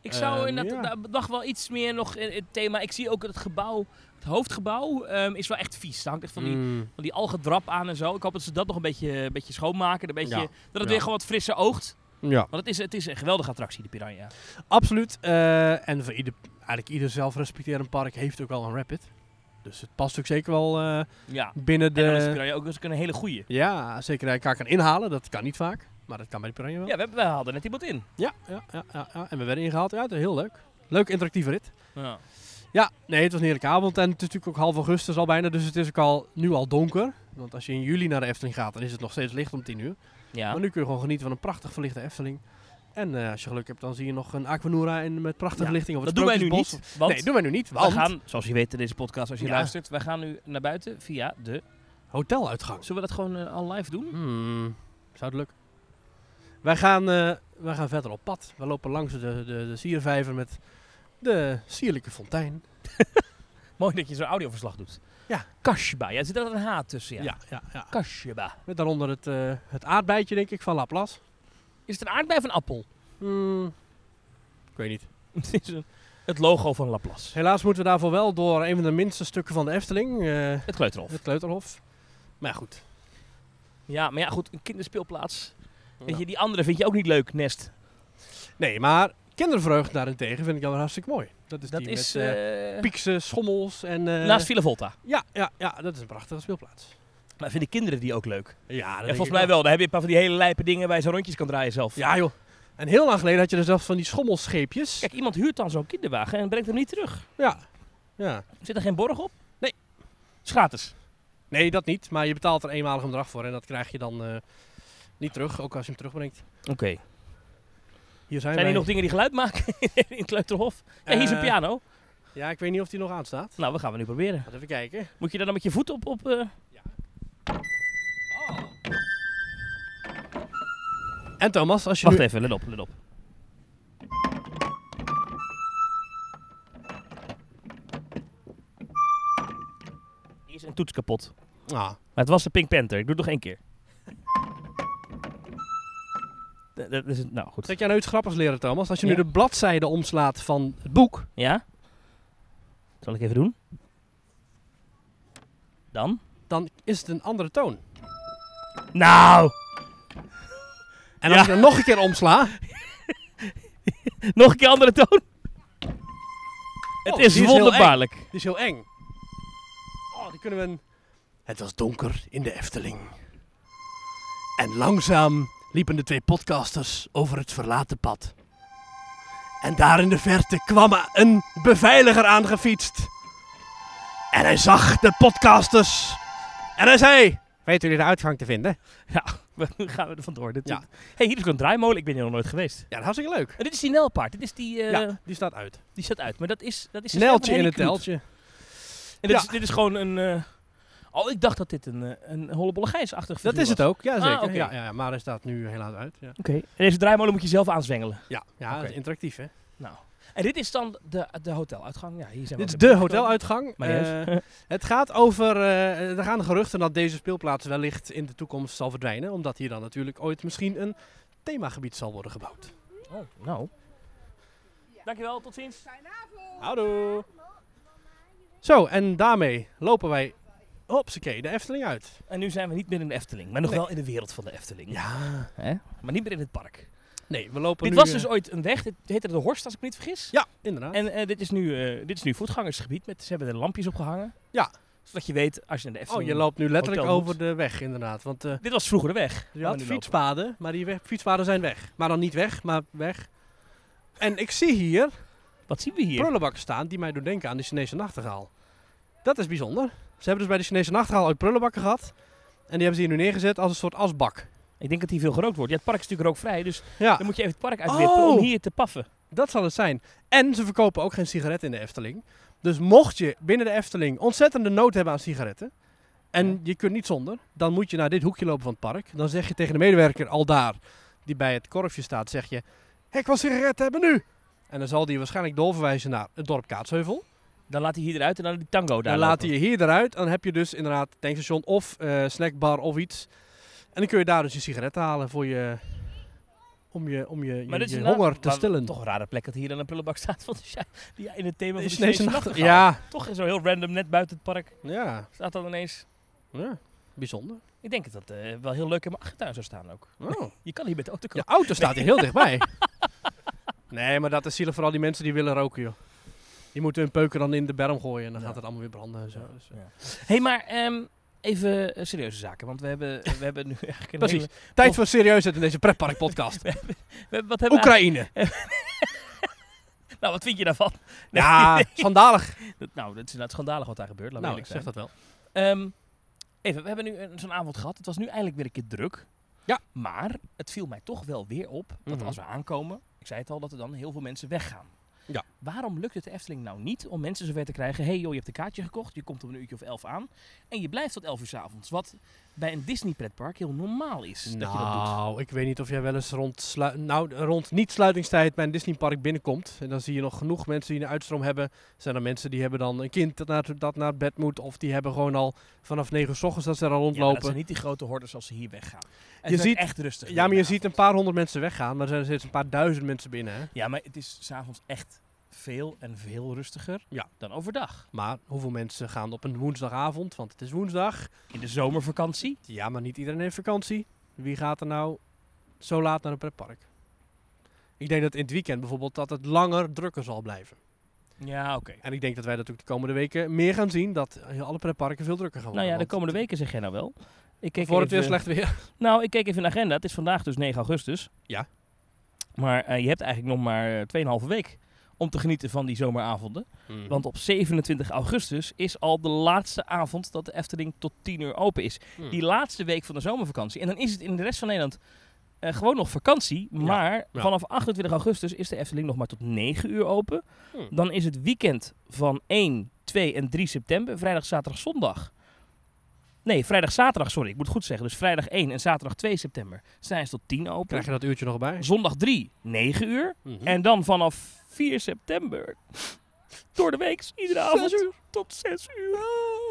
C: Ik zou
B: Ehm,
C: inderdaad
B: ja.
C: daar nog wel iets meer nog in het thema. Ik zie ook het gebouw, het hoofdgebouw, ehm, is wel echt vies. Daar hangt echt van die,
B: Mm,
C: van die algedrap aan en zo. Ik hoop dat ze dat nog een beetje, een beetje schoonmaken. Een beetje,
B: Ja.
C: Dat het
B: Ja.
C: weer gewoon wat frisser oogt.
B: Ja,
C: Want het is, het is een geweldige attractie, de Piranha.
B: absoluut. Eh, en voor ieder, eigenlijk ieder zelfrespecterend park heeft ook al een rapid. Dus het past ook zeker wel eh,
C: Ja.
B: binnen
C: En dan is de
B: de...
C: Piranha ook eens een hele goeie.
B: Ja, zeker dat je elkaar kan inhalen. Dat kan niet vaak. Maar dat kan bij de Piranha wel.
C: Ja, we, hebben, we hadden net iemand in.
B: Ja, ja, ja, ja, ja. En we werden ingehaald. Ja, het is heel leuk. Leuk interactieve rit.
C: Ja.
B: Ja, nee, het was een heerlijke avond. En het is natuurlijk ook half augustus al bijna, dus het is ook al, nu al donker. Want als je in juli naar de Efteling gaat, dan is het nog steeds licht om 10 uur. Maar
C: ja.
B: nu kun je gewoon genieten van een prachtig verlichte Efteling. En eh, als je geluk hebt, dan zie je nog een Aquanura in, met prachtige
C: Ja,
B: verlichting. Of
C: Dat
B: het
C: doen wij nu
B: Sprookjesbos.
C: niet. Want
B: nee, doen wij nu niet,
C: we
B: want
C: gaan, zoals je weet in deze podcast, als je
B: Ja.
C: luistert, wij gaan nu naar buiten via de...
B: hoteluitgang.
C: Zullen we dat gewoon eh, al live doen?
B: Hmm, zou het lukken? Wij gaan, eh, wij gaan verder op pad. We lopen langs de, de, de siervijver met de sierlijke fontein.
C: Mooi dat je zo'n audioverslag doet.
B: Ja.
C: Kashba. Ja, er zit altijd een H tussen. Ja.
B: ja, ja. ja.
C: Kashba.
B: Met daaronder het, eh, het aardbeidje, denk ik, van Laplace.
C: Is het een aardbei of een appel?
B: Hmm, ik weet niet.
C: het is een- het logo van Laplace.
B: Helaas moeten we daarvoor wel door een van de minste stukken van de Efteling, eh,
C: Het kleuterhof.
B: het Kleuterhof. Maar ja, goed.
C: Ja, maar ja, goed. Een kinderspeelplaats. Weet je, die andere vind je ook niet leuk, Nest.
B: Nee, maar kindervreugd daarentegen vind ik wel hartstikke mooi. Dat is
C: Dat
B: die
C: is...
B: met eh,
C: eh,
B: pieksen, schommels en... eh,
C: naast Villa Volta.
B: ja, ja, ja, dat is een prachtige speelplaats.
C: Maar vinden kinderen die ook leuk?
B: Ja, dat
C: Ja,
B: denk
C: volgens
B: ik
C: mij wel. Dan heb je een paar van die hele lijpe dingen waar je zo rondjes kan draaien zelf.
B: Ja joh. En heel lang geleden had je er zelfs van die schommelscheepjes.
C: Kijk, iemand huurt dan zo'n kinderwagen en brengt hem niet terug.
B: Ja. ja.
C: Zit er geen borg op?
B: Nee.
C: Het is gratis.
B: Nee, dat niet. Maar je betaalt er eenmalig een bedrag voor en dat krijg je dan eh, niet terug, ook als je hem terugbrengt.
C: Oké.
B: Hier zijn,
C: Zijn
B: wij.
C: er nog dingen die geluid maken in het kleuterhof? Ja, hier is een
B: Eh,
C: piano.
B: Ja, ik weet niet of die nog aanstaat.
C: Nou, we gaan we nu proberen.
B: Laten we even kijken.
C: Moet je daar dan met je voet op? op eh?
B: En Thomas, als je
C: Wacht
B: nu...
C: even, let op, let op. Hier is een toets kapot.
B: Ah.
C: Maar het was de Pink Panther. Ik doe het nog één keer. Dat- Dat is het. Nou, goed.
B: Zet jij nou iets grappigs leren, Thomas? Als je
C: Ja.
B: nu de bladzijde omslaat van het boek.
C: Ja? Zal ik even doen? Dan?
B: dan is het een andere toon.
C: Nou!
B: En
C: Ja.
B: als ik dan nog een keer omsla,
C: Nog een keer andere toon.
B: Oh,
C: het is
B: die is heel eng.
C: wonderbaarlijk.
B: die is heel eng. Oh, die kunnen we een... Het was donker in de Efteling. En langzaam liepen de twee podcasters over het verlaten pad. En daar in de verte kwam een beveiliger aangefietst. En hij zag de podcasters. En hij zei... Weet jullie de uitgang te vinden?
C: Hoe gaan we er vandoor? Dit
B: Ja.
C: hey, hier is ook een draaimolen. Ik ben hier nog nooit geweest.
B: Ja, dat hartstikke leuk.
C: En dit is die Nelpaard. Dit is die... eh,
B: ja, die staat uit.
C: Die staat uit. Maar dat is... Dat is dus de stem
B: Neltje
C: van
B: in het
C: Henny Knoet.
B: teltje.
C: En dit,
B: Ja.
C: is, dit is gewoon een... eh, oh, ik dacht dat dit een, eh, een hollebolle gijsachtig
B: Dat
C: figuur
B: is het
C: was.
B: ook, ja zeker.
C: Ah, oké.
B: ja, ja, ja, maar hij staat nu helaas uit. Ja,
C: Oké. En deze draaimolen moet je zelf aanzwengelen.
B: ja, ja
C: Oké.
B: dat is interactief hè.
C: Nou. En dit is dan de, de hoteluitgang. Ja, hier zijn we
B: Dit is
C: weer
B: de
C: binnengekomen.
B: hoteluitgang.
C: Maar niet uit.
B: Eh, het gaat over. eh, er gaan geruchten dat deze speelplaats wellicht in de toekomst zal verdwijnen. Omdat hier dan natuurlijk ooit misschien een themagebied zal worden gebouwd.
C: Oh, nou. Dankjewel, tot ziens.
B: Houdoe! Zo, en daarmee lopen wij. Hopsakee, de Efteling uit.
C: En nu zijn we niet meer in de Efteling, maar nog
B: Nee.
C: wel in de wereld van de Efteling.
B: Ja.
C: Hè? Maar niet meer in het park.
B: Nee, we lopen
C: Dit
B: nu,
C: was
B: eh,
C: dus ooit een weg, dit heette de Horst als ik me niet vergis.
B: Ja, inderdaad.
C: En eh, dit, is nu, eh, dit is nu voetgangersgebied, met, ze hebben er lampjes opgehangen.
B: Ja.
C: Zodat je weet, als je naar de
B: oh,
C: Efteling...
B: je loopt nu letterlijk
C: hotel
B: over
C: moet.
B: de weg, inderdaad. Want eh,
C: Dit was vroeger de weg.
B: je
C: waar we
B: had
C: nu lopen.
B: fietspaden, maar die weg, fietspaden zijn weg. Maar dan niet weg, maar weg. En ik zie hier
C: Wat zien we hier?
B: prullenbakken staan die mij doen denken aan de Chinese nachtegaal. Dat is bijzonder. Ze hebben dus bij de Chinese nachtegaal uit prullenbakken gehad. En die hebben ze hier nu neergezet als een soort asbak.
C: Ik denk dat hier veel gerookt wordt. Ja, het park is natuurlijk rookvrij, dus
B: Ja,
C: dan moet je even het park uitwippen
B: Ah. Oh.
C: om hier te paffen.
B: dat zal het zijn. En ze verkopen ook geen sigaretten in de Efteling. Dus mocht je binnen de Efteling ontzettende nood hebben aan sigaretten. En je kunt niet zonder. Dan moet je naar dit hoekje lopen van het park. Dan zeg je tegen de medewerker al daar, die bij het korfje staat, zeg je... "Hé, Ik wil sigaretten hebben nu! En dan zal die je waarschijnlijk doorverwijzen naar het dorp Kaatsheuvel.
C: Dan laat hij hier eruit en dan die tango daar
B: Dan laat
C: lopen.
B: hij je hier eruit. Dan heb je dus inderdaad tankstation of eh, snackbar of iets. En dan kun je daar dus je sigaret halen voor je, om je, om je, je-
C: Maar dit is
B: je
C: inderdaad-
B: honger te
C: maar
B: stillen.
C: Toch een rare plek dat hier dan een prullenbak staat. Want dus ja, die in het thema van
B: Is
C: de
B: ineens
C: Chinese
B: een
C: nachtegaal.
B: Ja,
C: Toch zo heel random, net buiten het park,
B: ja,
C: staat dan ineens...
B: ja. Bijzonder.
C: Ik denk dat dat eh, wel heel leuk in mijn achtertuin zou staan ook.
B: Oh.
C: Je kan hier met de auto
B: Je
C: komen.
B: auto staat hier heel dichtbij. Nee, maar dat is zielig voor al die mensen die willen roken, joh. Die moeten hun peuken dan in de berm gooien en dan
C: Ja.
B: gaat het allemaal weer branden en zo. Dus, eh.
C: hey, maar ehm, even eh, serieuze zaken. Want we hebben, we hebben nu eigenlijk een
B: Precies.
C: hele...
B: Tijd voor serieusheid in deze pretpark podcast.
C: We hebben- wat hebben we
B: Oekraïne.
C: eigenlijk- Nou, wat vind je daarvan? Nee,
B: Ja, schandalig.
C: dat- nou, dat is inderdaad schandalig wat daar gebeurt. Laat
B: Nou, ik
C: ik
B: zeg
C: zeggen.
B: dat wel.
C: Ehm, even, we hebben nu een- zo'n avond gehad. Het was nu eindelijk weer een keer druk.
B: Ja.
C: Maar het viel mij toch wel weer op dat
B: Mhm.
C: als we aankomen, ik zei het al, dat er dan heel veel mensen weggaan.
B: Ja.
C: Waarom lukt het de Efteling nou niet om mensen zover te krijgen, hey joh, je hebt een kaartje gekocht, je komt om een uurtje of elf aan en je blijft tot elf uur 's avonds. Wat bij een Disney pretpark heel normaal is dat je dat doet.
B: Nou, ik weet niet of jij wel eens rond, slui- nou, rond niet-sluitingstijd bij een Disneypark binnenkomt. En dan zie je nog genoeg mensen die een uitstroom hebben. Zijn er mensen die hebben dan een kind dat naar, dat naar bed moet. Of die hebben gewoon al vanaf 9 uur 's ochtends dat ze daar
C: Ja, maar dat
B: rondlopen.
C: zijn niet die grote hordes als ze hier weggaan. Het
B: Je
C: is
B: ziet-
C: echt rustig.
B: ja, maar je
C: inderdaad.
B: ziet een paar honderd mensen weggaan. Maar er zijn er steeds een paar duizend mensen binnen. Hè?
C: Ja, maar het is s'avonds echt veel en veel rustiger
B: Ja.
C: dan overdag.
B: Maar hoeveel mensen gaan op een woensdagavond? Want het is woensdag.
C: In de zomervakantie
B: Ja, maar niet iedereen heeft vakantie. Wie gaat er nou zo laat naar een pretpark? Ik denk dat in het weekend bijvoorbeeld dat het langer drukker zal blijven.
C: Ja, oké.
B: En ik denk dat wij dat ook de komende weken meer gaan zien. Dat alle pretparken veel drukker gaan
C: Nou
B: worden.
C: ja, de
B: Oh, want
C: komende weken zeg jij nou wel. Ik keek
B: Voor het weer
C: even-
B: slecht weer.
C: Nou, ik keek even in de agenda. Het is vandaag dus 9 augustus.
B: Ja.
C: Maar eh, je hebt eigenlijk nog maar eh, 2,5 week om te genieten van die zomeravonden.
B: Mhm.
C: Want op 27 augustus is al de laatste avond dat de Efteling tot 10 uur open is.
B: Hmm.
C: Die laatste week van de zomervakantie. En dan is het in de rest van Nederland eh, gewoon nog vakantie.
B: Ja,
C: Maar
B: ja.
C: vanaf 28 augustus is de Efteling nog maar tot 9 uur open.
B: Hmm.
C: Dan is het weekend van 1, 2 en 3 september. Vrijdag, zaterdag, zondag. Nee, vrijdag, zaterdag, sorry. Ik moet het goed zeggen. Dus vrijdag 1 en zaterdag 2 september zijn ze tot 10 open.
B: Krijg je dat uurtje nog bij?
C: Zondag 3, 9 uur.
B: Mhm.
C: En dan vanaf 4 september. Door de week, iedere avond. Tot 6 uur.
B: Ah.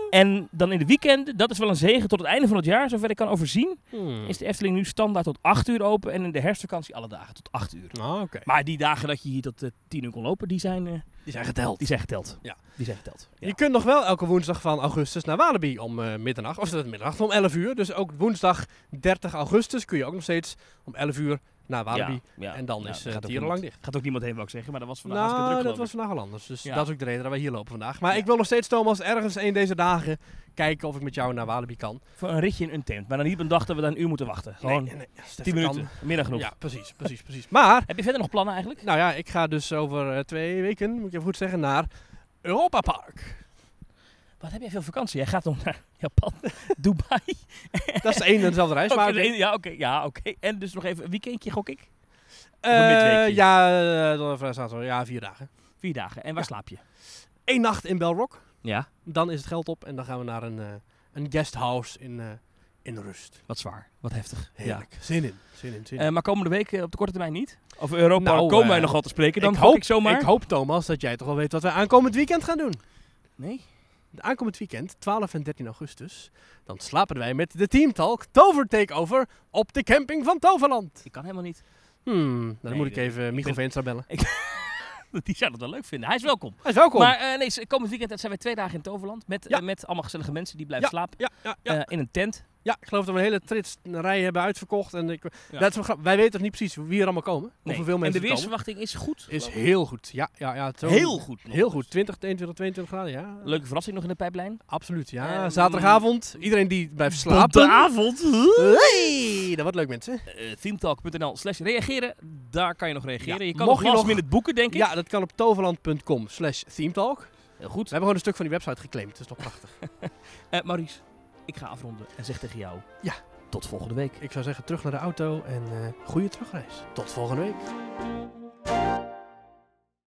C: En dan in de weekenden, dat is wel een zegen tot het einde van het jaar, zover ik kan overzien,
B: Hmm.
C: is de Efteling nu standaard tot 8 uur open. En in de herfstvakantie alle dagen tot 8 uur.
B: Ah, oké.
C: Maar die dagen dat je hier tot eh, 10 uur kon lopen, die zijn, eh,
B: Die zijn geteld.
C: die zijn geteld.
B: Ja.
C: Die zijn geteld. Ja.
B: Je kunt nog wel elke woensdag van augustus naar Walibi om eh, middernacht. Of is dat middernacht? Om 11 uur. Dus ook woensdag 30 augustus kun je ook nog steeds om 11 uur naar Walibi.
C: Ja, ja.
B: En dan
C: Ja,
B: is eh,
C: daar gaat
B: het
C: ook
B: hier al lang
C: niemand-
B: dicht.
C: Gaat ook niemand heen, wou ik zeggen. Maar dat was vandaag hartstikke
B: nou,
C: druk,
B: dat
C: geloof
B: was vandaag al anders. Dus
C: Ja.
B: dat is ook de reden dat wij hier lopen vandaag. Maar
C: Ja.
B: ik wil nog steeds, Thomas, ergens een deze dagen kijken of ik met jou naar Walibi kan.
C: ik. Voor een ritje in een tent. Maar dan niet op een dag dat we daar een uur moeten wachten. Gewoon
B: Nee, nee, als het
C: 10
B: even kan.
C: minuten. Meer dan genoeg.
B: Ja, precies, precies, precies. Maar,
C: Heb je verder nog plannen eigenlijk?
B: nou ja, ik ga dus over eh, twee weken, moet ik even goed zeggen, naar Europa Park.
C: Wat heb jij veel vakantie? Jij gaat nog naar Japan, Dubai.
B: Dat is de ene en dezelfde reis.
C: Oké,
B: maar
C: de ene- ja, oké. ja, oké. En dus nog even een weekendje, gok ik.
B: Eh,
C: Of een midweekje?
B: ja, eh, dan even staan zo. ja, vier dagen.
C: Vier dagen. En waar
B: Ja.
C: slaap je?
B: Eén nacht in Belrock.
C: Ja,
B: Dan is het geld op en dan gaan we naar een, eh een guesthouse in, eh, in rust.
C: wat zwaar. Wat heftig.
B: Heerlijk. Zin in. Zin in, zin in.
C: Eh, maar komende week eh, op de korte termijn niet? Of Europa
B: Nou,
C: komen wij
B: eh,
C: nog wel te spreken? Dan
B: ik
C: gok
B: hoop-
C: ik zomaar.
B: Ik hoop, Thomas, dat jij toch wel weet wat wij aankomend weekend gaan doen.
C: nee?
B: Aankomend weekend, 12 en 13 augustus, dan slapen wij met de teamtalk Tover Takeover op de camping van Toverland.
C: Ik kan helemaal niet.
B: Hmm, nou, dan
C: Nee,
B: moet ik
C: dit-
B: even Michel
C: dit-
B: Veenstra bellen.
C: Die zou dat wel leuk vinden. Hij is welkom.
B: Hij is welkom.
C: Maar eh, nee, s- komend weekend zijn wij twee dagen in Toverland. Met,
B: Ja.
C: eh, met allemaal gezellige mensen die blijven slapen.
B: ja, ja, ja.
C: eh, in een tent.
B: ja, ik geloof dat we een hele trits rij hebben uitverkocht. En ik,
C: Ja.
B: dat is wel grappig. Wij weten toch niet precies wie er allemaal komen?
C: Nee.
B: Of hoeveel
C: en
B: mensen
C: de
B: er komen?
C: weersverwachting is goed.
B: Is
C: geloof ik.
B: heel goed. Ja, ja, ja. zo-
C: heel goed. nog
B: Heel
C: eens.
B: goed. 20, 21, 22 graden, ja.
C: Leuke verrassing nog in de pijplijn.
B: Absoluut, ja.
C: Ehm,
B: Zaterdagavond. Iedereen die blijft slapen.
C: avond.
B: Hey, dat wordt leuk, mensen.
C: eh, themetalk.nl slash reageren. Daar kan je nog reageren.
B: Ja,
C: je kan
B: mocht
C: nog
B: je
C: last
B: nog-
C: minute boeken, denk ik.
B: Ja, dat kan op toverland.com slash themetalk. We
C: Heel goed.
B: hebben gewoon een stuk van die website geclaimd. Dat is toch prachtig.
C: Eh, Maurice, ik ga afronden en zeg tegen jou...
B: Ja.
C: Tot volgende week.
B: Ik zou zeggen, terug naar de auto en eh goede terugreis. Tot volgende week.
A: Thank